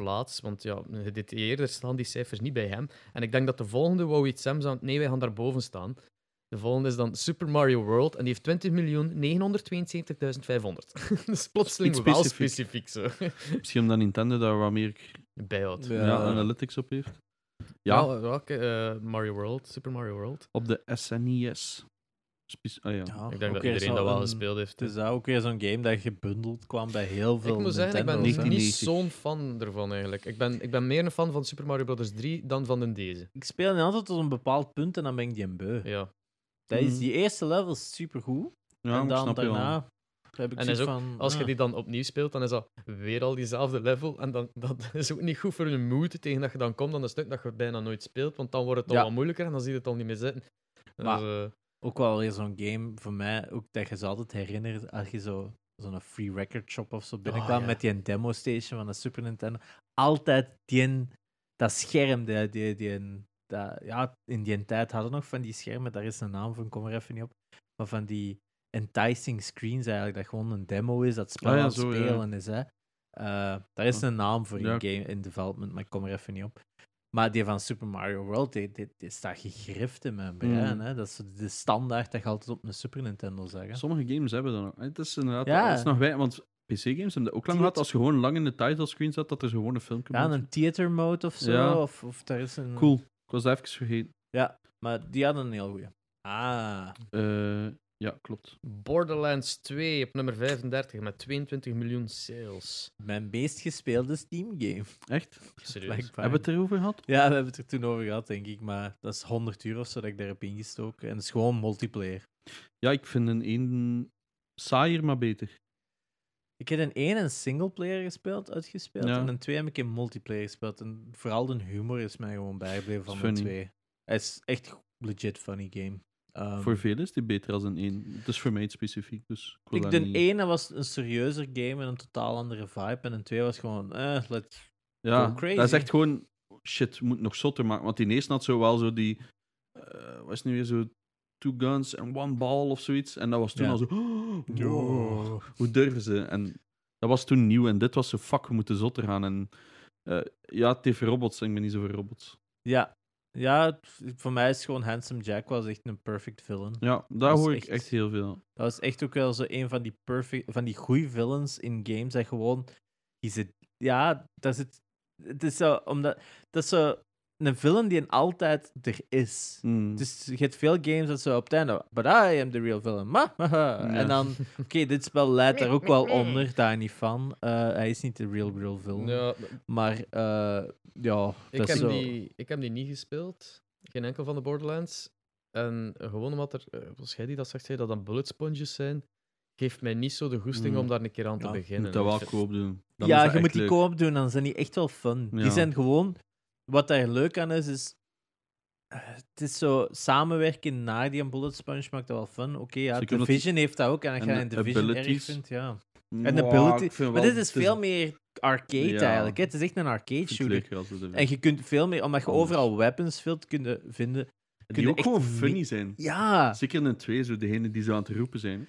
[SPEAKER 1] plaats. Want ja, gedetailleerder staan die cijfers niet bij hem. En ik denk dat de volgende wou iets Sam aan nee, wij gaan daarboven staan. De volgende is dan Super Mario World en die heeft 20.972.500. dus plotseling
[SPEAKER 3] Iets
[SPEAKER 1] wel
[SPEAKER 3] specifiek.
[SPEAKER 1] specifiek zo.
[SPEAKER 3] misschien omdat Nintendo daar wat meer
[SPEAKER 1] Bijhoudt.
[SPEAKER 2] Ja.
[SPEAKER 3] ja, analytics op heeft. Ja,
[SPEAKER 1] Ja, ja, oké, eh, Mario World, Super Mario World.
[SPEAKER 3] op de SNES. Spec- ah, ja.
[SPEAKER 2] Ja,
[SPEAKER 1] Ik denk
[SPEAKER 2] ook
[SPEAKER 1] dat
[SPEAKER 2] weer
[SPEAKER 1] iedereen
[SPEAKER 2] zo
[SPEAKER 1] dat wel
[SPEAKER 2] een-
[SPEAKER 1] gespeeld heeft.
[SPEAKER 2] Het is dat ook weer zo'n game dat gebundeld kwam bij heel veel
[SPEAKER 1] Ik moet zeggen, ik ben
[SPEAKER 2] Nintendo's, hè.
[SPEAKER 1] niet zo'n
[SPEAKER 3] 1990.
[SPEAKER 1] fan ervan eigenlijk. Ik ben, ik ben meer een fan van Super Mario Bros. 3 dan van de deze.
[SPEAKER 2] Ik speel die altijd tot een bepaald punt en dan ben ik die een beu.
[SPEAKER 1] Ja.
[SPEAKER 2] Dat is,
[SPEAKER 3] Mhm.
[SPEAKER 2] die eerste level is supergoed.
[SPEAKER 3] Ja,
[SPEAKER 2] en
[SPEAKER 3] ik
[SPEAKER 2] dan
[SPEAKER 3] snap je wel.
[SPEAKER 2] daarna heb ik
[SPEAKER 1] En
[SPEAKER 2] zoiets
[SPEAKER 1] is
[SPEAKER 2] van...
[SPEAKER 1] Als je
[SPEAKER 2] ah.
[SPEAKER 1] die dan opnieuw speelt, dan is dat weer al diezelfde level. En dan, dat is ook niet goed voor je moed tegen dat je dan komt aan een stuk dat je bijna nooit speelt. Want dan wordt het al
[SPEAKER 2] Ja.
[SPEAKER 1] wat moeilijker en dan zie je het al niet meer zitten. Dus,
[SPEAKER 2] Maar-
[SPEAKER 1] eh,
[SPEAKER 2] Ook wel weer zo'n game voor mij, ook dat je ze altijd herinnert als je zo, zo'n free record shop of zo binnenkwam
[SPEAKER 3] Ah,
[SPEAKER 1] Oh, ja.
[SPEAKER 2] met die demo station van de Super Nintendo. Altijd die, dat scherm, die, die, die, dat- ja, in die tijd hadden we nog van die schermen, daar is een naam van, kom er even niet op, maar van die enticing screens eigenlijk, dat gewoon een demo is, dat spel
[SPEAKER 3] Ah, ja,
[SPEAKER 2] aan het
[SPEAKER 3] zo, ja. Ah.
[SPEAKER 2] spelen is. Hè. Eh, daar is een naam voor in,
[SPEAKER 3] Ja.
[SPEAKER 2] game, in development, maar ik kom er even niet op. Maar die van Super Mario World, die, die, die staat gegrift in mijn brein.
[SPEAKER 3] Mm.
[SPEAKER 2] Hè? Dat is de standaard dat je altijd op een Super Nintendo zegt. hè.
[SPEAKER 3] Sommige games hebben dat nog. Het is inderdaad
[SPEAKER 2] Ja.
[SPEAKER 3] het is nog wij, want PC-games hebben dat ook lang
[SPEAKER 2] Die het-
[SPEAKER 3] gehad. Als je gewoon lang in de title screen zat, dat er zo gewoon een filmpje
[SPEAKER 2] Ja,
[SPEAKER 3] bij
[SPEAKER 2] een theater mode of zo.
[SPEAKER 3] Ja.
[SPEAKER 2] Of, of daar is een...
[SPEAKER 3] zat. Cool. Ik was dat even vergeten.
[SPEAKER 2] Maar die hadden een heel goeie. Ah.
[SPEAKER 3] Eh, ja, klopt.
[SPEAKER 1] Borderlands 2 op nummer 35 met 22 miljoen sales.
[SPEAKER 2] Mijn meest gespeelde Steam game.
[SPEAKER 3] Echt?
[SPEAKER 1] Serieus.
[SPEAKER 2] blijkbaar.
[SPEAKER 3] Hebben we het erover gehad?
[SPEAKER 2] Ja, we hebben het er toen over gehad, denk ik. Maar dat is 100 uur of zo dat ik daar heb ingestoken. En het is gewoon multiplayer.
[SPEAKER 3] Ja, ik vind een één saaier, maar beter.
[SPEAKER 2] Ik heb in één een singleplayer gespeeld, uitgespeeld.
[SPEAKER 3] Ja.
[SPEAKER 2] En in twee heb ik in multiplayer gespeeld. En vooral de humor is mij gewoon bijgebleven van de
[SPEAKER 3] Funny.
[SPEAKER 2] twee. Het is echt legit funny game. Ehm,
[SPEAKER 3] Voor velen is die beter als een één. Het is voor mij het specifiek, dus ik wil
[SPEAKER 2] ik
[SPEAKER 3] daar
[SPEAKER 2] de
[SPEAKER 3] niet-
[SPEAKER 2] ene was een serieuzer game en een totaal andere vibe. En de twee was gewoon, eh, let's...
[SPEAKER 3] Ja,
[SPEAKER 2] Go crazy.
[SPEAKER 3] dat is echt gewoon... Shit, we moeten nog zotter maken. Want die eerste had zo wel zo die... eh was nu weer zo... Two guns and one ball of zoiets. En dat was toen
[SPEAKER 2] Ja.
[SPEAKER 3] al zo... "Oh, wow, Hoe durven ze? En dat was toen nieuw. En dit was zo... Fuck, we moeten zotter gaan. En eh, ja, het heeft robots. En ik ben niet zo voor robots.
[SPEAKER 2] Ja. Ja, het- voor mij is gewoon Handsome Jack was echt een perfect villain.
[SPEAKER 3] Ja, daar
[SPEAKER 2] is
[SPEAKER 3] hoor ik
[SPEAKER 2] echt-
[SPEAKER 3] echt heel veel.
[SPEAKER 2] Dat was echt ook wel zo een van die, perfect, van die goede villains in games. Dat gewoon. Die zit, ja, dat zit. Het is zo. Omdat, dat is zo. Een villain die een altijd er is.
[SPEAKER 3] Hmm.
[SPEAKER 2] Dus je hebt veel games dat zo op het einde. But I am the real villain. Ma, ha, ha." En dan. Oké, dit spel leidt daar ook wel onder. Daar niet van. Eh, hij is niet de real, real villain.
[SPEAKER 1] Ja,
[SPEAKER 2] Maar. eh, ja,
[SPEAKER 1] Ik
[SPEAKER 2] dat is
[SPEAKER 1] heb,
[SPEAKER 2] zo.
[SPEAKER 1] die, ik heb die niet gespeeld. Geen enkel van de Borderlands. En gewoon omdat er, eh, volgens jij die dat zegt, zei dat dan bullet sponges zijn, geeft mij niet zo de goesting
[SPEAKER 3] Mm.
[SPEAKER 1] om daar een keer aan te
[SPEAKER 2] Ja, je
[SPEAKER 3] Je
[SPEAKER 1] beginnen.
[SPEAKER 3] moet dat wel
[SPEAKER 1] Dus-
[SPEAKER 3] koop doen. Dan
[SPEAKER 2] ja,
[SPEAKER 3] is dat
[SPEAKER 2] je
[SPEAKER 3] echt
[SPEAKER 2] moet die
[SPEAKER 3] leuk.
[SPEAKER 2] co-op doen, dan zijn die echt wel fun.
[SPEAKER 3] Ja.
[SPEAKER 2] Die zijn gewoon... Wat daar leuk aan is, is... eh, Het is zo samenwerken naar die bullet sponge maakt dat wel fun. Oké, ja,
[SPEAKER 3] Ze kunnen
[SPEAKER 2] Division heeft dat ook. En als
[SPEAKER 3] en
[SPEAKER 2] je
[SPEAKER 3] de
[SPEAKER 2] een Division erg
[SPEAKER 3] abilities.
[SPEAKER 2] vindt, ja.
[SPEAKER 3] Maar
[SPEAKER 2] En de
[SPEAKER 3] ik
[SPEAKER 2] ability...
[SPEAKER 3] vind
[SPEAKER 2] Maar
[SPEAKER 3] wel-
[SPEAKER 2] dit is
[SPEAKER 3] het
[SPEAKER 2] veel meer arcade
[SPEAKER 3] Ja.
[SPEAKER 2] eigenlijk. hè. Het is echt een arcade
[SPEAKER 3] ik vind het
[SPEAKER 2] shooter.
[SPEAKER 3] leuker als we de-
[SPEAKER 2] En je kunt veel meer... Omdat je
[SPEAKER 3] Anders.
[SPEAKER 2] overal weapons wilt kunnen vinden...
[SPEAKER 3] Die
[SPEAKER 2] kunnen
[SPEAKER 3] ook
[SPEAKER 2] echt
[SPEAKER 3] gewoon
[SPEAKER 2] mee-
[SPEAKER 3] funny zijn.
[SPEAKER 2] Ja!
[SPEAKER 3] Zeker in een twee, zo degene die zo aan het roepen zijn.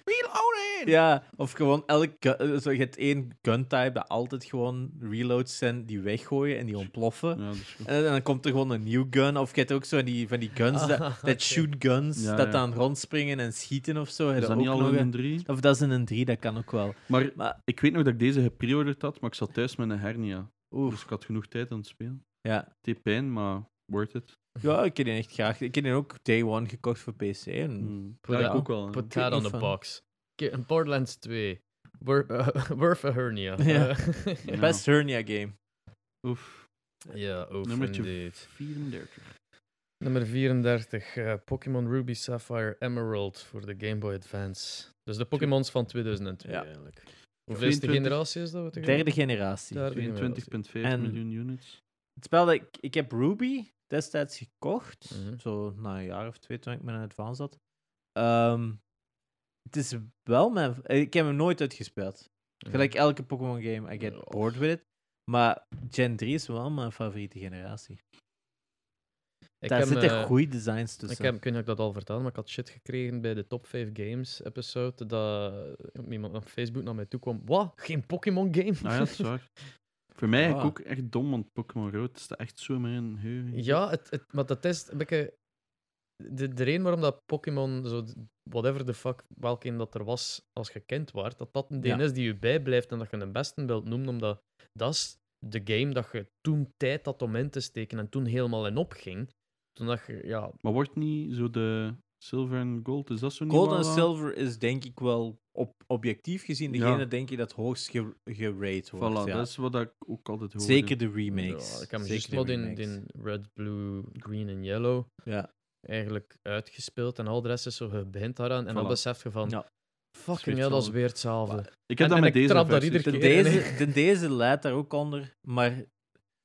[SPEAKER 2] Ja, of gewoon elk gu- eh, zo, je hebt één gun type dat altijd gewoon reloads zijn die weggooien en die ontploffen.
[SPEAKER 3] Ja, dat is goed.
[SPEAKER 2] En dan komt er gewoon een nieuw gun. Of je hebt ook zo van die, van die guns,
[SPEAKER 1] Ah,
[SPEAKER 2] dat, dat
[SPEAKER 1] oké.
[SPEAKER 2] shoot guns,
[SPEAKER 3] Ja,
[SPEAKER 2] dat
[SPEAKER 3] ja.
[SPEAKER 2] dan rondspringen en schieten of zo. Heb
[SPEAKER 3] Is
[SPEAKER 2] je
[SPEAKER 3] dat niet
[SPEAKER 2] ook
[SPEAKER 3] al
[SPEAKER 2] nog
[SPEAKER 3] in
[SPEAKER 2] een-
[SPEAKER 3] een drie?
[SPEAKER 2] Of dat is in een 3, dat kan ook wel.
[SPEAKER 3] Maar,
[SPEAKER 2] Maar-
[SPEAKER 3] ik weet nog dat ik deze gepreorderd had, maar ik zat thuis met een hernia.
[SPEAKER 2] Oeh,
[SPEAKER 3] Dus ik had genoeg tijd aan het spelen.
[SPEAKER 2] ja.
[SPEAKER 3] Het deed pijn, maar worth it.
[SPEAKER 2] Ja, ik heb die echt graag. Ik heb die ook day one gekocht voor PC. En...
[SPEAKER 3] Hmm.
[SPEAKER 1] Ja,
[SPEAKER 3] Ja, ik
[SPEAKER 1] ja.
[SPEAKER 3] ook
[SPEAKER 2] Ah.
[SPEAKER 3] wel. hè.
[SPEAKER 1] Put that on the
[SPEAKER 2] Van-
[SPEAKER 1] box. Oké, een Borderlands 2. Worth, eh, worth a hernia.
[SPEAKER 2] Ja.
[SPEAKER 1] Eh,
[SPEAKER 3] Ja.
[SPEAKER 2] Best hernia game.
[SPEAKER 3] Oef.
[SPEAKER 1] ja, ook
[SPEAKER 3] Nummertje
[SPEAKER 1] indeed.
[SPEAKER 3] 34.
[SPEAKER 1] Nummer 34. eh, Pokémon Ruby Sapphire Emerald voor de Game Boy Advance. Dus de Pokémons van 2002
[SPEAKER 2] Ja.
[SPEAKER 1] eigenlijk. Hoeveelste
[SPEAKER 3] 22.
[SPEAKER 1] generatie is dat? Wat
[SPEAKER 2] Derde generatie.
[SPEAKER 1] Derde
[SPEAKER 3] 22,5
[SPEAKER 2] En-
[SPEAKER 3] miljoen units.
[SPEAKER 2] Het spel dat ik, ik heb Ruby destijds gekocht.
[SPEAKER 1] Mhm.
[SPEAKER 2] Zo na een jaar of twee toen ik met een advance had. Ehm, het is wel mijn. Ik heb hem nooit uitgespeeld. Gelijk elke Pokémon game, I get bored with it. Maar Gen 3 is wel mijn favoriete generatie.
[SPEAKER 1] Ik
[SPEAKER 2] Daar
[SPEAKER 1] heb,
[SPEAKER 2] zitten
[SPEAKER 1] eh,
[SPEAKER 2] goede designs tussen.
[SPEAKER 1] Ik, heb, ik weet niet of ik dat al vertelde, maar ik had shit gekregen bij de Top 5 Games episode. Dat iemand op Facebook naar mij toe kwam. Wat? Geen Pokémon game?
[SPEAKER 3] Nou ja, dat is waar. Voor mij
[SPEAKER 2] Ah.
[SPEAKER 3] eigenlijk ook echt dom, want Pokémon Rood staat echt zo maar in. Heu.
[SPEAKER 1] Ja, het, het, maar dat is een beetje de, de reden waarom dat Pokémon, zo, whatever the fuck, welke een dat er was als je kind waart, dat dat een
[SPEAKER 2] Ja.
[SPEAKER 1] DNS is die je bijblijft en dat je een beste wilt noemen, omdat dat is de game dat je toen tijd had om in te steken en toen helemaal in opging. Toen dat je, ja,
[SPEAKER 3] Maar wordt niet zo de Silver en Gold, is dat zo niet?
[SPEAKER 2] Gold
[SPEAKER 3] waar
[SPEAKER 2] en
[SPEAKER 3] dat-
[SPEAKER 2] Silver is denk ik wel op, objectief gezien degene
[SPEAKER 3] Ja.
[SPEAKER 2] denk ik dat hoogst ge- gerate wordt.
[SPEAKER 3] Voilà,
[SPEAKER 2] ja.
[SPEAKER 3] dat is wat ik ook altijd hoor.
[SPEAKER 2] Zeker de remakes.
[SPEAKER 1] ja, ik heb hem
[SPEAKER 2] dus- Zeker
[SPEAKER 1] juist
[SPEAKER 2] de
[SPEAKER 1] wat in,
[SPEAKER 2] remakes.
[SPEAKER 1] in Red, Blue, Green en Yellow
[SPEAKER 2] Ja.
[SPEAKER 1] eigenlijk uitgespeeld en al de rest is zo, je begint daaraan en dan
[SPEAKER 3] Voilà.
[SPEAKER 1] besef je van,
[SPEAKER 2] Ja.
[SPEAKER 1] fucking
[SPEAKER 3] Zoiets
[SPEAKER 1] hell, dat is
[SPEAKER 3] van-
[SPEAKER 1] weer hetzelfde.
[SPEAKER 3] Ik
[SPEAKER 1] En-
[SPEAKER 3] heb dat
[SPEAKER 1] en
[SPEAKER 3] met
[SPEAKER 1] ik
[SPEAKER 3] deze
[SPEAKER 1] trap daar
[SPEAKER 3] versies.
[SPEAKER 1] iedere
[SPEAKER 2] De,
[SPEAKER 1] keer-
[SPEAKER 2] deze, de, deze leidt daar ook onder, maar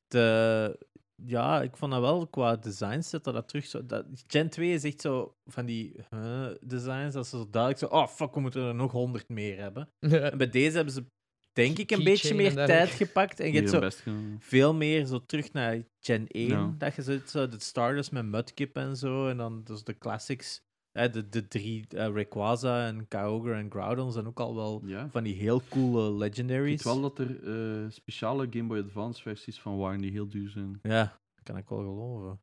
[SPEAKER 2] de, ja, ik vond dat wel qua designs dat dat terug zo. Dat, Gen 2 is echt zo van die huh, designs dat ze zo duidelijk zo, oh fuck, we moeten er nog 100 meer hebben. En bij deze hebben ze denk ik een
[SPEAKER 1] Keychain
[SPEAKER 2] beetje meer
[SPEAKER 1] en dergelijke.
[SPEAKER 2] tijd gepakt en je
[SPEAKER 3] Die
[SPEAKER 2] hebt
[SPEAKER 3] hun
[SPEAKER 2] zo
[SPEAKER 3] best gedaan.
[SPEAKER 2] veel meer zo terug naar Gen 1.
[SPEAKER 3] Ja.
[SPEAKER 2] Dat je zo, zo de starters met Mudkip en zo. En dan dus de classics. Eh, de, de drie eh, Rayquaza en Kyogre en Groudon zijn ook al wel
[SPEAKER 3] Ja.
[SPEAKER 2] van die heel coole
[SPEAKER 3] Ik
[SPEAKER 2] legendaries.
[SPEAKER 3] weet wel dat er eh, speciale Game Boy Advance versies van waren die heel duur zijn.
[SPEAKER 2] Ja, dat kan ik wel geloven.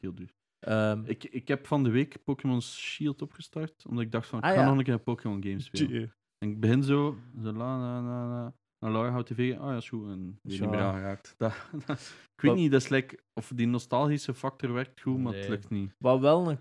[SPEAKER 3] Heel duur.
[SPEAKER 2] Ehm,
[SPEAKER 3] Ik, ik heb van de week Pokémon Shield opgestart, omdat ik dacht van, ik
[SPEAKER 2] Ah,
[SPEAKER 3] ga
[SPEAKER 2] ja.
[SPEAKER 3] nog een keer Pokémon games spelen. En ik begin zo, zo la la la la. En Laura houdt tv, ah ja, is goed. En die
[SPEAKER 2] Zo.
[SPEAKER 3] niet meer aangeraakt. Dat- ik weet
[SPEAKER 2] Wat-
[SPEAKER 3] niet, dat is like, of die nostalgische factor werkt goed, maar het
[SPEAKER 1] Nee.
[SPEAKER 3] lukt niet.
[SPEAKER 2] Wat wel een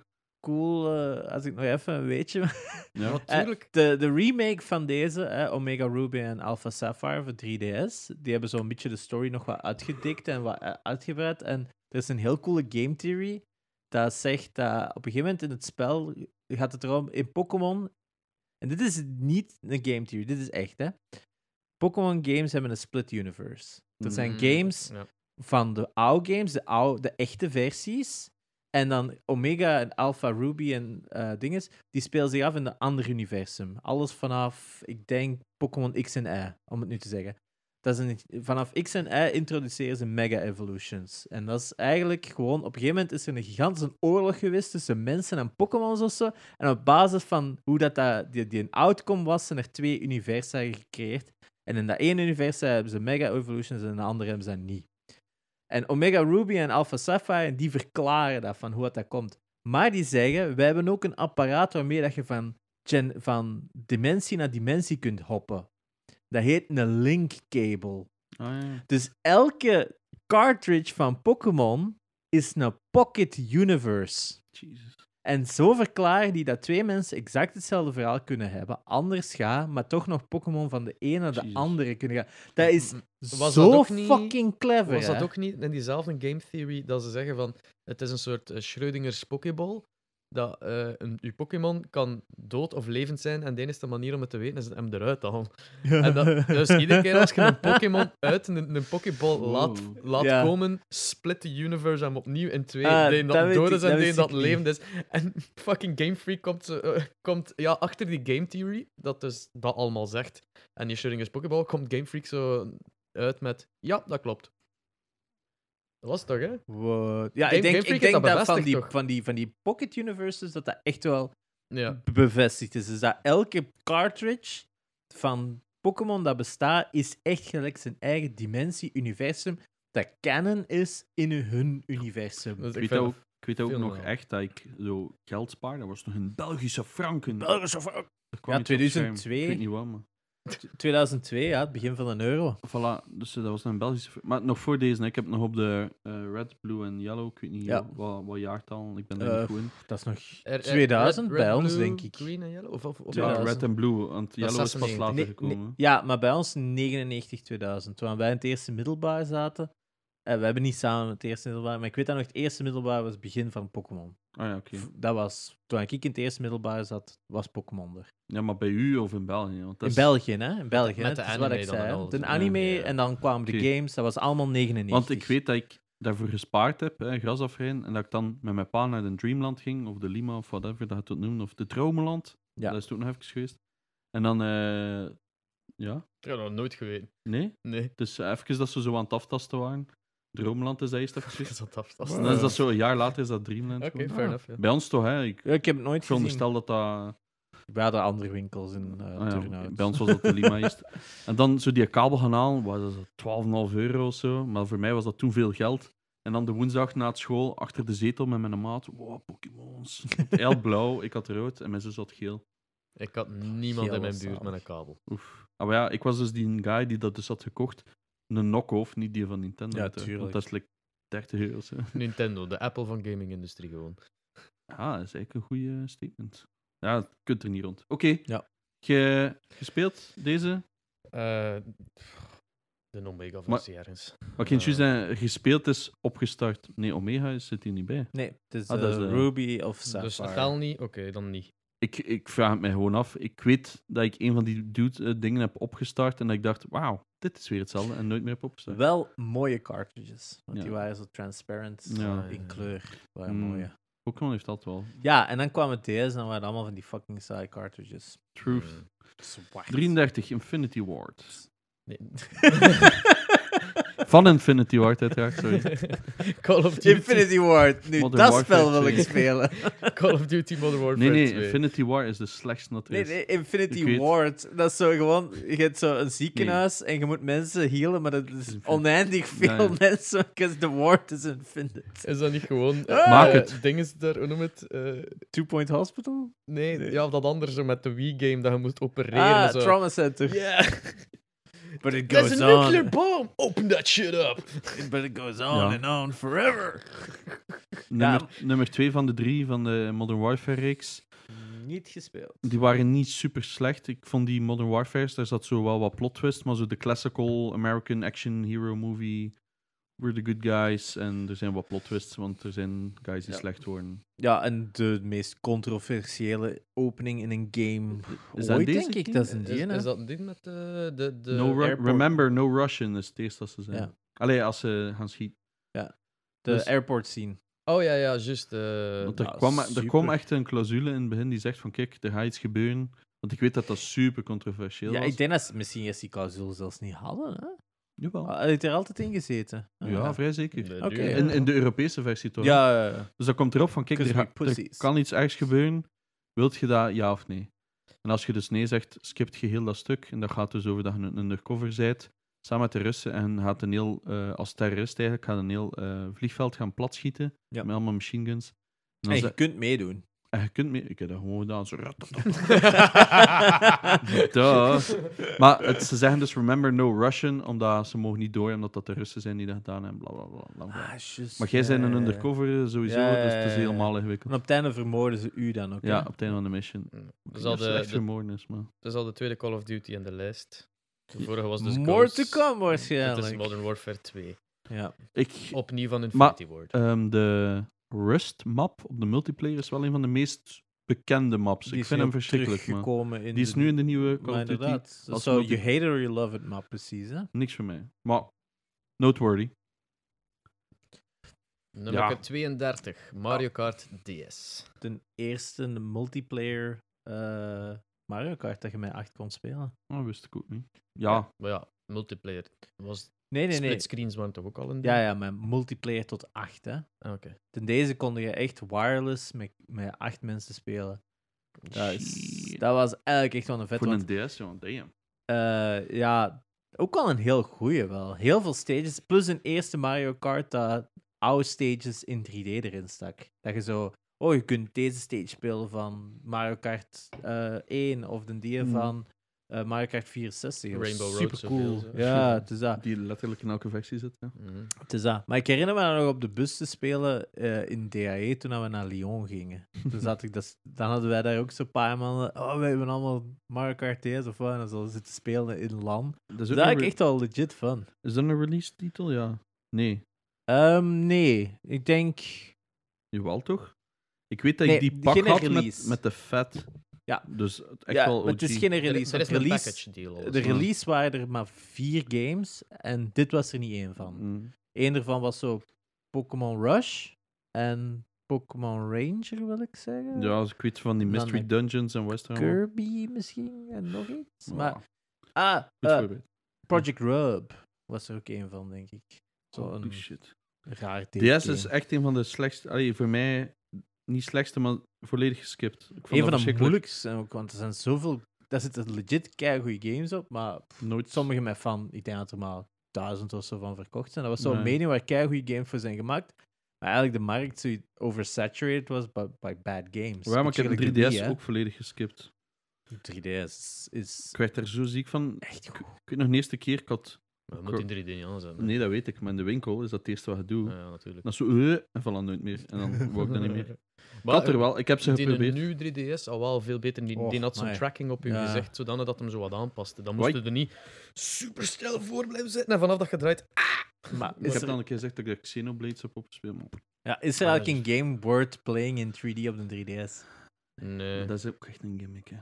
[SPEAKER 2] cool, eh, als ik nog even een weetje
[SPEAKER 3] Ja.
[SPEAKER 2] Eh,
[SPEAKER 1] Natuurlijk.
[SPEAKER 2] de, de remake van deze, eh, Omega Ruby en Alpha Sapphire voor 3DS, die hebben zo'n beetje de story nog wat uitgedikt en wat eh, uitgebreid. En er is een heel coole game theory dat zegt dat op een gegeven moment in het spel gaat het erom in Pokémon. En dit is niet een game theory, dit is echt hè. Pokémon games hebben een split universe. Dat zijn
[SPEAKER 1] Mm,
[SPEAKER 2] games
[SPEAKER 1] ja.
[SPEAKER 2] van de oude games, de, oude, de echte versies. En dan Omega en Alpha Ruby en eh dinges, die spelen zich af in een ander universum. Alles vanaf, ik denk, Pokémon X en Y, om het nu te zeggen. Dat is een, vanaf X en Y introduceren ze Mega Evolutions. En dat is eigenlijk gewoon, op een gegeven moment is er een gigantische oorlog geweest tussen mensen en Pokémons of zo. En op basis van hoe dat, dat die, die een outcome was, zijn er twee universa gecreëerd. En in dat ene universum hebben ze Mega Evolutions en in de andere hebben ze dat niet. En Omega Ruby en Alpha Sapphire, die verklaren dat, van hoe dat, dat komt. Maar die zeggen, wij hebben ook een apparaat waarmee dat je van, gen, van dimensie naar dimensie kunt hoppen. Dat heet een link cable.
[SPEAKER 3] Ah, ja.
[SPEAKER 2] Dus elke cartridge van Pokémon is een pocket universe.
[SPEAKER 3] Jesus.
[SPEAKER 2] En zo verklaren die dat twee mensen exact hetzelfde verhaal kunnen hebben, anders gaan, maar toch nog Pokémon van de ene naar de
[SPEAKER 3] Jezus.
[SPEAKER 2] andere kunnen gaan. Dat is
[SPEAKER 1] Was dat
[SPEAKER 2] zo
[SPEAKER 1] ook niet-
[SPEAKER 2] fucking clever.
[SPEAKER 1] Was dat
[SPEAKER 2] hè?
[SPEAKER 1] ook niet in diezelfde game theory dat ze zeggen van het is een soort eh, Schrödinger's Pokéball? Dat eh, een, uw Pokémon kan dood of levend zijn en de enige manier om het te weten is hem eruit te halen. En dat, dus iedere keer als je een Pokémon uit een, een Pokéball
[SPEAKER 3] Wow.
[SPEAKER 1] laat, laat
[SPEAKER 2] Ja.
[SPEAKER 1] komen, split de universe hem opnieuw in twee.
[SPEAKER 2] Ah,
[SPEAKER 1] de een
[SPEAKER 2] dat
[SPEAKER 1] dat
[SPEAKER 2] weet
[SPEAKER 1] dood
[SPEAKER 2] ik-
[SPEAKER 1] is en de
[SPEAKER 2] dat
[SPEAKER 1] een
[SPEAKER 2] wist
[SPEAKER 1] dat
[SPEAKER 2] ik niet.
[SPEAKER 1] levend is. En fucking Game Freak komt, zo, eh, komt ja, achter die game theory, dat dus dat allemaal zegt. En die Schrödinger's Pokéball komt Game Freak zo uit met ja, dat klopt. Dat was het toch, hè?
[SPEAKER 2] Wow. Ja,
[SPEAKER 1] Game-
[SPEAKER 2] ik
[SPEAKER 1] Game
[SPEAKER 2] denk,
[SPEAKER 1] Freak
[SPEAKER 2] ik
[SPEAKER 1] heeft
[SPEAKER 2] denk
[SPEAKER 1] dat
[SPEAKER 2] dat, van,
[SPEAKER 1] bevestigd,
[SPEAKER 2] die,
[SPEAKER 1] toch?
[SPEAKER 2] van, die, van die Pocket Universes dat dat echt wel
[SPEAKER 1] Ja.
[SPEAKER 2] be- bevestigd is. Dus dat elke cartridge van Pokémon dat bestaat, is echt gelijk zijn eigen dimensie, universum, dat canon is in hun universum.
[SPEAKER 1] Dus
[SPEAKER 3] Ik
[SPEAKER 1] ik
[SPEAKER 3] weet dat
[SPEAKER 1] vind
[SPEAKER 3] ook, ik weet dat ook
[SPEAKER 1] veel
[SPEAKER 3] nog
[SPEAKER 1] wel.
[SPEAKER 3] echt dat ik zo geld spaarde. Dat was nog een Belgische franken. Er kwam
[SPEAKER 2] Ja,
[SPEAKER 3] iets op het scherm.
[SPEAKER 2] 2002.
[SPEAKER 3] Ik weet niet waarom. maar-
[SPEAKER 2] 2002, ja, het begin van een euro.
[SPEAKER 3] Voilà, dus eh, dat was een Belgische. fr- Maar nog voor deze, hè, ik heb nog op de eh, red, blue en yellow. Ik weet niet
[SPEAKER 2] Ja.
[SPEAKER 3] wat, wat jaartal, ik ben
[SPEAKER 2] Eh,
[SPEAKER 3] daar niet goed in.
[SPEAKER 2] Dat is nog
[SPEAKER 1] Er- er-
[SPEAKER 2] 2000
[SPEAKER 1] red-
[SPEAKER 2] bij
[SPEAKER 1] red,
[SPEAKER 2] ons,
[SPEAKER 1] blue,
[SPEAKER 2] denk ik.
[SPEAKER 1] Green en yellow? Of, of, of-
[SPEAKER 3] Ja,
[SPEAKER 2] 2000.
[SPEAKER 3] red en blue, want
[SPEAKER 1] is
[SPEAKER 3] yellow is pas
[SPEAKER 1] 96.
[SPEAKER 3] later
[SPEAKER 2] Nee,
[SPEAKER 3] gekomen.
[SPEAKER 2] nee, ja, maar bij ons 99 2000. Toen wij in het eerste middelbaar zaten. En we hebben niet samen het eerste middelbaar, maar ik weet dat nog het eerste middelbaar was het begin van Pokémon.
[SPEAKER 3] Ah ja, oké.
[SPEAKER 2] V- Dat was, toen ik in het eerste middelbaar zat, was Pokémon er.
[SPEAKER 3] Ja, maar bij u of in België? Want dat
[SPEAKER 2] In
[SPEAKER 3] is-
[SPEAKER 2] België, hè? In België,
[SPEAKER 1] met
[SPEAKER 2] hè?
[SPEAKER 1] de
[SPEAKER 2] Dat is wat
[SPEAKER 1] anime
[SPEAKER 2] ik
[SPEAKER 1] dan en
[SPEAKER 2] zei. hè.
[SPEAKER 1] alles,
[SPEAKER 2] De
[SPEAKER 1] hè?
[SPEAKER 2] anime
[SPEAKER 1] Ja, ja.
[SPEAKER 2] en dan kwamen de
[SPEAKER 3] Oké.
[SPEAKER 2] games, dat was allemaal 99.
[SPEAKER 3] Want ik weet dat ik daarvoor gespaard heb, hè, gras afrijden, en dat ik dan met mijn pa naar de Dreamland ging, of de Lima, of whatever dat je het wilt noemen, of de Dromenland.
[SPEAKER 2] Ja.
[SPEAKER 3] Dat is toen nog even geweest. En dan eh, Ja?
[SPEAKER 1] Ik heb dat nooit geweten.
[SPEAKER 3] Nee?
[SPEAKER 1] Nee.
[SPEAKER 3] Het is even dat ze zo aan het aftasten waren. Droomland is dat eerst even
[SPEAKER 1] Ik
[SPEAKER 3] gezien.
[SPEAKER 1] zat
[SPEAKER 3] En
[SPEAKER 1] aftasten.
[SPEAKER 3] dan is dat zo, een jaar later is dat Dreamland.
[SPEAKER 1] Oké,
[SPEAKER 3] geworden.
[SPEAKER 1] fair enough. Ja.
[SPEAKER 3] Bij ons toch, hè? Ik
[SPEAKER 2] Ja, ik heb het nooit gezien.
[SPEAKER 3] veronderstel dat dat...
[SPEAKER 2] We hadden andere winkels in eh
[SPEAKER 3] Ah ja,
[SPEAKER 2] Turnhout.
[SPEAKER 3] bij ons was dat de Lima eerst. En dan zo die kabel gaan halen, was dat 12,5 euro of zo. Maar voor mij was dat toen veel geld. En dan de woensdag na het school achter de zetel met mijn maat. Wow, Pokémons. Heel blauw, ik had rood en mijn zus had geel.
[SPEAKER 1] Ik had niemand
[SPEAKER 2] Geel
[SPEAKER 1] in mijn
[SPEAKER 2] was
[SPEAKER 1] buurt met
[SPEAKER 2] zalig.
[SPEAKER 1] een kabel.
[SPEAKER 3] Oef. Ah, maar ja, ik was dus die guy die dat dus had gekocht. Een knock-off, niet die van Nintendo.
[SPEAKER 2] Ja,
[SPEAKER 3] hè. Want
[SPEAKER 2] tuurlijk.
[SPEAKER 3] Dat is like 30 euro. of zo.
[SPEAKER 1] Nintendo, de Apple van gaming-industrie gewoon.
[SPEAKER 3] Ja, dat is eigenlijk een goede statement. Ja, je kunt er niet rond. Oké.
[SPEAKER 2] Ja.
[SPEAKER 3] Ge- gespeeld, deze?
[SPEAKER 1] Eh, de Omega
[SPEAKER 3] Maar-
[SPEAKER 1] versie ergens.
[SPEAKER 3] Wat ik juist zei, gespeeld is opgestart. Nee, Omega is- zit hier niet bij.
[SPEAKER 2] Nee, het is,
[SPEAKER 3] Ah, dat is,
[SPEAKER 2] eh,
[SPEAKER 3] eh,
[SPEAKER 2] Ruby of Sapphire.
[SPEAKER 1] Dus de taal niet? Oké, dan niet.
[SPEAKER 3] Ik, ik vraag het mij gewoon af. Ik weet dat ik een van die dude, eh, dingen heb opgestart en dat ik dacht, wauw, dit is weer hetzelfde en nooit meer heb opgestart.
[SPEAKER 2] Wel mooie cartridges, want
[SPEAKER 3] Ja.
[SPEAKER 2] die waren zo transparant
[SPEAKER 3] Ja.
[SPEAKER 2] eh, in kleur. Waren
[SPEAKER 3] Mm.
[SPEAKER 2] mooie.
[SPEAKER 3] Pokémon heeft dat wel.
[SPEAKER 2] Ja, en dan kwam het DS en waren het allemaal van die fucking saaie cartridges.
[SPEAKER 3] Truth.
[SPEAKER 2] Eh.
[SPEAKER 1] Hmm.
[SPEAKER 2] Zwart.
[SPEAKER 3] 33, Infinity Ward.
[SPEAKER 1] Nee.
[SPEAKER 3] Van Infinity Ward, uiteraard, sorry.
[SPEAKER 1] Call of Duty.
[SPEAKER 2] Infinity Ward, nu
[SPEAKER 3] Modern
[SPEAKER 2] dat
[SPEAKER 3] Warfare
[SPEAKER 2] spel wil ik
[SPEAKER 3] 2.
[SPEAKER 2] spelen.
[SPEAKER 1] Call of Duty Modern Warfare
[SPEAKER 3] Nee, nee,
[SPEAKER 1] 2.
[SPEAKER 3] Infinity War is de slechtste
[SPEAKER 2] Nee,
[SPEAKER 3] natuurlijk.
[SPEAKER 2] nee,
[SPEAKER 3] Ik
[SPEAKER 2] Infinity
[SPEAKER 3] weet-
[SPEAKER 2] Ward. Dat is zo gewoon. Je hebt zo een ziekenhuis en je moet mensen healen, maar dat is
[SPEAKER 3] Infinity-
[SPEAKER 2] oneindig veel
[SPEAKER 3] Ja, ja.
[SPEAKER 2] mensen, because the ward is infinite.
[SPEAKER 1] Is dat niet gewoon...
[SPEAKER 2] Ah!
[SPEAKER 3] Maak
[SPEAKER 1] eh,
[SPEAKER 3] het.
[SPEAKER 1] Ding is daar, hoe noem het? Eh,
[SPEAKER 2] Two Point Hospital?
[SPEAKER 1] nee,
[SPEAKER 2] Nee.
[SPEAKER 1] ja, of dat anders zo met de Wii-game dat je moest opereren.
[SPEAKER 2] Ah,
[SPEAKER 1] zo.
[SPEAKER 2] Trauma Center.
[SPEAKER 1] Yeah,
[SPEAKER 2] But it
[SPEAKER 1] there's
[SPEAKER 2] goes
[SPEAKER 1] a
[SPEAKER 2] on.
[SPEAKER 1] nuclear bomb! Open that shit up!
[SPEAKER 2] But it goes on
[SPEAKER 3] Ja.
[SPEAKER 2] and on forever.
[SPEAKER 3] Nummer, nummer twee van de drie van de Modern Warfare-reeks.
[SPEAKER 2] Niet gespeeld.
[SPEAKER 3] Die waren niet super slecht. Ik vond die Modern Warfare's, daar zat zo wel wat plot twist, maar zo de classical American action hero movie. We're the good guys. En er zijn wat plot twists, want er zijn guys die
[SPEAKER 2] Ja.
[SPEAKER 3] slecht worden.
[SPEAKER 2] Ja, en de meest controversiële opening in een game.
[SPEAKER 3] Is
[SPEAKER 2] Ooit,
[SPEAKER 3] dat deze
[SPEAKER 2] denk ik.
[SPEAKER 3] game?
[SPEAKER 2] Dat is een
[SPEAKER 1] Is,
[SPEAKER 2] die, hè?
[SPEAKER 1] is dat dit met de... de, de
[SPEAKER 3] no Ru-
[SPEAKER 2] airport.
[SPEAKER 3] remember, no Russian is het eerste dat ze zijn.
[SPEAKER 2] Ja.
[SPEAKER 3] Allee, als ze gaan schieten.
[SPEAKER 2] De
[SPEAKER 3] dus-
[SPEAKER 2] airport scene.
[SPEAKER 1] Oh ja, ja, juist. eh,
[SPEAKER 3] Want er,
[SPEAKER 2] nou,
[SPEAKER 3] kwam, er
[SPEAKER 2] super.
[SPEAKER 3] kwam echt een clausule in het begin die zegt van kijk, er gaat iets gebeuren. Want ik weet dat dat super controversieel
[SPEAKER 2] Ja,
[SPEAKER 3] was.
[SPEAKER 2] ik denk dat ze misschien eerst die clausule zelfs niet hadden. Hè?
[SPEAKER 3] Jawel.
[SPEAKER 2] Hij heeft er altijd in gezeten. Ah,
[SPEAKER 3] Ja, vrij zeker.
[SPEAKER 1] de-
[SPEAKER 2] Oké.
[SPEAKER 1] duur-
[SPEAKER 3] In, in de Europese versie toch?
[SPEAKER 2] ja, ja, ja.
[SPEAKER 3] Dus dat komt erop van, kijk, er,
[SPEAKER 2] 'Cause
[SPEAKER 3] ga-
[SPEAKER 2] we
[SPEAKER 3] er
[SPEAKER 2] pussies.
[SPEAKER 3] kan iets ergs gebeuren. Wilt je dat, ja of nee? En als je dus nee zegt, skipt je heel dat stuk. En dat gaat dus over dat je een undercover bent, samen met de Russen. En gaat een heel, eh, als terrorist eigenlijk, gaat een heel eh, vliegveld gaan platschieten.
[SPEAKER 2] Ja.
[SPEAKER 3] Met allemaal machine guns. En,
[SPEAKER 2] En
[SPEAKER 3] als
[SPEAKER 2] je
[SPEAKER 3] dat- e-
[SPEAKER 2] kunt meedoen.
[SPEAKER 3] en je kunt mee... Ik heb dat gewoon gedaan. Zo, ratatata. Duh. maar het, ze zeggen dus, remember no Russian, omdat ze mogen niet door, omdat dat de Russen zijn die dat gedaan hebben. Bla, bla, bla, bla, bla.
[SPEAKER 2] Ah, juist,
[SPEAKER 3] Maar jij bent
[SPEAKER 2] ja,
[SPEAKER 3] een
[SPEAKER 2] ja, ja.
[SPEAKER 3] undercover eh, sowieso,
[SPEAKER 2] Ja, ja,
[SPEAKER 3] dus het is
[SPEAKER 2] ja, ja.
[SPEAKER 3] helemaal ingewikkeld.
[SPEAKER 2] En op het einde vermoorden ze u dan ook. hè?
[SPEAKER 3] Ja, op het einde van de mission.
[SPEAKER 1] Dat is al
[SPEAKER 3] Mm. Dat ze
[SPEAKER 1] de,
[SPEAKER 3] echt
[SPEAKER 1] de-
[SPEAKER 3] vermoorden is, man.
[SPEAKER 1] dat is al de tweede Call of Duty in de lijst. De vorige was dus
[SPEAKER 2] More
[SPEAKER 1] Ghosts.
[SPEAKER 2] to come
[SPEAKER 1] Dit is
[SPEAKER 2] waarschijnlijk.
[SPEAKER 1] Modern Warfare 2.
[SPEAKER 3] Dus
[SPEAKER 2] Ja.
[SPEAKER 3] Ik,
[SPEAKER 1] Opnieuw van Infinity Ward.
[SPEAKER 3] ehm, de Rust map op de multiplayer is wel een van de meest bekende maps.
[SPEAKER 2] Die
[SPEAKER 3] ik
[SPEAKER 2] is
[SPEAKER 3] vind
[SPEAKER 2] nu
[SPEAKER 3] hem
[SPEAKER 2] ook
[SPEAKER 3] verschrikkelijk, man.
[SPEAKER 2] teruggekomen In
[SPEAKER 3] Die is
[SPEAKER 2] de-
[SPEAKER 3] nu in de nieuwe Call
[SPEAKER 2] Maar
[SPEAKER 3] of Duty.
[SPEAKER 2] inderdaad.
[SPEAKER 3] als
[SPEAKER 2] So,
[SPEAKER 3] multi-
[SPEAKER 2] you hate it or you love it map, precies. Hè?
[SPEAKER 3] Niks voor mij. Maar, noteworthy.
[SPEAKER 1] Nummer
[SPEAKER 3] ja.
[SPEAKER 1] 32, Mario Kart DS.
[SPEAKER 2] De eerste multiplayer eh, Mario Kart dat je met 8 kon spelen.
[SPEAKER 3] Oh, Dat wist ik ook niet. Ja,
[SPEAKER 1] Maar ja, multiplayer. Was,
[SPEAKER 2] Nee, nee, nee.
[SPEAKER 1] Split screens waren toch ook al een ding?
[SPEAKER 2] Ja, ja, maar multiplayer tot 8, hè.
[SPEAKER 1] Ah, Oké.
[SPEAKER 2] Ten deze konden je echt wireless met, met acht mensen spelen. Dat, is,
[SPEAKER 3] Shit.
[SPEAKER 2] dat was eigenlijk echt wel een vet.
[SPEAKER 3] voor
[SPEAKER 2] Want,
[SPEAKER 3] een DS, ja, damn.
[SPEAKER 2] eh, ja, ook wel een heel goeie wel. Heel veel stages, plus een eerste Mario Kart dat oude stages in 3D erin stak. Dat je zo, oh, je kunt deze stage spelen van Mario Kart eh 1 of de die
[SPEAKER 3] Hmm.
[SPEAKER 2] van eh, Mario Kart 64. Dat was
[SPEAKER 1] Rainbow Road
[SPEAKER 2] supercool.
[SPEAKER 1] zoveel, zo.
[SPEAKER 2] Ja, het is dat.
[SPEAKER 3] Die letterlijk in elke versie zit, ja.
[SPEAKER 1] Mhm.
[SPEAKER 2] Het is dat. Maar ik herinner me nog op de bus te spelen eh, in DAE toen we naar Lyon gingen. Toen zat ik dat, dan hadden wij daar ook zo'n paar mannen. Oh, we hebben allemaal Mario Kart DS of wat. En dan zouden we zitten spelen in LAN. Dat
[SPEAKER 3] Dat is, ook
[SPEAKER 2] is
[SPEAKER 3] een
[SPEAKER 2] eigenlijk
[SPEAKER 3] re-
[SPEAKER 2] echt al legit fun.
[SPEAKER 3] is dat een release-titel? Ja. Nee.
[SPEAKER 2] Ehm, nee, ik denk.
[SPEAKER 3] Jawel, toch? Ik weet dat
[SPEAKER 2] Nee,
[SPEAKER 3] ik die
[SPEAKER 2] geen
[SPEAKER 3] pak had met,
[SPEAKER 2] release.
[SPEAKER 3] met de Fat.
[SPEAKER 2] Ja.
[SPEAKER 3] Dus echt
[SPEAKER 2] ja,
[SPEAKER 3] wel
[SPEAKER 2] maar het
[SPEAKER 3] OG.
[SPEAKER 2] is geen
[SPEAKER 1] Er, er
[SPEAKER 2] release.
[SPEAKER 1] is een
[SPEAKER 2] want release
[SPEAKER 1] package deal. al.
[SPEAKER 2] de release waren er maar vier games. En dit was er niet één van.
[SPEAKER 3] Mm.
[SPEAKER 2] Eén daarvan was zo Pokémon Rush. En Pokémon Ranger, wil ik zeggen.
[SPEAKER 3] Ja, als ik weet van die
[SPEAKER 2] Dan
[SPEAKER 3] Mystery
[SPEAKER 2] heb-
[SPEAKER 3] Dungeons en Western.
[SPEAKER 2] Kirby misschien en nog eh, iets. Maar Ah,
[SPEAKER 3] Goed
[SPEAKER 2] eh,
[SPEAKER 3] voorbeeld.
[SPEAKER 2] Project Rub was er ook een van, denk ik.
[SPEAKER 3] Oh,
[SPEAKER 2] Zo'n
[SPEAKER 3] shit.
[SPEAKER 2] raar
[SPEAKER 3] DS
[SPEAKER 2] game.
[SPEAKER 3] is dus echt een van de slechtste. Allee, voor mij niet slechtste, maar volledig geskipt. Ik vond dat
[SPEAKER 2] Een van de
[SPEAKER 3] verschrikkelijk.
[SPEAKER 2] moeilijkste ook, want er zijn zoveel... Daar zitten legit goede games op, maar pff,
[SPEAKER 3] Nooit
[SPEAKER 2] sommige met van, ik denk dat er maar duizend of zo van verkocht zijn. Dat was zo'n
[SPEAKER 3] Nee.
[SPEAKER 2] mening waar goede games voor zijn gemaakt, maar eigenlijk de markt zo oversaturated was bij, bij bad games.
[SPEAKER 3] Ja, maar ik heb
[SPEAKER 2] Beetje
[SPEAKER 3] de 3DS
[SPEAKER 2] gelijk de Wii, hè.
[SPEAKER 3] ook volledig geskipt.
[SPEAKER 2] 3DS is, is
[SPEAKER 3] Ik werd er zo ziek van.
[SPEAKER 2] echt goed.
[SPEAKER 3] Ik weet nog de eerste keer, ik had...
[SPEAKER 1] Maar je moet in 3D niet aan zijn. hè.
[SPEAKER 3] Nee, dat weet ik, maar in de winkel is dat het eerste wat je doet.
[SPEAKER 1] Ah, ja, natuurlijk.
[SPEAKER 3] Dan is zo... eh, en vallen nooit meer. En dan word ik dat niet meer. Ik
[SPEAKER 1] Maar,
[SPEAKER 3] had er
[SPEAKER 1] eh,
[SPEAKER 3] wel. Ik heb ze
[SPEAKER 1] die een
[SPEAKER 3] geprobeerd.
[SPEAKER 1] nu 3DS al wel veel beter. Die,
[SPEAKER 2] Och,
[SPEAKER 1] die had zo'n
[SPEAKER 2] amai.
[SPEAKER 1] tracking op je
[SPEAKER 2] Ja.
[SPEAKER 1] gezicht, zodanig dat hem zo wat aanpaste. Dan
[SPEAKER 3] Wat
[SPEAKER 1] moest je er niet super snel voor blijven zitten. En vanaf dat je draait,
[SPEAKER 2] Maar
[SPEAKER 3] Ik
[SPEAKER 2] is
[SPEAKER 3] heb
[SPEAKER 2] er-
[SPEAKER 3] dan een keer gezegd dat ik de Xenoblades heb opgespeeld. maar
[SPEAKER 2] ja, is er
[SPEAKER 1] Ah,
[SPEAKER 2] eigenlijk een game worth playing in 3D op de 3DS?
[SPEAKER 1] nee.
[SPEAKER 3] Dat is ook echt een gimmick, hè.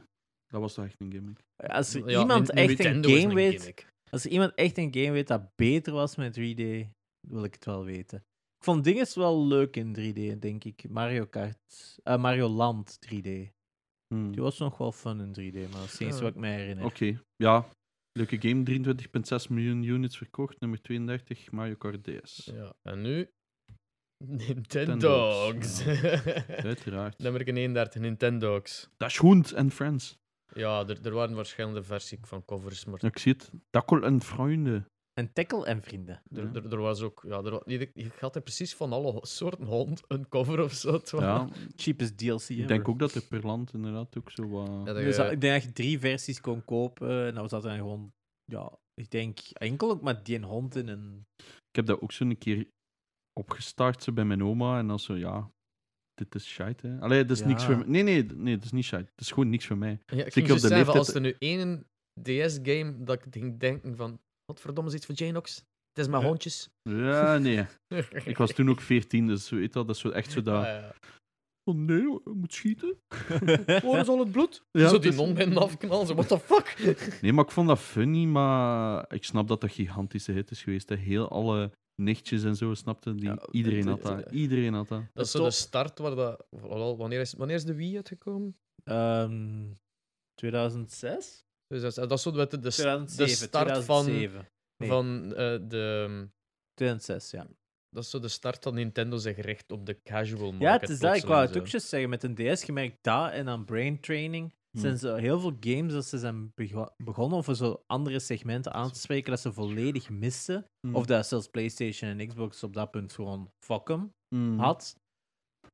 [SPEAKER 3] Dat was toch echt een gimmick.
[SPEAKER 2] Als er
[SPEAKER 1] Ja,
[SPEAKER 2] iemand
[SPEAKER 1] N-
[SPEAKER 2] echt een
[SPEAKER 1] Nintendo is
[SPEAKER 2] game weet,
[SPEAKER 1] gimmick.
[SPEAKER 2] als er iemand echt een game weet dat beter was met 3D, wil ik het wel weten. Ik vond dingen wel leuk in 3D, denk ik. Mario Kart, eh, Mario Land 3D.
[SPEAKER 3] Hmm.
[SPEAKER 2] Die was nog wel fun in 3D, maar dat is eens
[SPEAKER 1] Ja.
[SPEAKER 2] wat ik me herinner.
[SPEAKER 3] Oké, ja. Leuke game, 23,6 miljoen units verkocht. Nummer 32, Mario Kart DS.
[SPEAKER 1] Ja, en nu...
[SPEAKER 3] Nintendogs.
[SPEAKER 1] Nintendogs.
[SPEAKER 3] Uiteraard.
[SPEAKER 1] Nummer 31, Nintendogs.
[SPEAKER 3] Dat is Hoend en Friends.
[SPEAKER 1] Ja, er, er waren verschillende versies van covers, maar
[SPEAKER 3] Ik zie het. Dakkel en Freunde.
[SPEAKER 2] En Tackle en Vrienden.
[SPEAKER 1] er, er, er was ook... Ja, er, wa- je, je had er precies van alle ho- soorten hond een cover of zo. het was-
[SPEAKER 3] Ja,
[SPEAKER 2] Cheapest DLC.
[SPEAKER 3] ik denk ook dat er per land inderdaad ook zo wat...
[SPEAKER 1] Ja, dat eh,
[SPEAKER 2] Dus
[SPEAKER 1] je-
[SPEAKER 2] dat- ik denk dat je drie versies kon kopen en dan zat er gewoon, ja, ik denk enkel ook maar die een hond in en
[SPEAKER 3] Ik heb dat ook zo een keer opgestart zo bij mijn oma. En dan zo, ja, dit is shit. hè. Allee, dit is
[SPEAKER 2] Ja.
[SPEAKER 3] niks voor mij. Nee, nee, nee, dit is niet shit. Het is gewoon niks voor mij.
[SPEAKER 1] Ja, ik
[SPEAKER 3] Zeker
[SPEAKER 1] ging
[SPEAKER 3] op
[SPEAKER 1] dus
[SPEAKER 3] de
[SPEAKER 1] zeggen,
[SPEAKER 3] leeftijd-
[SPEAKER 1] als er nu één DS-game dat ik ging denken van... Wat verdomme is iets voor Janox? Het is maar
[SPEAKER 2] Ja.
[SPEAKER 1] hondjes.
[SPEAKER 3] Ja, nee. Ik was toen ook 14, dus weet je wel, dat is zo echt zo dat... Oh nee, je moet schieten.
[SPEAKER 2] Oh,
[SPEAKER 1] Waar is al het bloed?
[SPEAKER 3] Ja,
[SPEAKER 1] zo die
[SPEAKER 3] het is-
[SPEAKER 1] non binnen afknallen. Zo, what the fuck?
[SPEAKER 3] Nee, maar ik vond dat funny, maar ik snap dat dat gigantische hit is geweest. Hè. Heel alle nichtjes en zo, snapte die.
[SPEAKER 2] Ja,
[SPEAKER 3] iedereen
[SPEAKER 2] het-
[SPEAKER 3] had dat. Iedereen had dat.
[SPEAKER 1] Dat is zo
[SPEAKER 2] Top.
[SPEAKER 1] de start waar dat... wel, Wanneer is, wanneer is de Wii uitgekomen?
[SPEAKER 2] Ehm, 2006?
[SPEAKER 1] Dus dat, is- dat is zo de, de, de start
[SPEAKER 2] 2007,
[SPEAKER 1] van,
[SPEAKER 2] 2007. nee.
[SPEAKER 1] van eh, de...
[SPEAKER 2] 2006, ja.
[SPEAKER 1] Dat is zo de start van Nintendo zich richt op de casual market.
[SPEAKER 2] Ja, het is dat. Ik wou het ook
[SPEAKER 1] plotseling
[SPEAKER 2] just zeggen. Met een DS, je merkt dat en aan brain training.
[SPEAKER 3] Hmm.
[SPEAKER 2] zijn zo heel veel games dat ze zijn bego- begonnen of zo andere segmenten aan te spreken dat ze volledig misten.
[SPEAKER 3] Hmm.
[SPEAKER 2] Of dat zelfs PlayStation en Xbox op dat punt gewoon fuck 'em
[SPEAKER 1] Hmm.
[SPEAKER 3] Mm.
[SPEAKER 2] had.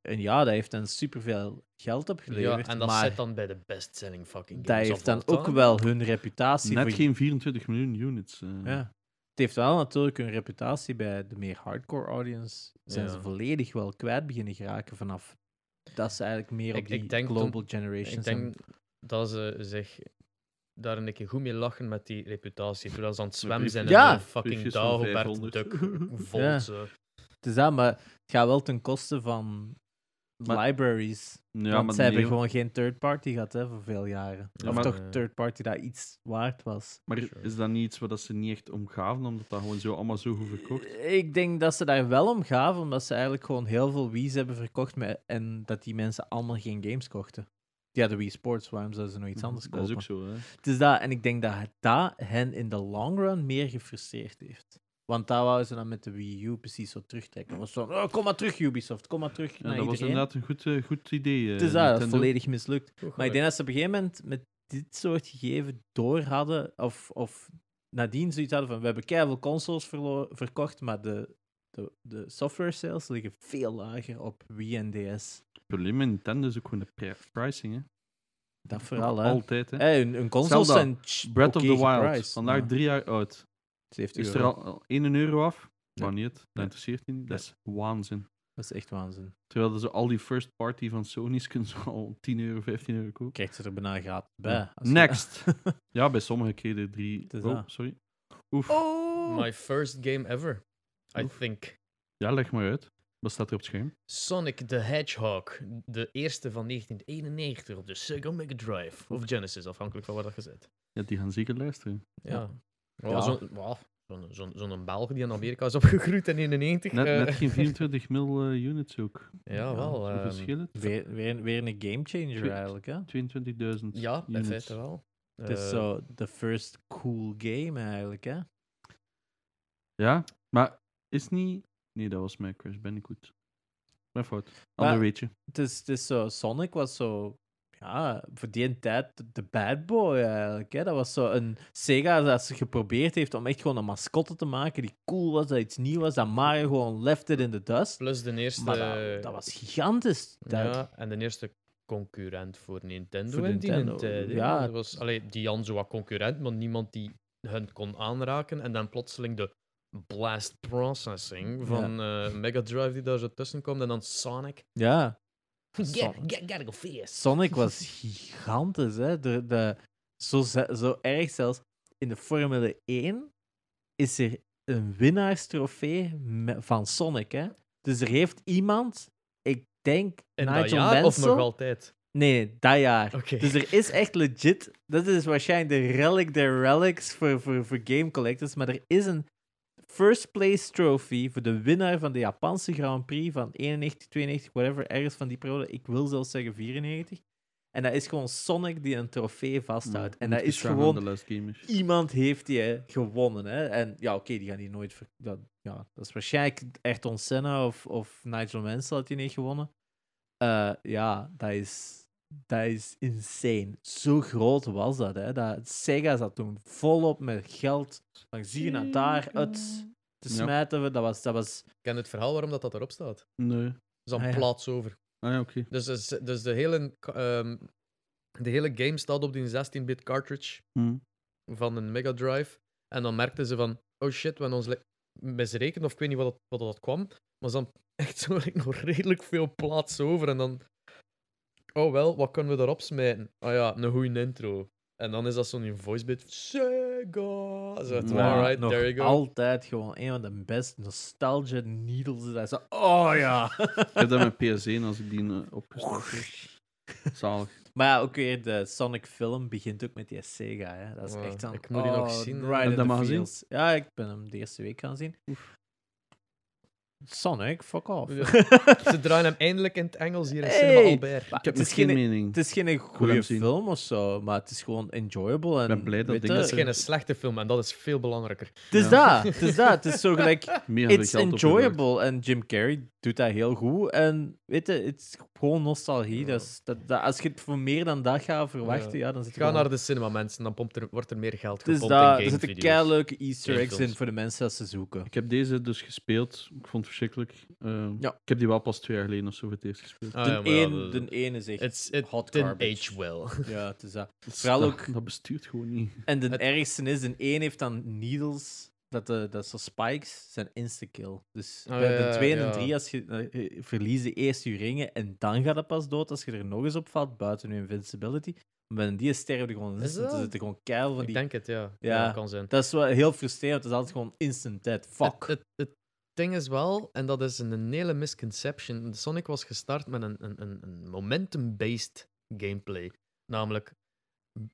[SPEAKER 2] En ja, dat heeft dan superveel geld
[SPEAKER 1] zo.
[SPEAKER 2] opgeleverd.
[SPEAKER 1] Ja, en dat
[SPEAKER 2] maar
[SPEAKER 1] zit dan bij de bestselling fucking
[SPEAKER 2] dat
[SPEAKER 1] games
[SPEAKER 2] heeft
[SPEAKER 1] of
[SPEAKER 2] dan
[SPEAKER 1] all
[SPEAKER 2] ook
[SPEAKER 1] time.
[SPEAKER 2] wel hun reputatie.
[SPEAKER 3] Net
[SPEAKER 2] voor-
[SPEAKER 3] geen 24 miljoen units.
[SPEAKER 1] Mm.
[SPEAKER 3] eh.
[SPEAKER 2] Ja. Het heeft wel natuurlijk hun reputatie bij de meer hardcore audience. Zijn
[SPEAKER 1] Ja.
[SPEAKER 2] ze volledig wel kwijt beginnen geraken vanaf dat ze eigenlijk meer op
[SPEAKER 1] Ik-
[SPEAKER 2] die
[SPEAKER 1] ik denk
[SPEAKER 2] global
[SPEAKER 1] toen-
[SPEAKER 2] generation
[SPEAKER 1] Ik denk dat ze zich daar een keer goed mee lachen met die reputatie. Toen dat ze aan het zwemmen zijn en
[SPEAKER 2] Ja.
[SPEAKER 1] een fucking
[SPEAKER 3] Briefjes van
[SPEAKER 1] Dagobert
[SPEAKER 3] 500.
[SPEAKER 1] Duck vol.
[SPEAKER 2] Ja.
[SPEAKER 1] zo.
[SPEAKER 2] Het is dat, maar het gaat wel ten koste van
[SPEAKER 3] Maar-
[SPEAKER 2] libraries.
[SPEAKER 3] Ja,
[SPEAKER 2] want
[SPEAKER 3] maar
[SPEAKER 2] ze hebben
[SPEAKER 3] nee,
[SPEAKER 2] gewoon geen third party gehad hè, voor veel jaren.
[SPEAKER 1] Ja,
[SPEAKER 2] of
[SPEAKER 3] maar-
[SPEAKER 2] toch third party dat iets waard was.
[SPEAKER 3] Maar
[SPEAKER 1] Sure.
[SPEAKER 3] is dat niet iets waar dat ze niet echt om gaven, omdat dat gewoon zo allemaal zo goed verkocht?
[SPEAKER 2] Ik denk dat ze daar wel om gaven, omdat ze eigenlijk gewoon heel veel Wii's hebben verkocht met, en dat die mensen allemaal geen games kochten. Ja, de Wii Sports, waarom zouden ze nog iets anders
[SPEAKER 3] Mhm. Dat
[SPEAKER 2] kopen?
[SPEAKER 3] is ook zo, hè.
[SPEAKER 2] Het is dat, en ik denk dat dat hen in de long run meer gefrustreerd heeft. Want daar wouden ze dan met de Wii U precies zo terugtrekken. Dat Was zo, oh, kom maar terug, Ubisoft, kom maar terug
[SPEAKER 3] Ja,
[SPEAKER 2] naar
[SPEAKER 3] dat was
[SPEAKER 2] iedereen.
[SPEAKER 3] inderdaad een goed, eh, goed idee. eh,
[SPEAKER 2] Het is dat, dat is
[SPEAKER 3] Nintendo.
[SPEAKER 2] volledig mislukt.
[SPEAKER 1] Goed
[SPEAKER 2] Maar ik denk dat ze op een gegeven moment met dit soort gegevens door hadden, of, of nadien zoiets hadden van, we hebben keihard consoles verlo- verkocht, maar de, de, de software sales liggen veel lager op Wii en DS.
[SPEAKER 3] Het probleem met Nintendo is ook gewoon de pri- pricing, hè.
[SPEAKER 2] Dat vooral, hè.
[SPEAKER 3] Altijd, hè.
[SPEAKER 2] Hey, hun, hun consoles
[SPEAKER 3] Zelda,
[SPEAKER 2] zijn tch,
[SPEAKER 3] Breath
[SPEAKER 2] oké
[SPEAKER 3] of the Wild,
[SPEAKER 2] geprijsd,
[SPEAKER 3] vandaag
[SPEAKER 2] maar
[SPEAKER 3] drie jaar oud.
[SPEAKER 2] 70
[SPEAKER 3] Is er
[SPEAKER 2] euro.
[SPEAKER 3] al- al 1 euro af?
[SPEAKER 2] Nee.
[SPEAKER 3] Maar niet, dat
[SPEAKER 2] Nee.
[SPEAKER 3] interesseert je niet. Dat is waanzin.
[SPEAKER 2] Dat is echt waanzin.
[SPEAKER 3] Terwijl ze al die first party van Sony's kunnen ze al 10 euro, 15 euro kopen.
[SPEAKER 2] Krijgt ze er bijna gratis bij.
[SPEAKER 3] Ja.
[SPEAKER 2] als je-
[SPEAKER 3] Next! ja, bij sommige keren 3.
[SPEAKER 2] is
[SPEAKER 3] Oh,
[SPEAKER 2] dat.
[SPEAKER 3] sorry. Oef.
[SPEAKER 1] My first game ever, I
[SPEAKER 3] Oef.
[SPEAKER 1] think.
[SPEAKER 3] Ja, leg maar uit. Wat staat er op het scherm?
[SPEAKER 1] Sonic the Hedgehog, de eerste van 1991 op de Sega Mega Drive. Of Genesis, afhankelijk van waar dat gezet.
[SPEAKER 3] Ja, die gaan zeker luisteren.
[SPEAKER 1] Ja.
[SPEAKER 2] Ja.
[SPEAKER 1] Wel, Zo'n wel, zo'n zo'n zo'n Belg die in Amerika is opgegroeid in 91.
[SPEAKER 3] Net,
[SPEAKER 1] eh,
[SPEAKER 3] net geen 24 mil eh, units ook.
[SPEAKER 1] ja, wel.
[SPEAKER 3] Hoeveel
[SPEAKER 1] ehm,
[SPEAKER 3] verschil het?
[SPEAKER 2] Weer, weer, weer een gamechanger
[SPEAKER 3] Twee-
[SPEAKER 2] eigenlijk, hè?
[SPEAKER 3] 22.000.
[SPEAKER 1] ja, in
[SPEAKER 3] units.
[SPEAKER 1] feite wel.
[SPEAKER 2] Het is
[SPEAKER 1] Eh,
[SPEAKER 2] zo de first cool game eigenlijk, hè?
[SPEAKER 3] Ja, maar is niet. Nee, dat was mijn Crash Bandicoot. Mijn fout. Ander
[SPEAKER 2] Maar-
[SPEAKER 3] weetje.
[SPEAKER 2] Het is, het is zo, Sonic was zo, ja, voor die tijd de bad boy eigenlijk, hè? Dat was zo een Sega dat ze geprobeerd heeft om echt gewoon een mascotte te maken die cool was, dat iets nieuw was, dat Mario gewoon left it in the dust.
[SPEAKER 1] Plus de eerste.
[SPEAKER 2] Maar dat, dat was gigantisch. Dat,
[SPEAKER 1] Ja, en de eerste concurrent voor Nintendo
[SPEAKER 2] Voor
[SPEAKER 1] in die
[SPEAKER 2] Nintendo,
[SPEAKER 1] tijd, hè.
[SPEAKER 2] ja.
[SPEAKER 1] Dat was, allee, die Jan zo wat concurrent, maar niemand die hun kon aanraken. En dan plotseling de blast processing van eh, Mega Drive die daar zo tussen komt. En dan Sonic.
[SPEAKER 2] ja.
[SPEAKER 1] Get,
[SPEAKER 2] Sonic.
[SPEAKER 1] get, gotta go fierce.
[SPEAKER 2] Sonic was gigantisch, hè? De, de, zo, ze- zo erg zelfs. In de Formule 1 is er een winnaarstrofee me- van Sonic, hè? Dus er heeft iemand, ik denk
[SPEAKER 1] In
[SPEAKER 2] Nigel
[SPEAKER 1] dat jaar of
[SPEAKER 2] Mansell...
[SPEAKER 1] nog altijd?
[SPEAKER 2] Nee, dat jaar.
[SPEAKER 1] Oké.
[SPEAKER 2] Dus er is echt legit... Dat is waarschijnlijk de relic der relics voor, voor, voor game collectors, maar er is een first place trophy voor de winnaar van de Japanse Grand Prix van 91, 92, whatever, ergens van die periode. Ik wil zelfs zeggen 94. En dat is gewoon Sonic die een trofee vasthoudt. en dat is gewoon...
[SPEAKER 3] De last game is.
[SPEAKER 2] Iemand heeft die hè, gewonnen. Hè? En ja, oké, die gaan die nooit... ver- Dat, ja, dat is waarschijnlijk Ayrton Senna of, of Nigel Mansell had die niet gewonnen. Eh, ja, dat is, dat is insane. Zo groot was dat, hè. Dat, Sega zat toen volop met geld langs hier naar nou daar uit te
[SPEAKER 3] Ja.
[SPEAKER 2] smijten. Dat was... Dat was
[SPEAKER 1] Ik ken het verhaal waarom dat, dat erop staat. Dat
[SPEAKER 3] Nee.
[SPEAKER 1] is aan
[SPEAKER 2] Ah, ja.
[SPEAKER 1] plaats over.
[SPEAKER 3] Ah ja, oké.
[SPEAKER 1] Dus, dus, dus de, hele, ka- ehm, de hele game staat op die 16-bit cartridge.
[SPEAKER 3] Hm.
[SPEAKER 1] van een Mega Drive. En dan merkten ze van, oh shit, we hebben ons li- misrekend, of ik weet niet wat dat, wat dat kwam. Maar ze hadden echt zo like, nog redelijk veel plaats over. En dan, oh wel, wat kunnen we erop smijten? Ah ja, een goede intro. En dan is dat zo'n voicebit. Sega! Zo, het,
[SPEAKER 3] Ja,
[SPEAKER 1] alright,
[SPEAKER 2] nog
[SPEAKER 1] there you go.
[SPEAKER 2] altijd gewoon een van de best nostalgia needles. Dat ze, oh ja!
[SPEAKER 3] Ik heb dat met PS1 als ik die eh, opgestart heb. Zalig.
[SPEAKER 2] Maar ja, ook weer de Sonic film begint ook met die Sega. Hè. Dat is
[SPEAKER 1] Ja,
[SPEAKER 2] echt dan,
[SPEAKER 1] ik moet die nog
[SPEAKER 2] oh,
[SPEAKER 1] zien, hè.
[SPEAKER 2] Right
[SPEAKER 1] Heb
[SPEAKER 3] je
[SPEAKER 2] in
[SPEAKER 3] dat
[SPEAKER 2] the
[SPEAKER 3] maar gezien?
[SPEAKER 2] feels. Ja, ik ben hem de eerste week gaan zien. Sonic, fuck off.
[SPEAKER 1] Ja. Ze draaien hem eindelijk in het Engels hier in
[SPEAKER 2] Hey!
[SPEAKER 1] Cinema Albert.
[SPEAKER 2] Maar
[SPEAKER 3] Ik heb
[SPEAKER 2] het, is
[SPEAKER 3] misschien geen
[SPEAKER 2] geen,
[SPEAKER 3] mening.
[SPEAKER 2] het is geen
[SPEAKER 3] wil hem
[SPEAKER 2] goede
[SPEAKER 3] zien.
[SPEAKER 2] film of zo, maar het is gewoon enjoyable. En,
[SPEAKER 3] ben blij dat
[SPEAKER 2] weet
[SPEAKER 3] ding
[SPEAKER 2] je,
[SPEAKER 1] Dat
[SPEAKER 3] dat
[SPEAKER 1] is geen slechte film en dat is veel belangrijker.
[SPEAKER 2] Het is
[SPEAKER 3] Ja.
[SPEAKER 2] dat, het is dat. Het is zo gelijk,
[SPEAKER 3] Meer dan
[SPEAKER 2] it's
[SPEAKER 3] geld
[SPEAKER 2] enjoyable. En Jim Carrey doet dat heel goed. En weet je, het is gewoon nostalgie. Dus dat, dat, als je het voor meer dan dat gaat verwachten, ja, dan zit je
[SPEAKER 1] Ga
[SPEAKER 2] gewoon-
[SPEAKER 1] naar de cinema, mensen. Dan pompt er, wordt er meer geld
[SPEAKER 2] Dus
[SPEAKER 1] gepompt
[SPEAKER 2] daar
[SPEAKER 1] in
[SPEAKER 2] er zitten
[SPEAKER 1] gamevideo's.
[SPEAKER 2] kei leuke Easter eggs in
[SPEAKER 1] Gamefilms.
[SPEAKER 2] voor de mensen dat ze zoeken.
[SPEAKER 1] Ah,
[SPEAKER 3] Ik heb deze dus gespeeld. Ik vond het verschrikkelijk. Eh,
[SPEAKER 2] Ja.
[SPEAKER 3] Ik heb die wel pas twee jaar geleden of zo voor het eerst gespeeld.
[SPEAKER 1] Ah,
[SPEAKER 2] de,
[SPEAKER 1] ja, maar ja,
[SPEAKER 2] een,
[SPEAKER 1] dat-
[SPEAKER 2] de ene is echt
[SPEAKER 1] It's, it
[SPEAKER 2] hot
[SPEAKER 1] didn't
[SPEAKER 2] garbage.
[SPEAKER 1] age well.
[SPEAKER 2] Ja, het is dat.
[SPEAKER 3] Dat, is-
[SPEAKER 2] Vooral
[SPEAKER 3] dat-
[SPEAKER 2] ook-
[SPEAKER 3] dat bestuurt gewoon niet.
[SPEAKER 2] En de
[SPEAKER 1] Het-
[SPEAKER 2] ergste is, de een heeft dan needles, dat, de, dat zo spikes, zijn insta-kill. Dus
[SPEAKER 1] Ah,
[SPEAKER 2] bij
[SPEAKER 1] ja,
[SPEAKER 2] de twee en
[SPEAKER 1] ja.
[SPEAKER 2] de drie, als je, eh, eh, verliezen eerst je ringen en dan gaat het pas dood als je er nog eens op valt, buiten je invincibility. Maar bij een die sterven er gewoon
[SPEAKER 1] Is
[SPEAKER 2] instant, er
[SPEAKER 1] dat?
[SPEAKER 2] zitten gewoon keil van
[SPEAKER 1] Ik
[SPEAKER 2] die...
[SPEAKER 1] denk het, ja.
[SPEAKER 2] Ja.
[SPEAKER 1] ja. kan zijn.
[SPEAKER 2] Dat is wel heel frustrerend, het is altijd gewoon instant dead. Fuck.
[SPEAKER 1] Het, het, het ding is wel, en dat is een hele misconception. de Sonic was gestart met een, een, een- een momentum-based gameplay. Namelijk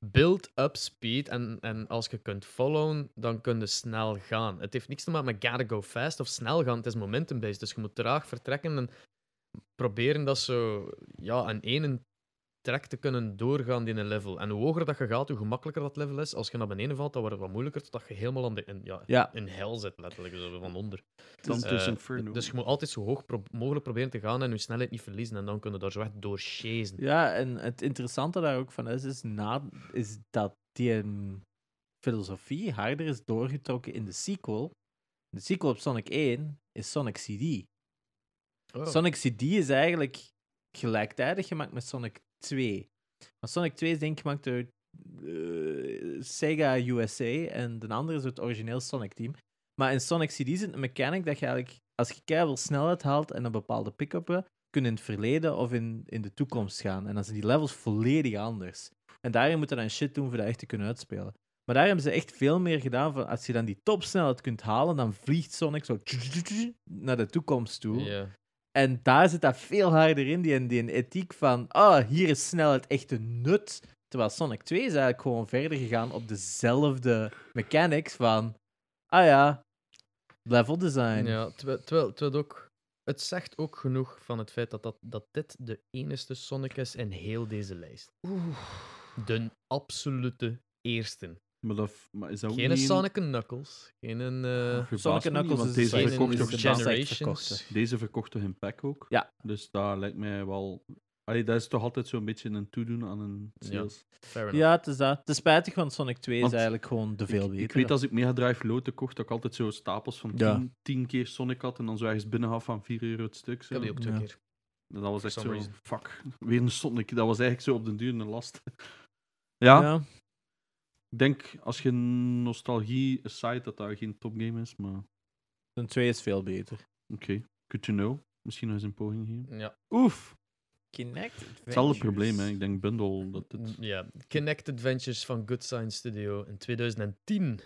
[SPEAKER 1] build up speed. En, en als je kunt followen, dan kun je snel gaan. Het heeft niks te maken met gotta go fast of snel gaan. Het is momentum-based. Dus je moet traag vertrekken en proberen dat zo ja, een ene trek te kunnen doorgaan in een level. En hoe hoger dat je gaat, hoe gemakkelijker dat level is. Als je naar beneden valt, dan wordt het wat moeilijker, totdat je helemaal aan de, in, ja,
[SPEAKER 2] Ja.
[SPEAKER 1] in hel zit, letterlijk, zo van onder.
[SPEAKER 3] Dan
[SPEAKER 1] Eh,
[SPEAKER 3] tussen Inferno.
[SPEAKER 1] Dus je moet altijd zo hoog pro- mogelijk proberen te gaan en je snelheid niet verliezen. En dan kunnen daar zo echt door chasen.
[SPEAKER 2] Ja, en het interessante daar ook van is, is, na, is dat die ehm, filosofie harder is doorgetrokken in de sequel. De sequel op Sonic 1 is Sonic CD.
[SPEAKER 1] Oh.
[SPEAKER 2] Sonic CD is eigenlijk gelijktijdig gemaakt met Sonic 2. Maar Sonic 2 is denk ik gemaakt door eh, Sega USA en de andere is het origineel Sonic Team. Maar in Sonic CD zit een mechanic dat je eigenlijk, als je keihard snelheid haalt en een bepaalde pick-up hebt, kun je in het verleden of in, in de toekomst gaan. En dan zijn die levels volledig anders. En daarin moet je dan shit doen voor dat echt te kunnen uitspelen. Maar daar hebben ze echt veel meer gedaan van als je dan die topsnelheid kunt halen, dan vliegt Sonic zo naar de toekomst toe.
[SPEAKER 1] Ja.
[SPEAKER 2] En daar zit dat veel harder in, die, die ethiek van, ah, hier is snelheid echt een nut. Terwijl Sonic 2 is eigenlijk gewoon verder gegaan op dezelfde mechanics van, ah ja, level design.
[SPEAKER 1] Ja, terwijl, terwijl, terwijl het ook, het zegt ook genoeg van het feit dat, dat, dat dit de enige Sonic is in heel deze lijst. De absolute eerste.
[SPEAKER 3] Maar, dat, maar is dat ook
[SPEAKER 1] Geen
[SPEAKER 3] niet een-
[SPEAKER 1] Sonic en Knuckles. Geen een. eh,
[SPEAKER 3] Verbaast
[SPEAKER 2] Sonic
[SPEAKER 3] me niet,
[SPEAKER 2] Knuckles
[SPEAKER 3] want
[SPEAKER 2] is
[SPEAKER 3] deze
[SPEAKER 2] een
[SPEAKER 1] geen
[SPEAKER 3] verkocht
[SPEAKER 1] een
[SPEAKER 2] Sonic
[SPEAKER 3] toch
[SPEAKER 2] is de beste.
[SPEAKER 3] de
[SPEAKER 1] Generations.
[SPEAKER 2] uitverkochte.
[SPEAKER 3] Deze verkocht toch in pack ook?
[SPEAKER 2] Ja.
[SPEAKER 3] Dus dat lijkt mij wel... Allee, dat is toch altijd zo'n beetje een toedoen aan een
[SPEAKER 1] Ja.
[SPEAKER 3] sales.
[SPEAKER 1] Fair enough.
[SPEAKER 2] Ja, het is dat. Het is spijtig, want Sonic 2
[SPEAKER 3] Want
[SPEAKER 2] is eigenlijk gewoon de veel
[SPEAKER 3] ik,
[SPEAKER 2] beter.
[SPEAKER 3] ik weet als ik Mega Drive loten kocht, dat ik altijd zo stapels van 10
[SPEAKER 2] Ja.
[SPEAKER 3] keer Sonic had en dan zo ergens binnen had van 4 euro het stuk.
[SPEAKER 1] Ik
[SPEAKER 3] Zo.
[SPEAKER 1] heb die ook twee
[SPEAKER 2] Ja.
[SPEAKER 1] keer.
[SPEAKER 3] En dat was echt
[SPEAKER 1] some
[SPEAKER 3] zo,
[SPEAKER 1] reason.
[SPEAKER 3] fuck, weer een Sonic. Dat was eigenlijk zo op den duur een last. ja,
[SPEAKER 2] Ja.
[SPEAKER 3] ik denk als je nostalgie aside dat dat geen topgame is, maar oké,
[SPEAKER 2] Sonic 2 is veel beter.
[SPEAKER 3] good to know. Misschien nog eens een poging hier.
[SPEAKER 1] Ja.
[SPEAKER 3] Oef,
[SPEAKER 2] Kinect.
[SPEAKER 3] hetzelfde probleem hè. Ik denk bundel dat het...
[SPEAKER 1] Mm, ja. Kinect Adventures van Good Science Studio in 2010.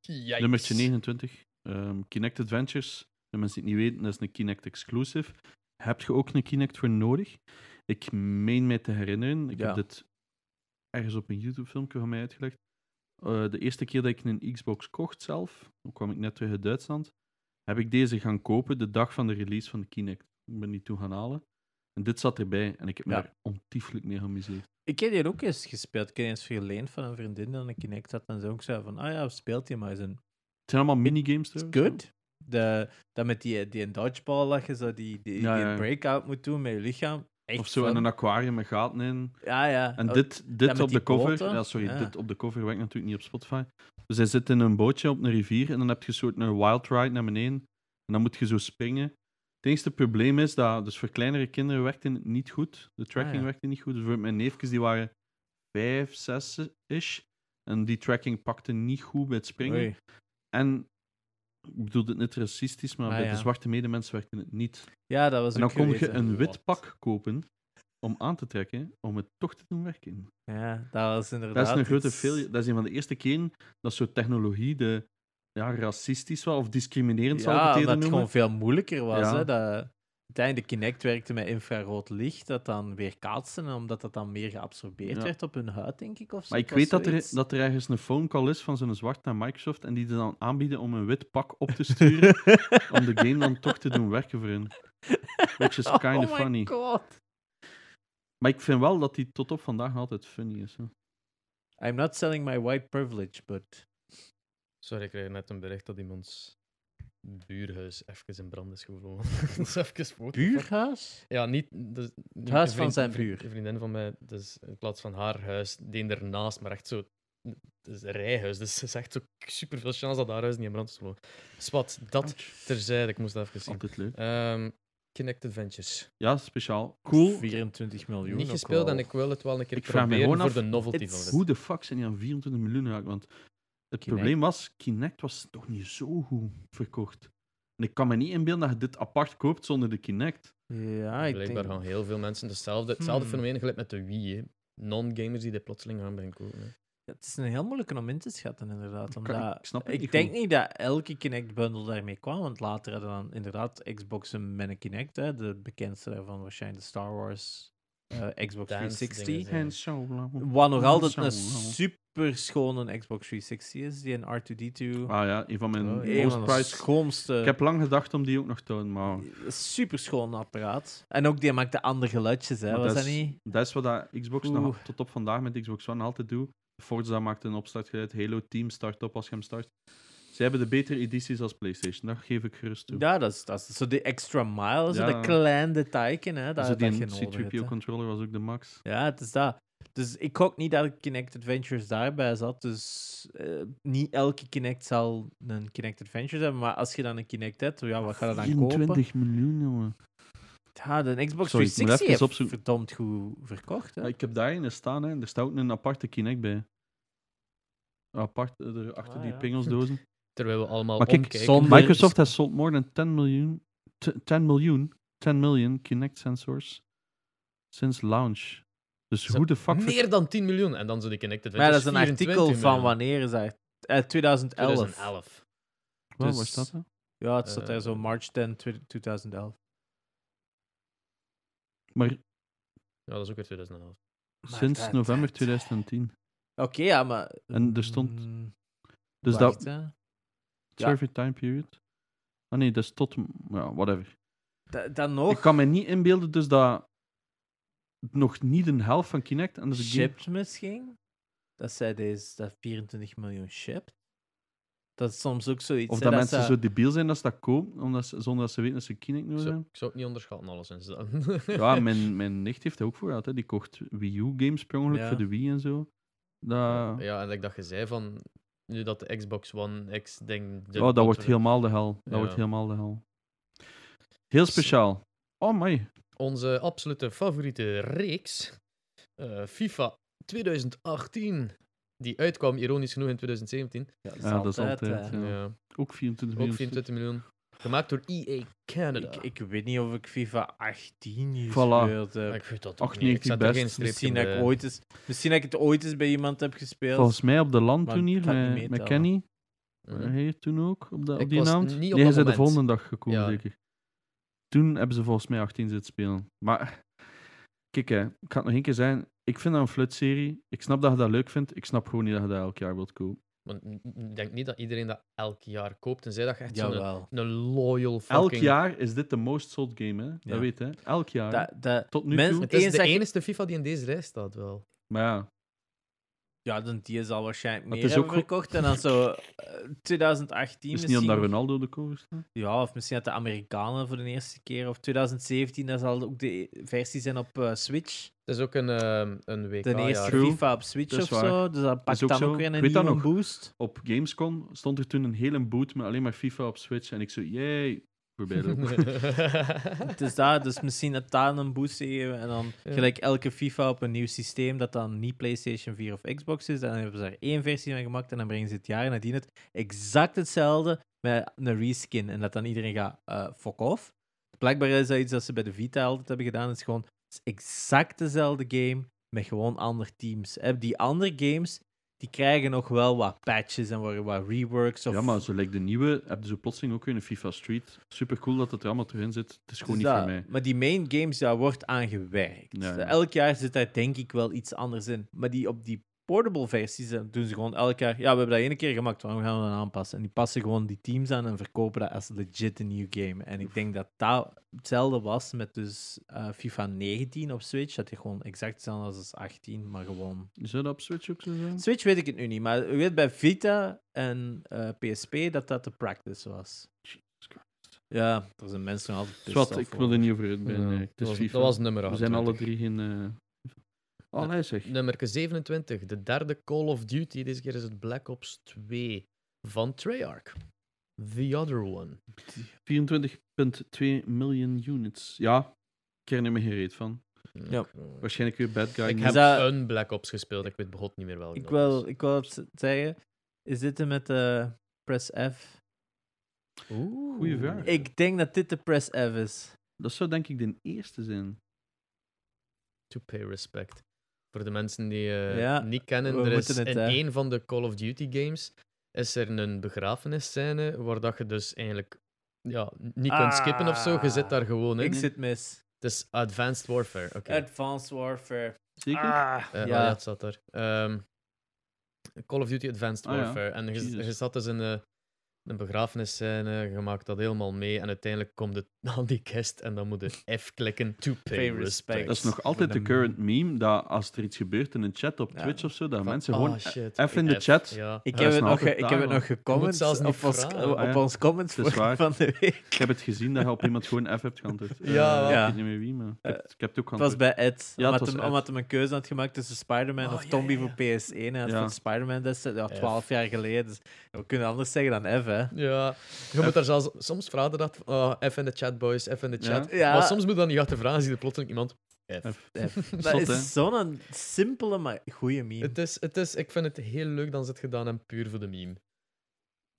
[SPEAKER 1] Yikes.
[SPEAKER 3] Nummertje 29. ehm, Kinect Adventures. De mensen die het niet weten, dat is een Kinect exclusive. Heb je ook een Kinect voor nodig? Ik meen mij te herinneren. Ik
[SPEAKER 2] Ja.
[SPEAKER 3] heb dit ergens op een YouTube-filmpje van mij uitgelegd. Eh, de eerste keer dat ik een Xbox kocht zelf, toen kwam ik net terug uit Duitsland, heb ik deze gaan kopen de dag van de release van de Kinect. Ik ben die toen gaan halen. En dit zat erbij en ik heb me
[SPEAKER 2] Ja.
[SPEAKER 3] er ontiegelijk mee geamuseerd.
[SPEAKER 2] Ik heb die ook eens gespeeld. Ik heb die eens verleend van een vriendin dat een Kinect had. En ze ook zei van, ah ja, speelt die maar eens. En
[SPEAKER 3] Het zijn allemaal minigames
[SPEAKER 2] It's
[SPEAKER 3] trouwens.
[SPEAKER 2] good. De, dat met die, die dodgeball dat je zo die, die,
[SPEAKER 3] Ja,
[SPEAKER 2] die
[SPEAKER 3] ja.
[SPEAKER 2] breakout moet doen met je lichaam. Echt
[SPEAKER 3] Of zo
[SPEAKER 2] fun.
[SPEAKER 3] in een aquarium met gaten in.
[SPEAKER 2] Ja, ja.
[SPEAKER 3] En
[SPEAKER 2] Oh,
[SPEAKER 3] dit, dit
[SPEAKER 2] met
[SPEAKER 3] op
[SPEAKER 2] die
[SPEAKER 3] de cover.
[SPEAKER 2] boten.
[SPEAKER 3] Ja, sorry,
[SPEAKER 2] Ja.
[SPEAKER 3] dit op de cover werkt natuurlijk niet op Spotify. Dus hij zit in een bootje op een rivier en dan heb je een soort een wild ride naar beneden. En dan moet je zo springen. Het enige probleem is dat, dus voor kleinere kinderen werkte het niet goed. De tracking
[SPEAKER 2] Ah, ja.
[SPEAKER 3] werkte niet goed. Dus voor mijn neefjes, die waren vijf, zes ish. En die tracking pakte niet goed bij het springen.
[SPEAKER 2] oei.
[SPEAKER 3] En ik bedoel dit niet racistisch, maar
[SPEAKER 2] Ah,
[SPEAKER 3] bij
[SPEAKER 2] ja.
[SPEAKER 3] de zwarte medemens werkte het niet.
[SPEAKER 2] Ja, dat was
[SPEAKER 3] en dan
[SPEAKER 2] ook
[SPEAKER 3] kon je
[SPEAKER 2] gelezen.
[SPEAKER 3] een wit
[SPEAKER 2] Wat?
[SPEAKER 3] pak kopen om aan te trekken, om het toch te doen werken.
[SPEAKER 2] Ja, dat was inderdaad
[SPEAKER 3] Dat is een grote
[SPEAKER 2] iets-
[SPEAKER 3] failure. Dat is een van de eerste keren dat soort technologie de ja, racistisch wel, of discriminerend zal ik
[SPEAKER 2] Ja,
[SPEAKER 3] het
[SPEAKER 2] dat
[SPEAKER 3] eerder
[SPEAKER 2] het
[SPEAKER 3] noemen.
[SPEAKER 2] gewoon veel moeilijker was.
[SPEAKER 3] Ja.
[SPEAKER 2] Hè, dat, uiteindelijk Kinect werkte met infrarood licht, dat dan weer kaatste, en omdat dat dan meer geabsorbeerd
[SPEAKER 3] Ja.
[SPEAKER 2] werd op hun huid, denk ik. Of zo.
[SPEAKER 3] Maar ik
[SPEAKER 2] Het was
[SPEAKER 3] weet dat er,
[SPEAKER 2] zoiets.
[SPEAKER 3] dat er ergens een phone call is van zo'n zwart naar Microsoft en die ze dan aanbieden om een wit pak op te sturen om de game dan toch te doen werken voor hun. Which is kind
[SPEAKER 2] oh
[SPEAKER 3] of
[SPEAKER 2] my
[SPEAKER 3] funny.
[SPEAKER 2] God.
[SPEAKER 3] Maar ik vind wel dat die tot op vandaag nog altijd funny is. Hè.
[SPEAKER 2] I'm not selling my white privilege, but...
[SPEAKER 1] Sorry, ik kreeg net een bericht dat iemands buurhuis even in brand is gevlogen. dat is even voor.
[SPEAKER 2] Buurhuis?
[SPEAKER 1] Ja, niet... dus- een
[SPEAKER 2] huis van
[SPEAKER 1] vriend-
[SPEAKER 2] zijn
[SPEAKER 1] een vriend-
[SPEAKER 2] buur.
[SPEAKER 1] Een vriendin van mij, dus in plaats van haar huis, die ernaast, maar echt zo... Het is een rijhuis, dus ze is echt zo super veel kans dat haar huis niet in brand is gevlogen. Spat, dat terzijde, ik moest dat even zien.
[SPEAKER 3] Altijd leuk.
[SPEAKER 1] Ehm Kinect Adventures.
[SPEAKER 3] Ja, speciaal. Cool.
[SPEAKER 2] 24 miljoen.
[SPEAKER 1] Niet
[SPEAKER 2] ook
[SPEAKER 1] gespeeld
[SPEAKER 2] wel.
[SPEAKER 1] en ik wil het wel een keer
[SPEAKER 3] Ik vraag me
[SPEAKER 1] proberen
[SPEAKER 3] gewoon
[SPEAKER 1] voor de
[SPEAKER 3] af,
[SPEAKER 1] novelty
[SPEAKER 2] it's-
[SPEAKER 1] van het.
[SPEAKER 3] Hoe de fuck zijn die aan 24 miljoen geraakt? Want het
[SPEAKER 2] Kinect.
[SPEAKER 3] probleem was, Kinect was toch niet zo goed verkocht. En ik kan me niet inbeelden dat je dit apart koopt zonder de Kinect.
[SPEAKER 2] Ja, ik
[SPEAKER 1] Blijkbaar
[SPEAKER 2] denk...
[SPEAKER 1] gaan Ah, heel veel mensen hetzelfde, hetzelfde
[SPEAKER 2] Hmm.
[SPEAKER 1] fenomeen gelijk met de Wii. hè. Non-gamers die dit plotseling gaan beginnen kopen. hè.
[SPEAKER 2] Ja, het is een heel moeilijke om in te schatten, inderdaad.
[SPEAKER 3] kan-
[SPEAKER 2] Omdat...
[SPEAKER 3] ik snap het
[SPEAKER 2] ik
[SPEAKER 3] niet
[SPEAKER 2] denk
[SPEAKER 3] goed.
[SPEAKER 2] niet dat elke Kinect-bundle daarmee kwam, want later hadden dan inderdaad Xboxen met een Kinect, hè, de bekendste daarvan waarschijnlijk de Star Wars eh, Xbox
[SPEAKER 1] Dance
[SPEAKER 2] 360.
[SPEAKER 1] dingen
[SPEAKER 3] En zo lang.
[SPEAKER 2] Wat nog altijd
[SPEAKER 3] Zo
[SPEAKER 2] een
[SPEAKER 3] lang.
[SPEAKER 2] super schone Xbox 360 is, die een R2D2.
[SPEAKER 3] Ah ja, een van mijn
[SPEAKER 1] Oh,
[SPEAKER 2] een
[SPEAKER 3] most
[SPEAKER 2] van de
[SPEAKER 3] prized...
[SPEAKER 2] schoonste.
[SPEAKER 3] Ik heb lang gedacht om die ook nog te doen, maar...
[SPEAKER 2] Super schoon apparaat. En ook die maakte andere geluidjes, hè,
[SPEAKER 3] maar
[SPEAKER 2] was dat
[SPEAKER 3] is-
[SPEAKER 2] niet?
[SPEAKER 3] Dat is wat dat Xbox nog
[SPEAKER 2] Oeh.
[SPEAKER 3] tot op vandaag met Xbox One altijd doet. Forza maakt een opstartgeluid, Halo Team start op als je hem start. Ze hebben de betere edities als PlayStation, daar geef ik gerust toe.
[SPEAKER 2] Ja, dat is, dat is zo die extra mile, zo
[SPEAKER 3] Ja.
[SPEAKER 2] dat klein detailje, hè, dat,
[SPEAKER 3] Zo
[SPEAKER 2] dat je
[SPEAKER 3] die
[SPEAKER 2] nodig hebt, hè.
[SPEAKER 3] C3PO-controller was ook de max.
[SPEAKER 2] Ja, het is dat. Dus ik gok niet dat Kinect Adventures daarbij zat. Dus eh, niet elke Kinect zal een Kinect Adventures hebben. Maar als je dan een Kinect hebt, ja, wat ga je dan kopen?
[SPEAKER 3] 24 miljoen, jongen.
[SPEAKER 2] Ja, de Xbox
[SPEAKER 3] Sorry, ik moet
[SPEAKER 2] 360
[SPEAKER 3] even
[SPEAKER 2] heeft
[SPEAKER 3] opzoeken.
[SPEAKER 2] verdomd goed verkocht. Hè?
[SPEAKER 3] Ja, ik heb daarin staan, hè. er staat ook een aparte Kinect bij. Apart, eh, er achter
[SPEAKER 2] Ah,
[SPEAKER 3] die
[SPEAKER 2] ja.
[SPEAKER 3] pingelsdozen.
[SPEAKER 1] Terwijl we allemaal
[SPEAKER 3] Maar kijk,
[SPEAKER 1] omkijken.
[SPEAKER 2] zonder- Maar-
[SPEAKER 3] Microsoft has sold more than 10 miljoen, t- 10 miljoen, 10 million Kinect sensors since launch. Dus
[SPEAKER 1] Zo,
[SPEAKER 3] hoe de fuck...
[SPEAKER 1] Meer dan 10 miljoen. En dan zo die Kinect
[SPEAKER 2] maar dat
[SPEAKER 1] Adventures.
[SPEAKER 2] is een artikel
[SPEAKER 1] 24
[SPEAKER 2] van
[SPEAKER 1] miljoen.
[SPEAKER 2] wanneer is dat? Eh, 2011.
[SPEAKER 1] 2011.
[SPEAKER 3] Wow,
[SPEAKER 2] dus-
[SPEAKER 3] waar staat dat?
[SPEAKER 2] Ja, het staat
[SPEAKER 1] Eh,
[SPEAKER 2] daar zo, March 10, 2011.
[SPEAKER 3] Maar
[SPEAKER 1] Ja, dat is ook weer 2011.
[SPEAKER 2] Maar
[SPEAKER 3] sinds
[SPEAKER 2] dat-
[SPEAKER 3] november
[SPEAKER 2] dat-
[SPEAKER 3] 2010.
[SPEAKER 2] Oké, ja, maar...
[SPEAKER 3] En er stond-
[SPEAKER 2] Mm,
[SPEAKER 3] Dus
[SPEAKER 2] wacht,
[SPEAKER 3] dat
[SPEAKER 2] hè. ja.
[SPEAKER 3] survey time period... Ah nee, dat is tot... Ja, whatever.
[SPEAKER 2] Da- dan nog...
[SPEAKER 3] Ik kan me niet inbeelden dus dat... Nog niet een helft van Kinect en dat is
[SPEAKER 2] Chipped misschien? dat zij deze, dat 24 miljoen shipt. Dat is soms ook zoiets.
[SPEAKER 3] Of
[SPEAKER 2] hè,
[SPEAKER 3] dat mensen
[SPEAKER 2] ze-
[SPEAKER 3] zo debiel zijn dat ze dat kopen, omdat ze, zonder dat ze weten dat ze kinect
[SPEAKER 1] Ik zou,
[SPEAKER 3] zijn.
[SPEAKER 1] ik zou het niet onderschatten, alleszins. Dan.
[SPEAKER 3] Ja, mijn, mijn nicht heeft dat ook voor gehad. hè. Die kocht Wii U-games per ongeluk
[SPEAKER 2] Ja.
[SPEAKER 3] voor de Wii en zo. Dat,
[SPEAKER 1] Ja, en like dat je zei van. Nu dat de Xbox One X ding. de-
[SPEAKER 3] oh, dat wordt
[SPEAKER 1] we-
[SPEAKER 3] helemaal de hel. Dat
[SPEAKER 1] Ja.
[SPEAKER 3] wordt helemaal de hel. Heel speciaal. Oh, my.
[SPEAKER 1] Onze absolute favoriete reeks. eh, FIFA 2018. Die uitkwam ironisch genoeg in 2017.
[SPEAKER 2] Ja, dat is
[SPEAKER 3] Ja, dat is
[SPEAKER 2] altijd,
[SPEAKER 3] altijd.
[SPEAKER 2] hè.
[SPEAKER 3] ja.
[SPEAKER 1] Ja.
[SPEAKER 3] Ook 24
[SPEAKER 1] Ook
[SPEAKER 3] miljoen.
[SPEAKER 1] 24 miljoen. Gemaakt door E EA Canada.
[SPEAKER 2] Ik, ik weet niet of ik FIFA 18 hier
[SPEAKER 3] Voilà.
[SPEAKER 2] speelde.
[SPEAKER 1] Maar ik weet dat ook
[SPEAKER 3] 98
[SPEAKER 1] niet. Ik zet er
[SPEAKER 3] best.
[SPEAKER 1] geen streep
[SPEAKER 2] Misschien
[SPEAKER 1] in
[SPEAKER 2] dat, ik
[SPEAKER 1] de-
[SPEAKER 2] ooit eens, misschien dat ik het ooit eens bij iemand heb gespeeld.
[SPEAKER 3] Volgens mij op de
[SPEAKER 2] Maar
[SPEAKER 3] landtoernooi
[SPEAKER 2] ik ga het niet
[SPEAKER 3] met, met
[SPEAKER 2] meetellen.
[SPEAKER 3] Kenny.
[SPEAKER 1] Mhm.
[SPEAKER 3] Hij Eh, toen ook, op, de,
[SPEAKER 1] Ik
[SPEAKER 3] op die
[SPEAKER 1] was
[SPEAKER 3] naam.
[SPEAKER 1] niet op
[SPEAKER 3] Nee,
[SPEAKER 1] dat
[SPEAKER 3] hij is de
[SPEAKER 1] moment.
[SPEAKER 3] volgende dag gekomen,
[SPEAKER 1] Ja.
[SPEAKER 3] zeker. Toen hebben ze volgens mij 18 zitten spelen. Maar, kijk, hè, ik ga het nog één keer zijn. Ik vind dat een flutserie. Ik snap dat je dat leuk vindt. Ik snap gewoon niet dat je dat elk jaar wilt kopen.
[SPEAKER 1] Want n- n- ik denk niet dat iedereen dat elk jaar koopt. Tenzij dat je echt zo'n
[SPEAKER 2] Jawel.
[SPEAKER 1] een loyal fucking...
[SPEAKER 3] Elk jaar is dit de most sold game, hè?
[SPEAKER 2] Ja.
[SPEAKER 3] Dat weet hè? Elk jaar.
[SPEAKER 2] Dat, dat,
[SPEAKER 3] Tot nu
[SPEAKER 2] Mens-
[SPEAKER 3] toe.
[SPEAKER 1] Het is
[SPEAKER 2] Eens
[SPEAKER 1] de
[SPEAKER 2] dat je-
[SPEAKER 1] enige FIFA die in deze rij staat, wel.
[SPEAKER 3] Maar ja,
[SPEAKER 2] ja, dan die zal waarschijnlijk
[SPEAKER 3] Maar
[SPEAKER 2] meer
[SPEAKER 3] het is
[SPEAKER 2] hebben
[SPEAKER 3] ook
[SPEAKER 2] verkocht. En dan zo eh, 2018
[SPEAKER 3] is het niet
[SPEAKER 2] misschien.
[SPEAKER 3] omdat Ronaldo de cover staat?
[SPEAKER 2] Ja, of misschien dat de Amerikanen voor de eerste keer. Of 2017, dat zal ook de versie zijn op eh, Switch.
[SPEAKER 1] Het is ook een, ehm, een WK
[SPEAKER 2] De eerste
[SPEAKER 1] jaar.
[SPEAKER 3] True.
[SPEAKER 2] FIFA op Switch
[SPEAKER 3] Dat
[SPEAKER 2] of
[SPEAKER 3] is waar.
[SPEAKER 2] zo. Dus dat pakt
[SPEAKER 3] ook
[SPEAKER 2] dan
[SPEAKER 3] zo.
[SPEAKER 2] ook weer
[SPEAKER 3] Ik
[SPEAKER 2] een
[SPEAKER 3] weet dat
[SPEAKER 2] nieuwe
[SPEAKER 3] nog.
[SPEAKER 2] boost.
[SPEAKER 3] Op Gamescom stond er toen een hele boot met alleen maar FIFA op Switch. En ik zo, yay, voorbij lopen.
[SPEAKER 2] Dus, daar, dus misschien dat daar een boost geven. En dan
[SPEAKER 1] Ja.
[SPEAKER 2] gelijk elke FIFA op een nieuw systeem dat dan niet PlayStation 4 of Xbox is. Dan hebben ze er één versie van gemaakt en dan brengen ze het jaar nadien het exact hetzelfde met een reskin. En dat dan iedereen gaat eh fuck off. Blijkbaar is dat iets dat ze bij de Vita altijd hebben gedaan. Het is gewoon het is exact dezelfde game met gewoon andere teams. Hè, Die andere games die krijgen nog wel wat patches en worden wat reworks. Of
[SPEAKER 3] Ja, maar zo like de nieuwe heb je zo plotseling ook weer een FIFA Street. Super cool dat het er allemaal terug in zit. Het is gewoon
[SPEAKER 2] Dus
[SPEAKER 3] niet
[SPEAKER 2] dat-
[SPEAKER 3] voor mij.
[SPEAKER 2] Maar die main games, daar wordt aan gewerkt.
[SPEAKER 3] Ja, ja.
[SPEAKER 2] Elk jaar zit daar denk ik wel iets anders in. Maar die op die portable versies eh, doen ze gewoon elk jaar. Ja, we hebben dat ene keer gemaakt, waarom gaan we dat aanpassen? En die passen gewoon die teams aan en verkopen dat als legit een nieuw game. En ik denk dat dat hetzelfde was met dus eh, FIFA 19 op Switch. Dat is gewoon exact hetzelfde als als 18, maar gewoon.
[SPEAKER 3] Is dat op Switch ook zo? zijn?
[SPEAKER 2] Switch weet ik het nu niet, maar u weet bij Vita en eh, PSP dat dat de practice was. Ja, er zijn mensen nog altijd.
[SPEAKER 3] Zwat,
[SPEAKER 2] pissed
[SPEAKER 3] ik
[SPEAKER 2] off
[SPEAKER 3] wil er niet over uit
[SPEAKER 1] Ja,
[SPEAKER 3] ben. nee. Het
[SPEAKER 1] dat,
[SPEAKER 3] is
[SPEAKER 1] was,
[SPEAKER 3] FIFA.
[SPEAKER 1] dat was nummer 8.
[SPEAKER 3] We zijn alle drie geen... eh Oh, nee, zeg.
[SPEAKER 1] Nummer 27, de derde Call of Duty. Deze keer is het Black Ops 2 van Treyarch. The Other One.
[SPEAKER 3] 24,2 miljoen units. Ja, ik heb er niet meer gereed van.
[SPEAKER 2] Ja.
[SPEAKER 1] Ik, eh,
[SPEAKER 3] Waarschijnlijk weer Bad Guy.
[SPEAKER 1] ik
[SPEAKER 3] News.
[SPEAKER 1] heb
[SPEAKER 2] dat-
[SPEAKER 1] een Black Ops gespeeld, ik weet begot niet meer welke.
[SPEAKER 2] Ik
[SPEAKER 1] dat
[SPEAKER 2] wil,
[SPEAKER 1] was.
[SPEAKER 2] ik wil het zeggen. Is dit de met de press F?
[SPEAKER 1] Oeh.
[SPEAKER 3] Goeie vraag.
[SPEAKER 2] Ik denk dat dit de press F is.
[SPEAKER 3] Dat zou denk ik de eerste zijn.
[SPEAKER 1] To pay respect. Voor de mensen die eh,
[SPEAKER 2] Ja,
[SPEAKER 1] niet kennen,
[SPEAKER 2] we
[SPEAKER 1] er is
[SPEAKER 2] moeten het,
[SPEAKER 1] in
[SPEAKER 2] hè.
[SPEAKER 1] één van de Call of Duty games is er een begrafenisscène waar dat je dus eigenlijk ja, niet kunt skippen of zo. Je zit daar gewoon in.
[SPEAKER 2] Ah. Ik zit mis.
[SPEAKER 1] Het is Advanced Warfare. Oké.
[SPEAKER 2] Advanced Warfare.
[SPEAKER 3] Zeker?
[SPEAKER 2] Ah,
[SPEAKER 1] Eh, oh ja,
[SPEAKER 2] ja.
[SPEAKER 1] het zat er. Ehm, Call of Duty Advanced
[SPEAKER 3] Ah, ja.
[SPEAKER 1] Warfare. En je,
[SPEAKER 3] Jezus.
[SPEAKER 1] je zat dus in eh, een begrafenisscène, je maakt dat helemaal mee. En uiteindelijk komt het aan die kist en dan moet je F klikken to pay,
[SPEAKER 2] Pay
[SPEAKER 1] respect.
[SPEAKER 2] respect.
[SPEAKER 3] Dat is nog altijd de current meme, dat als er iets gebeurt in een chat op
[SPEAKER 2] Ja.
[SPEAKER 3] Twitch of zo, dat
[SPEAKER 1] Van-
[SPEAKER 3] mensen
[SPEAKER 1] oh,
[SPEAKER 3] gewoon...
[SPEAKER 1] shit.
[SPEAKER 3] even in de chat.
[SPEAKER 1] Ja.
[SPEAKER 2] Ik
[SPEAKER 3] Ja,
[SPEAKER 2] heb,
[SPEAKER 3] is
[SPEAKER 2] het nog,
[SPEAKER 3] nou
[SPEAKER 2] ge-
[SPEAKER 3] altijd
[SPEAKER 2] ik
[SPEAKER 3] daar,
[SPEAKER 2] heb het
[SPEAKER 3] man.
[SPEAKER 2] nog gecomment
[SPEAKER 1] zelfs niet
[SPEAKER 2] op, ons,
[SPEAKER 1] vragen.
[SPEAKER 2] op
[SPEAKER 3] Ah, ja.
[SPEAKER 2] ons comments
[SPEAKER 3] Het is
[SPEAKER 2] voor-
[SPEAKER 3] waar.
[SPEAKER 2] van de week.
[SPEAKER 3] Ik heb het gezien dat je op iemand gewoon F hebt geantwoord. Eh,
[SPEAKER 1] Ja.
[SPEAKER 2] Ja.
[SPEAKER 3] Ik weet niet meer wie, maar ik heb, ik heb het ook
[SPEAKER 2] Het
[SPEAKER 3] geantwoord.
[SPEAKER 2] was bij Ed.
[SPEAKER 3] Ja,
[SPEAKER 2] omdat,
[SPEAKER 3] het was
[SPEAKER 2] hem,
[SPEAKER 3] Ed.
[SPEAKER 2] omdat hem een keuze had gemaakt tussen Spider-Man
[SPEAKER 1] Oh,
[SPEAKER 2] of
[SPEAKER 1] ja,
[SPEAKER 2] Tommy
[SPEAKER 1] ja, ja.
[SPEAKER 2] voor PS1. En hij
[SPEAKER 3] Ja.
[SPEAKER 2] vond Spider-Man destijds, ja,
[SPEAKER 1] F.
[SPEAKER 2] 12 jaar geleden. Dus we kunnen anders zeggen dan F, hè.
[SPEAKER 1] Ja, je moet daar zelfs... Soms vragen dat, oh, F in de chat, boys, F in de
[SPEAKER 3] Ja.
[SPEAKER 1] chat.
[SPEAKER 2] Ja.
[SPEAKER 1] Maar soms moet je dan niet achter vragen, zie je plotseling iemand... F.
[SPEAKER 2] Dat
[SPEAKER 3] Zot, hè?
[SPEAKER 2] is zo'n simpele, maar goede meme.
[SPEAKER 1] Het is, het is, ik vind het heel leuk dat ze het gedaan hebben, puur voor de meme.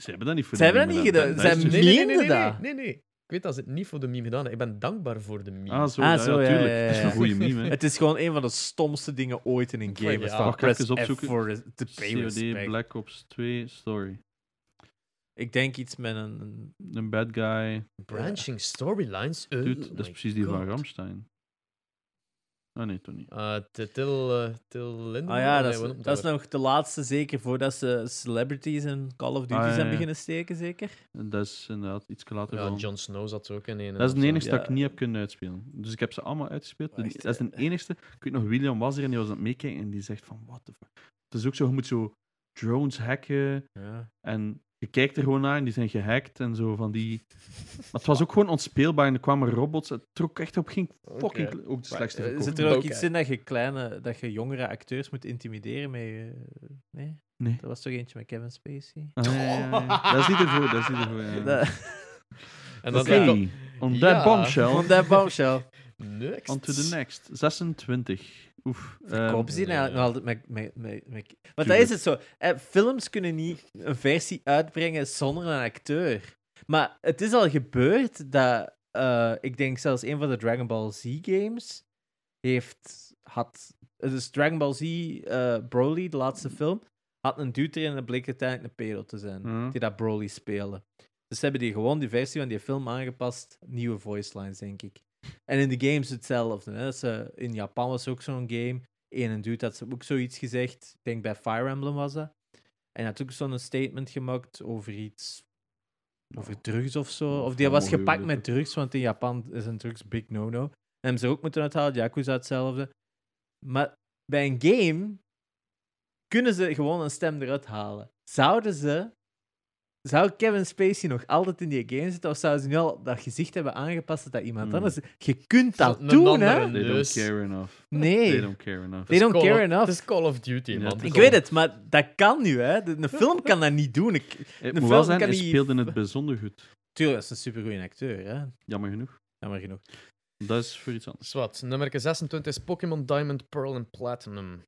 [SPEAKER 3] Ze hebben dat niet voor
[SPEAKER 2] Ze
[SPEAKER 3] de
[SPEAKER 2] hebben dat
[SPEAKER 3] meme
[SPEAKER 2] niet
[SPEAKER 3] gedaan.
[SPEAKER 2] gedaan.
[SPEAKER 3] Dat
[SPEAKER 2] Ze
[SPEAKER 3] is
[SPEAKER 1] nee,
[SPEAKER 3] dus-
[SPEAKER 1] nee, nee, nee,
[SPEAKER 2] meenden
[SPEAKER 1] nee,
[SPEAKER 2] dat.
[SPEAKER 1] nee, nee. Ik weet dat ze het niet voor de meme gedaan hebben. Ik ben dankbaar voor de meme.
[SPEAKER 3] Ah, zo,
[SPEAKER 2] Ah,
[SPEAKER 3] ja,
[SPEAKER 2] zo,
[SPEAKER 3] ja,
[SPEAKER 2] ja,
[SPEAKER 3] tuurlijk.
[SPEAKER 2] ja,
[SPEAKER 3] Het is
[SPEAKER 2] ja.
[SPEAKER 3] een goede meme, hè.
[SPEAKER 2] Het is gewoon een van de stomste dingen ooit in een game.
[SPEAKER 1] Ja,
[SPEAKER 2] is van
[SPEAKER 1] mag
[SPEAKER 3] ik
[SPEAKER 2] press
[SPEAKER 3] even
[SPEAKER 2] F
[SPEAKER 3] opzoeken?
[SPEAKER 2] voor to pay
[SPEAKER 3] COD
[SPEAKER 2] respect.
[SPEAKER 3] Black Ops 2 story.
[SPEAKER 2] Ik denk iets met een...
[SPEAKER 3] Een bad guy.
[SPEAKER 2] Oh
[SPEAKER 1] Branching storylines. Oh
[SPEAKER 3] Dude, dat is
[SPEAKER 1] my
[SPEAKER 3] precies die van
[SPEAKER 1] God.
[SPEAKER 3] Ramstein. Ah nee, toch niet.
[SPEAKER 1] Ah, t- till, eh, till Lindemann?
[SPEAKER 2] Ah ja,
[SPEAKER 1] Nee,
[SPEAKER 2] dat is,
[SPEAKER 1] wat noemt
[SPEAKER 2] dat is
[SPEAKER 1] weer?
[SPEAKER 2] nog de laatste zeker voordat ze celebrities en Call of Duty
[SPEAKER 3] Ah, ja,
[SPEAKER 2] zijn
[SPEAKER 3] ja.
[SPEAKER 2] beginnen steken, zeker?
[SPEAKER 3] Dat is inderdaad iets later
[SPEAKER 1] Ja,
[SPEAKER 3] van.
[SPEAKER 1] Jon Snow zat er ook in. een,
[SPEAKER 3] Dat is
[SPEAKER 1] of
[SPEAKER 3] de
[SPEAKER 1] zo.
[SPEAKER 3] enigste dat ik
[SPEAKER 2] Ja.
[SPEAKER 3] niet heb kunnen uitspelen. Dus ik heb ze allemaal uitgespeeld. De-
[SPEAKER 2] Wacht,
[SPEAKER 3] dat is de enigste. Ik weet nog, William was er en die was aan het meekijken en die zegt van, what the fuck. Het is ook zo, je moet zo drones hacken.
[SPEAKER 2] Ja.
[SPEAKER 3] En je kijkt er gewoon naar en die zijn gehackt en zo van die... Maar het was ook gewoon onspeelbaar en er kwamen robots. Het trok echt op geen fucking...
[SPEAKER 1] Oké.
[SPEAKER 3] kle- Ook de
[SPEAKER 1] Maar,
[SPEAKER 3] slechtste
[SPEAKER 1] eh,
[SPEAKER 3] verkoop.
[SPEAKER 2] Zit er ook
[SPEAKER 4] Oké.
[SPEAKER 2] iets in dat je, kleine, dat je jongere acteurs moet intimideren met je... Nee?
[SPEAKER 3] Nee.
[SPEAKER 2] Er was toch eentje met Kevin Spacey?
[SPEAKER 3] Ah, ja, ja, ja. Dat is niet ervoor, dat is niet ervoor. Ja.
[SPEAKER 2] Dat-
[SPEAKER 1] En
[SPEAKER 3] Oké,
[SPEAKER 1] dan zei ik al,
[SPEAKER 3] on
[SPEAKER 1] Ja.
[SPEAKER 3] that bombshell,
[SPEAKER 2] Van dat bombshell.
[SPEAKER 1] next.
[SPEAKER 3] on to the next. 26. Oef. ehm,
[SPEAKER 2] Verkopen ze die
[SPEAKER 1] ja.
[SPEAKER 2] eigenlijk nog altijd met... met, met, met... Want dat
[SPEAKER 3] Tuurlijk.
[SPEAKER 2] is het zo. hè, Films kunnen niet een versie uitbrengen zonder een acteur. Maar het is al gebeurd dat... eh, ik denk zelfs een van de Dragon Ball Z-games heeft... Had, dus Dragon Ball Z eh, Broly, de laatste film, had een dude erin en dat bleek uiteindelijk een pedo te zijn.
[SPEAKER 3] Mhm.
[SPEAKER 2] Die dat Broly spelen. Dus ze hebben die gewoon die versie van die film aangepast. Nieuwe voice lines, denk ik. En in de games hetzelfde. Hè? Dat is, eh, in Japan was ook zo'n game. Eén en dude had ze ook zoiets gezegd. Ik denk bij Fire Emblem was dat. En hij had ook zo'n statement gemaakt over iets. Over drugs of zo. Of die was
[SPEAKER 3] Vermogen
[SPEAKER 2] gepakt met
[SPEAKER 3] huwelijken.
[SPEAKER 2] drugs, want in Japan is een drugs big no-no. En hebben ze ook moeten uithalen. Yakuza hetzelfde. Maar bij een game kunnen ze gewoon een stem eruit halen. Zouden ze. Zou Kevin Spacey nog altijd in die game zitten? Of zouden ze nu al dat gezicht hebben aangepast dat dat iemand
[SPEAKER 3] Hmm.
[SPEAKER 2] anders. Je kunt dat
[SPEAKER 1] Een
[SPEAKER 2] doen,
[SPEAKER 1] andere
[SPEAKER 2] hè?
[SPEAKER 1] neus.
[SPEAKER 3] They don't
[SPEAKER 1] Dus-
[SPEAKER 3] care enough. They
[SPEAKER 2] Nee.
[SPEAKER 3] don't care enough.
[SPEAKER 2] They don't
[SPEAKER 1] Call
[SPEAKER 2] care
[SPEAKER 1] of-
[SPEAKER 2] enough.
[SPEAKER 1] Het is Call of Duty, man.
[SPEAKER 3] Ja,
[SPEAKER 2] Ik weet het, maar dat kan nu, hè? De, een film kan dat niet doen. Ik,
[SPEAKER 3] Het
[SPEAKER 2] de
[SPEAKER 3] moet wel
[SPEAKER 2] film
[SPEAKER 3] zijn,
[SPEAKER 2] kan
[SPEAKER 3] Eh, hij
[SPEAKER 2] die-
[SPEAKER 3] speelde het bijzonder goed.
[SPEAKER 2] tuurlijk, dat is een supergoeie acteur, hè?
[SPEAKER 3] Jammer genoeg.
[SPEAKER 2] Jammer genoeg.
[SPEAKER 3] Dat is voor iets anders.
[SPEAKER 1] Zwat, nummer 26 is Pokémon Diamond, Pearl en Platinum.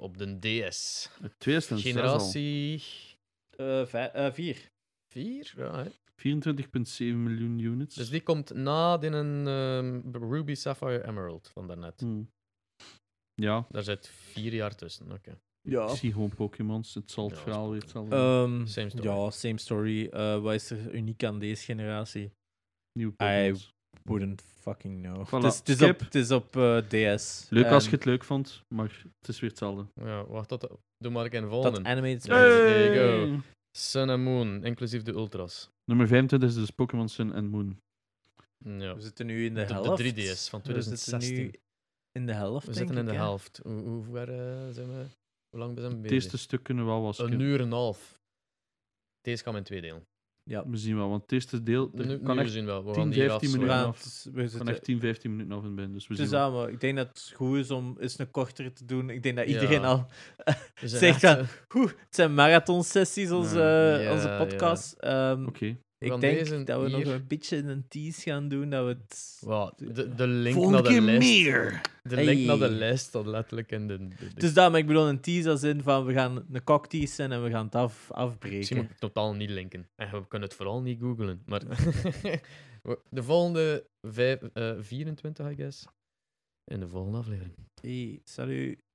[SPEAKER 1] Op de DS.
[SPEAKER 3] Het 2006 al.
[SPEAKER 1] Generatie
[SPEAKER 2] Eh, vij- eh, vier.
[SPEAKER 1] 4? Ja, hè.
[SPEAKER 3] 24,7 miljoen units.
[SPEAKER 1] Dus die komt na in een Ruby Sapphire Emerald van daarnet.
[SPEAKER 3] Hmm. Ja,
[SPEAKER 1] Daar zit vier jaar tussen. Oké.
[SPEAKER 2] Ja.
[SPEAKER 3] ik zie gewoon Pokémon's. Het zal het
[SPEAKER 1] Ja,
[SPEAKER 3] verhaal
[SPEAKER 1] dat
[SPEAKER 3] weer
[SPEAKER 1] is
[SPEAKER 3] hetzelfde zijn.
[SPEAKER 2] Ehm,
[SPEAKER 1] Mhm. Same story.
[SPEAKER 2] Ja, same story. Eh, wat is er uniek aan deze generatie?
[SPEAKER 3] Nieuwe
[SPEAKER 2] Hij-
[SPEAKER 3] Pokémon's.
[SPEAKER 2] Wouldn't fucking know.
[SPEAKER 3] Voilà,
[SPEAKER 2] Het is- Het is
[SPEAKER 3] skip.
[SPEAKER 2] op, het is op eh, DS.
[SPEAKER 3] Leuk als
[SPEAKER 2] En
[SPEAKER 3] je het leuk vond, maar het is weer hetzelfde.
[SPEAKER 1] Ja, wacht, dat, doe maar een
[SPEAKER 2] Dat
[SPEAKER 1] volgende.
[SPEAKER 2] animated
[SPEAKER 1] Ja, there you
[SPEAKER 3] Hey!
[SPEAKER 1] go. Sun en Moon, inclusief de Ultras.
[SPEAKER 3] Nummer 25 is dus Pokémon Sun en Moon.
[SPEAKER 1] Ja.
[SPEAKER 2] We zitten nu in de
[SPEAKER 1] Op de
[SPEAKER 2] helft.
[SPEAKER 1] 3DS van
[SPEAKER 2] We zitten nu
[SPEAKER 1] 2016.
[SPEAKER 2] in de helft.
[SPEAKER 1] We
[SPEAKER 2] denk
[SPEAKER 1] zitten in
[SPEAKER 2] ik,
[SPEAKER 1] de
[SPEAKER 2] hè?
[SPEAKER 1] helft. Hoe, hoe ver eh, zijn we? Hoe lang zijn we
[SPEAKER 3] Het
[SPEAKER 1] bezig?
[SPEAKER 3] eerste stuk kunnen we wel wat
[SPEAKER 1] Een
[SPEAKER 3] skippen.
[SPEAKER 1] uur en een half. Deze kan in twee delen.
[SPEAKER 2] Ja.
[SPEAKER 3] We zien wel, want het eerste deel er
[SPEAKER 1] Nu,
[SPEAKER 3] kan
[SPEAKER 1] nu
[SPEAKER 3] echt,
[SPEAKER 1] zien wel. We
[SPEAKER 3] 10,
[SPEAKER 1] gaan hier
[SPEAKER 3] 15
[SPEAKER 1] afsluiten.
[SPEAKER 2] We
[SPEAKER 3] minuten.
[SPEAKER 2] gaan-
[SPEAKER 3] af.
[SPEAKER 2] we
[SPEAKER 3] kan
[SPEAKER 2] zitten
[SPEAKER 3] echt 10, 15 minuten af en binnen. Dus we zien wel.
[SPEAKER 2] samen. Ik denk dat het goed is om eens een kortere te doen. Ik denk dat
[SPEAKER 1] Ja.
[SPEAKER 2] iedereen al...
[SPEAKER 1] We zijn
[SPEAKER 2] Zeg
[SPEAKER 1] echt,
[SPEAKER 2] dan.
[SPEAKER 1] eh,
[SPEAKER 2] Oeh, het zijn marathonsessies, onze,
[SPEAKER 3] Ja.
[SPEAKER 1] Ja,
[SPEAKER 2] onze
[SPEAKER 1] ja.
[SPEAKER 2] podcast. Ehm,
[SPEAKER 3] Oké.
[SPEAKER 1] We gaan
[SPEAKER 2] ik denk
[SPEAKER 1] deze
[SPEAKER 2] dat we nog
[SPEAKER 1] hier-
[SPEAKER 2] een beetje een tease gaan doen. Dat we het...
[SPEAKER 1] wauw, de, de link naar de lijst. De link naar de
[SPEAKER 2] Hey.
[SPEAKER 1] lijst staat letterlijk in de. de, de-
[SPEAKER 2] Dus daarom, ik bedoel een tease als in van we gaan een kok teasen en we gaan het af, afbreken.
[SPEAKER 1] Misschien moet ik het totaal niet linken. En we kunnen het vooral niet googlen. Maar We- de volgende vijf- eh, 24, I guess. In de volgende aflevering.
[SPEAKER 2] Hey, salut.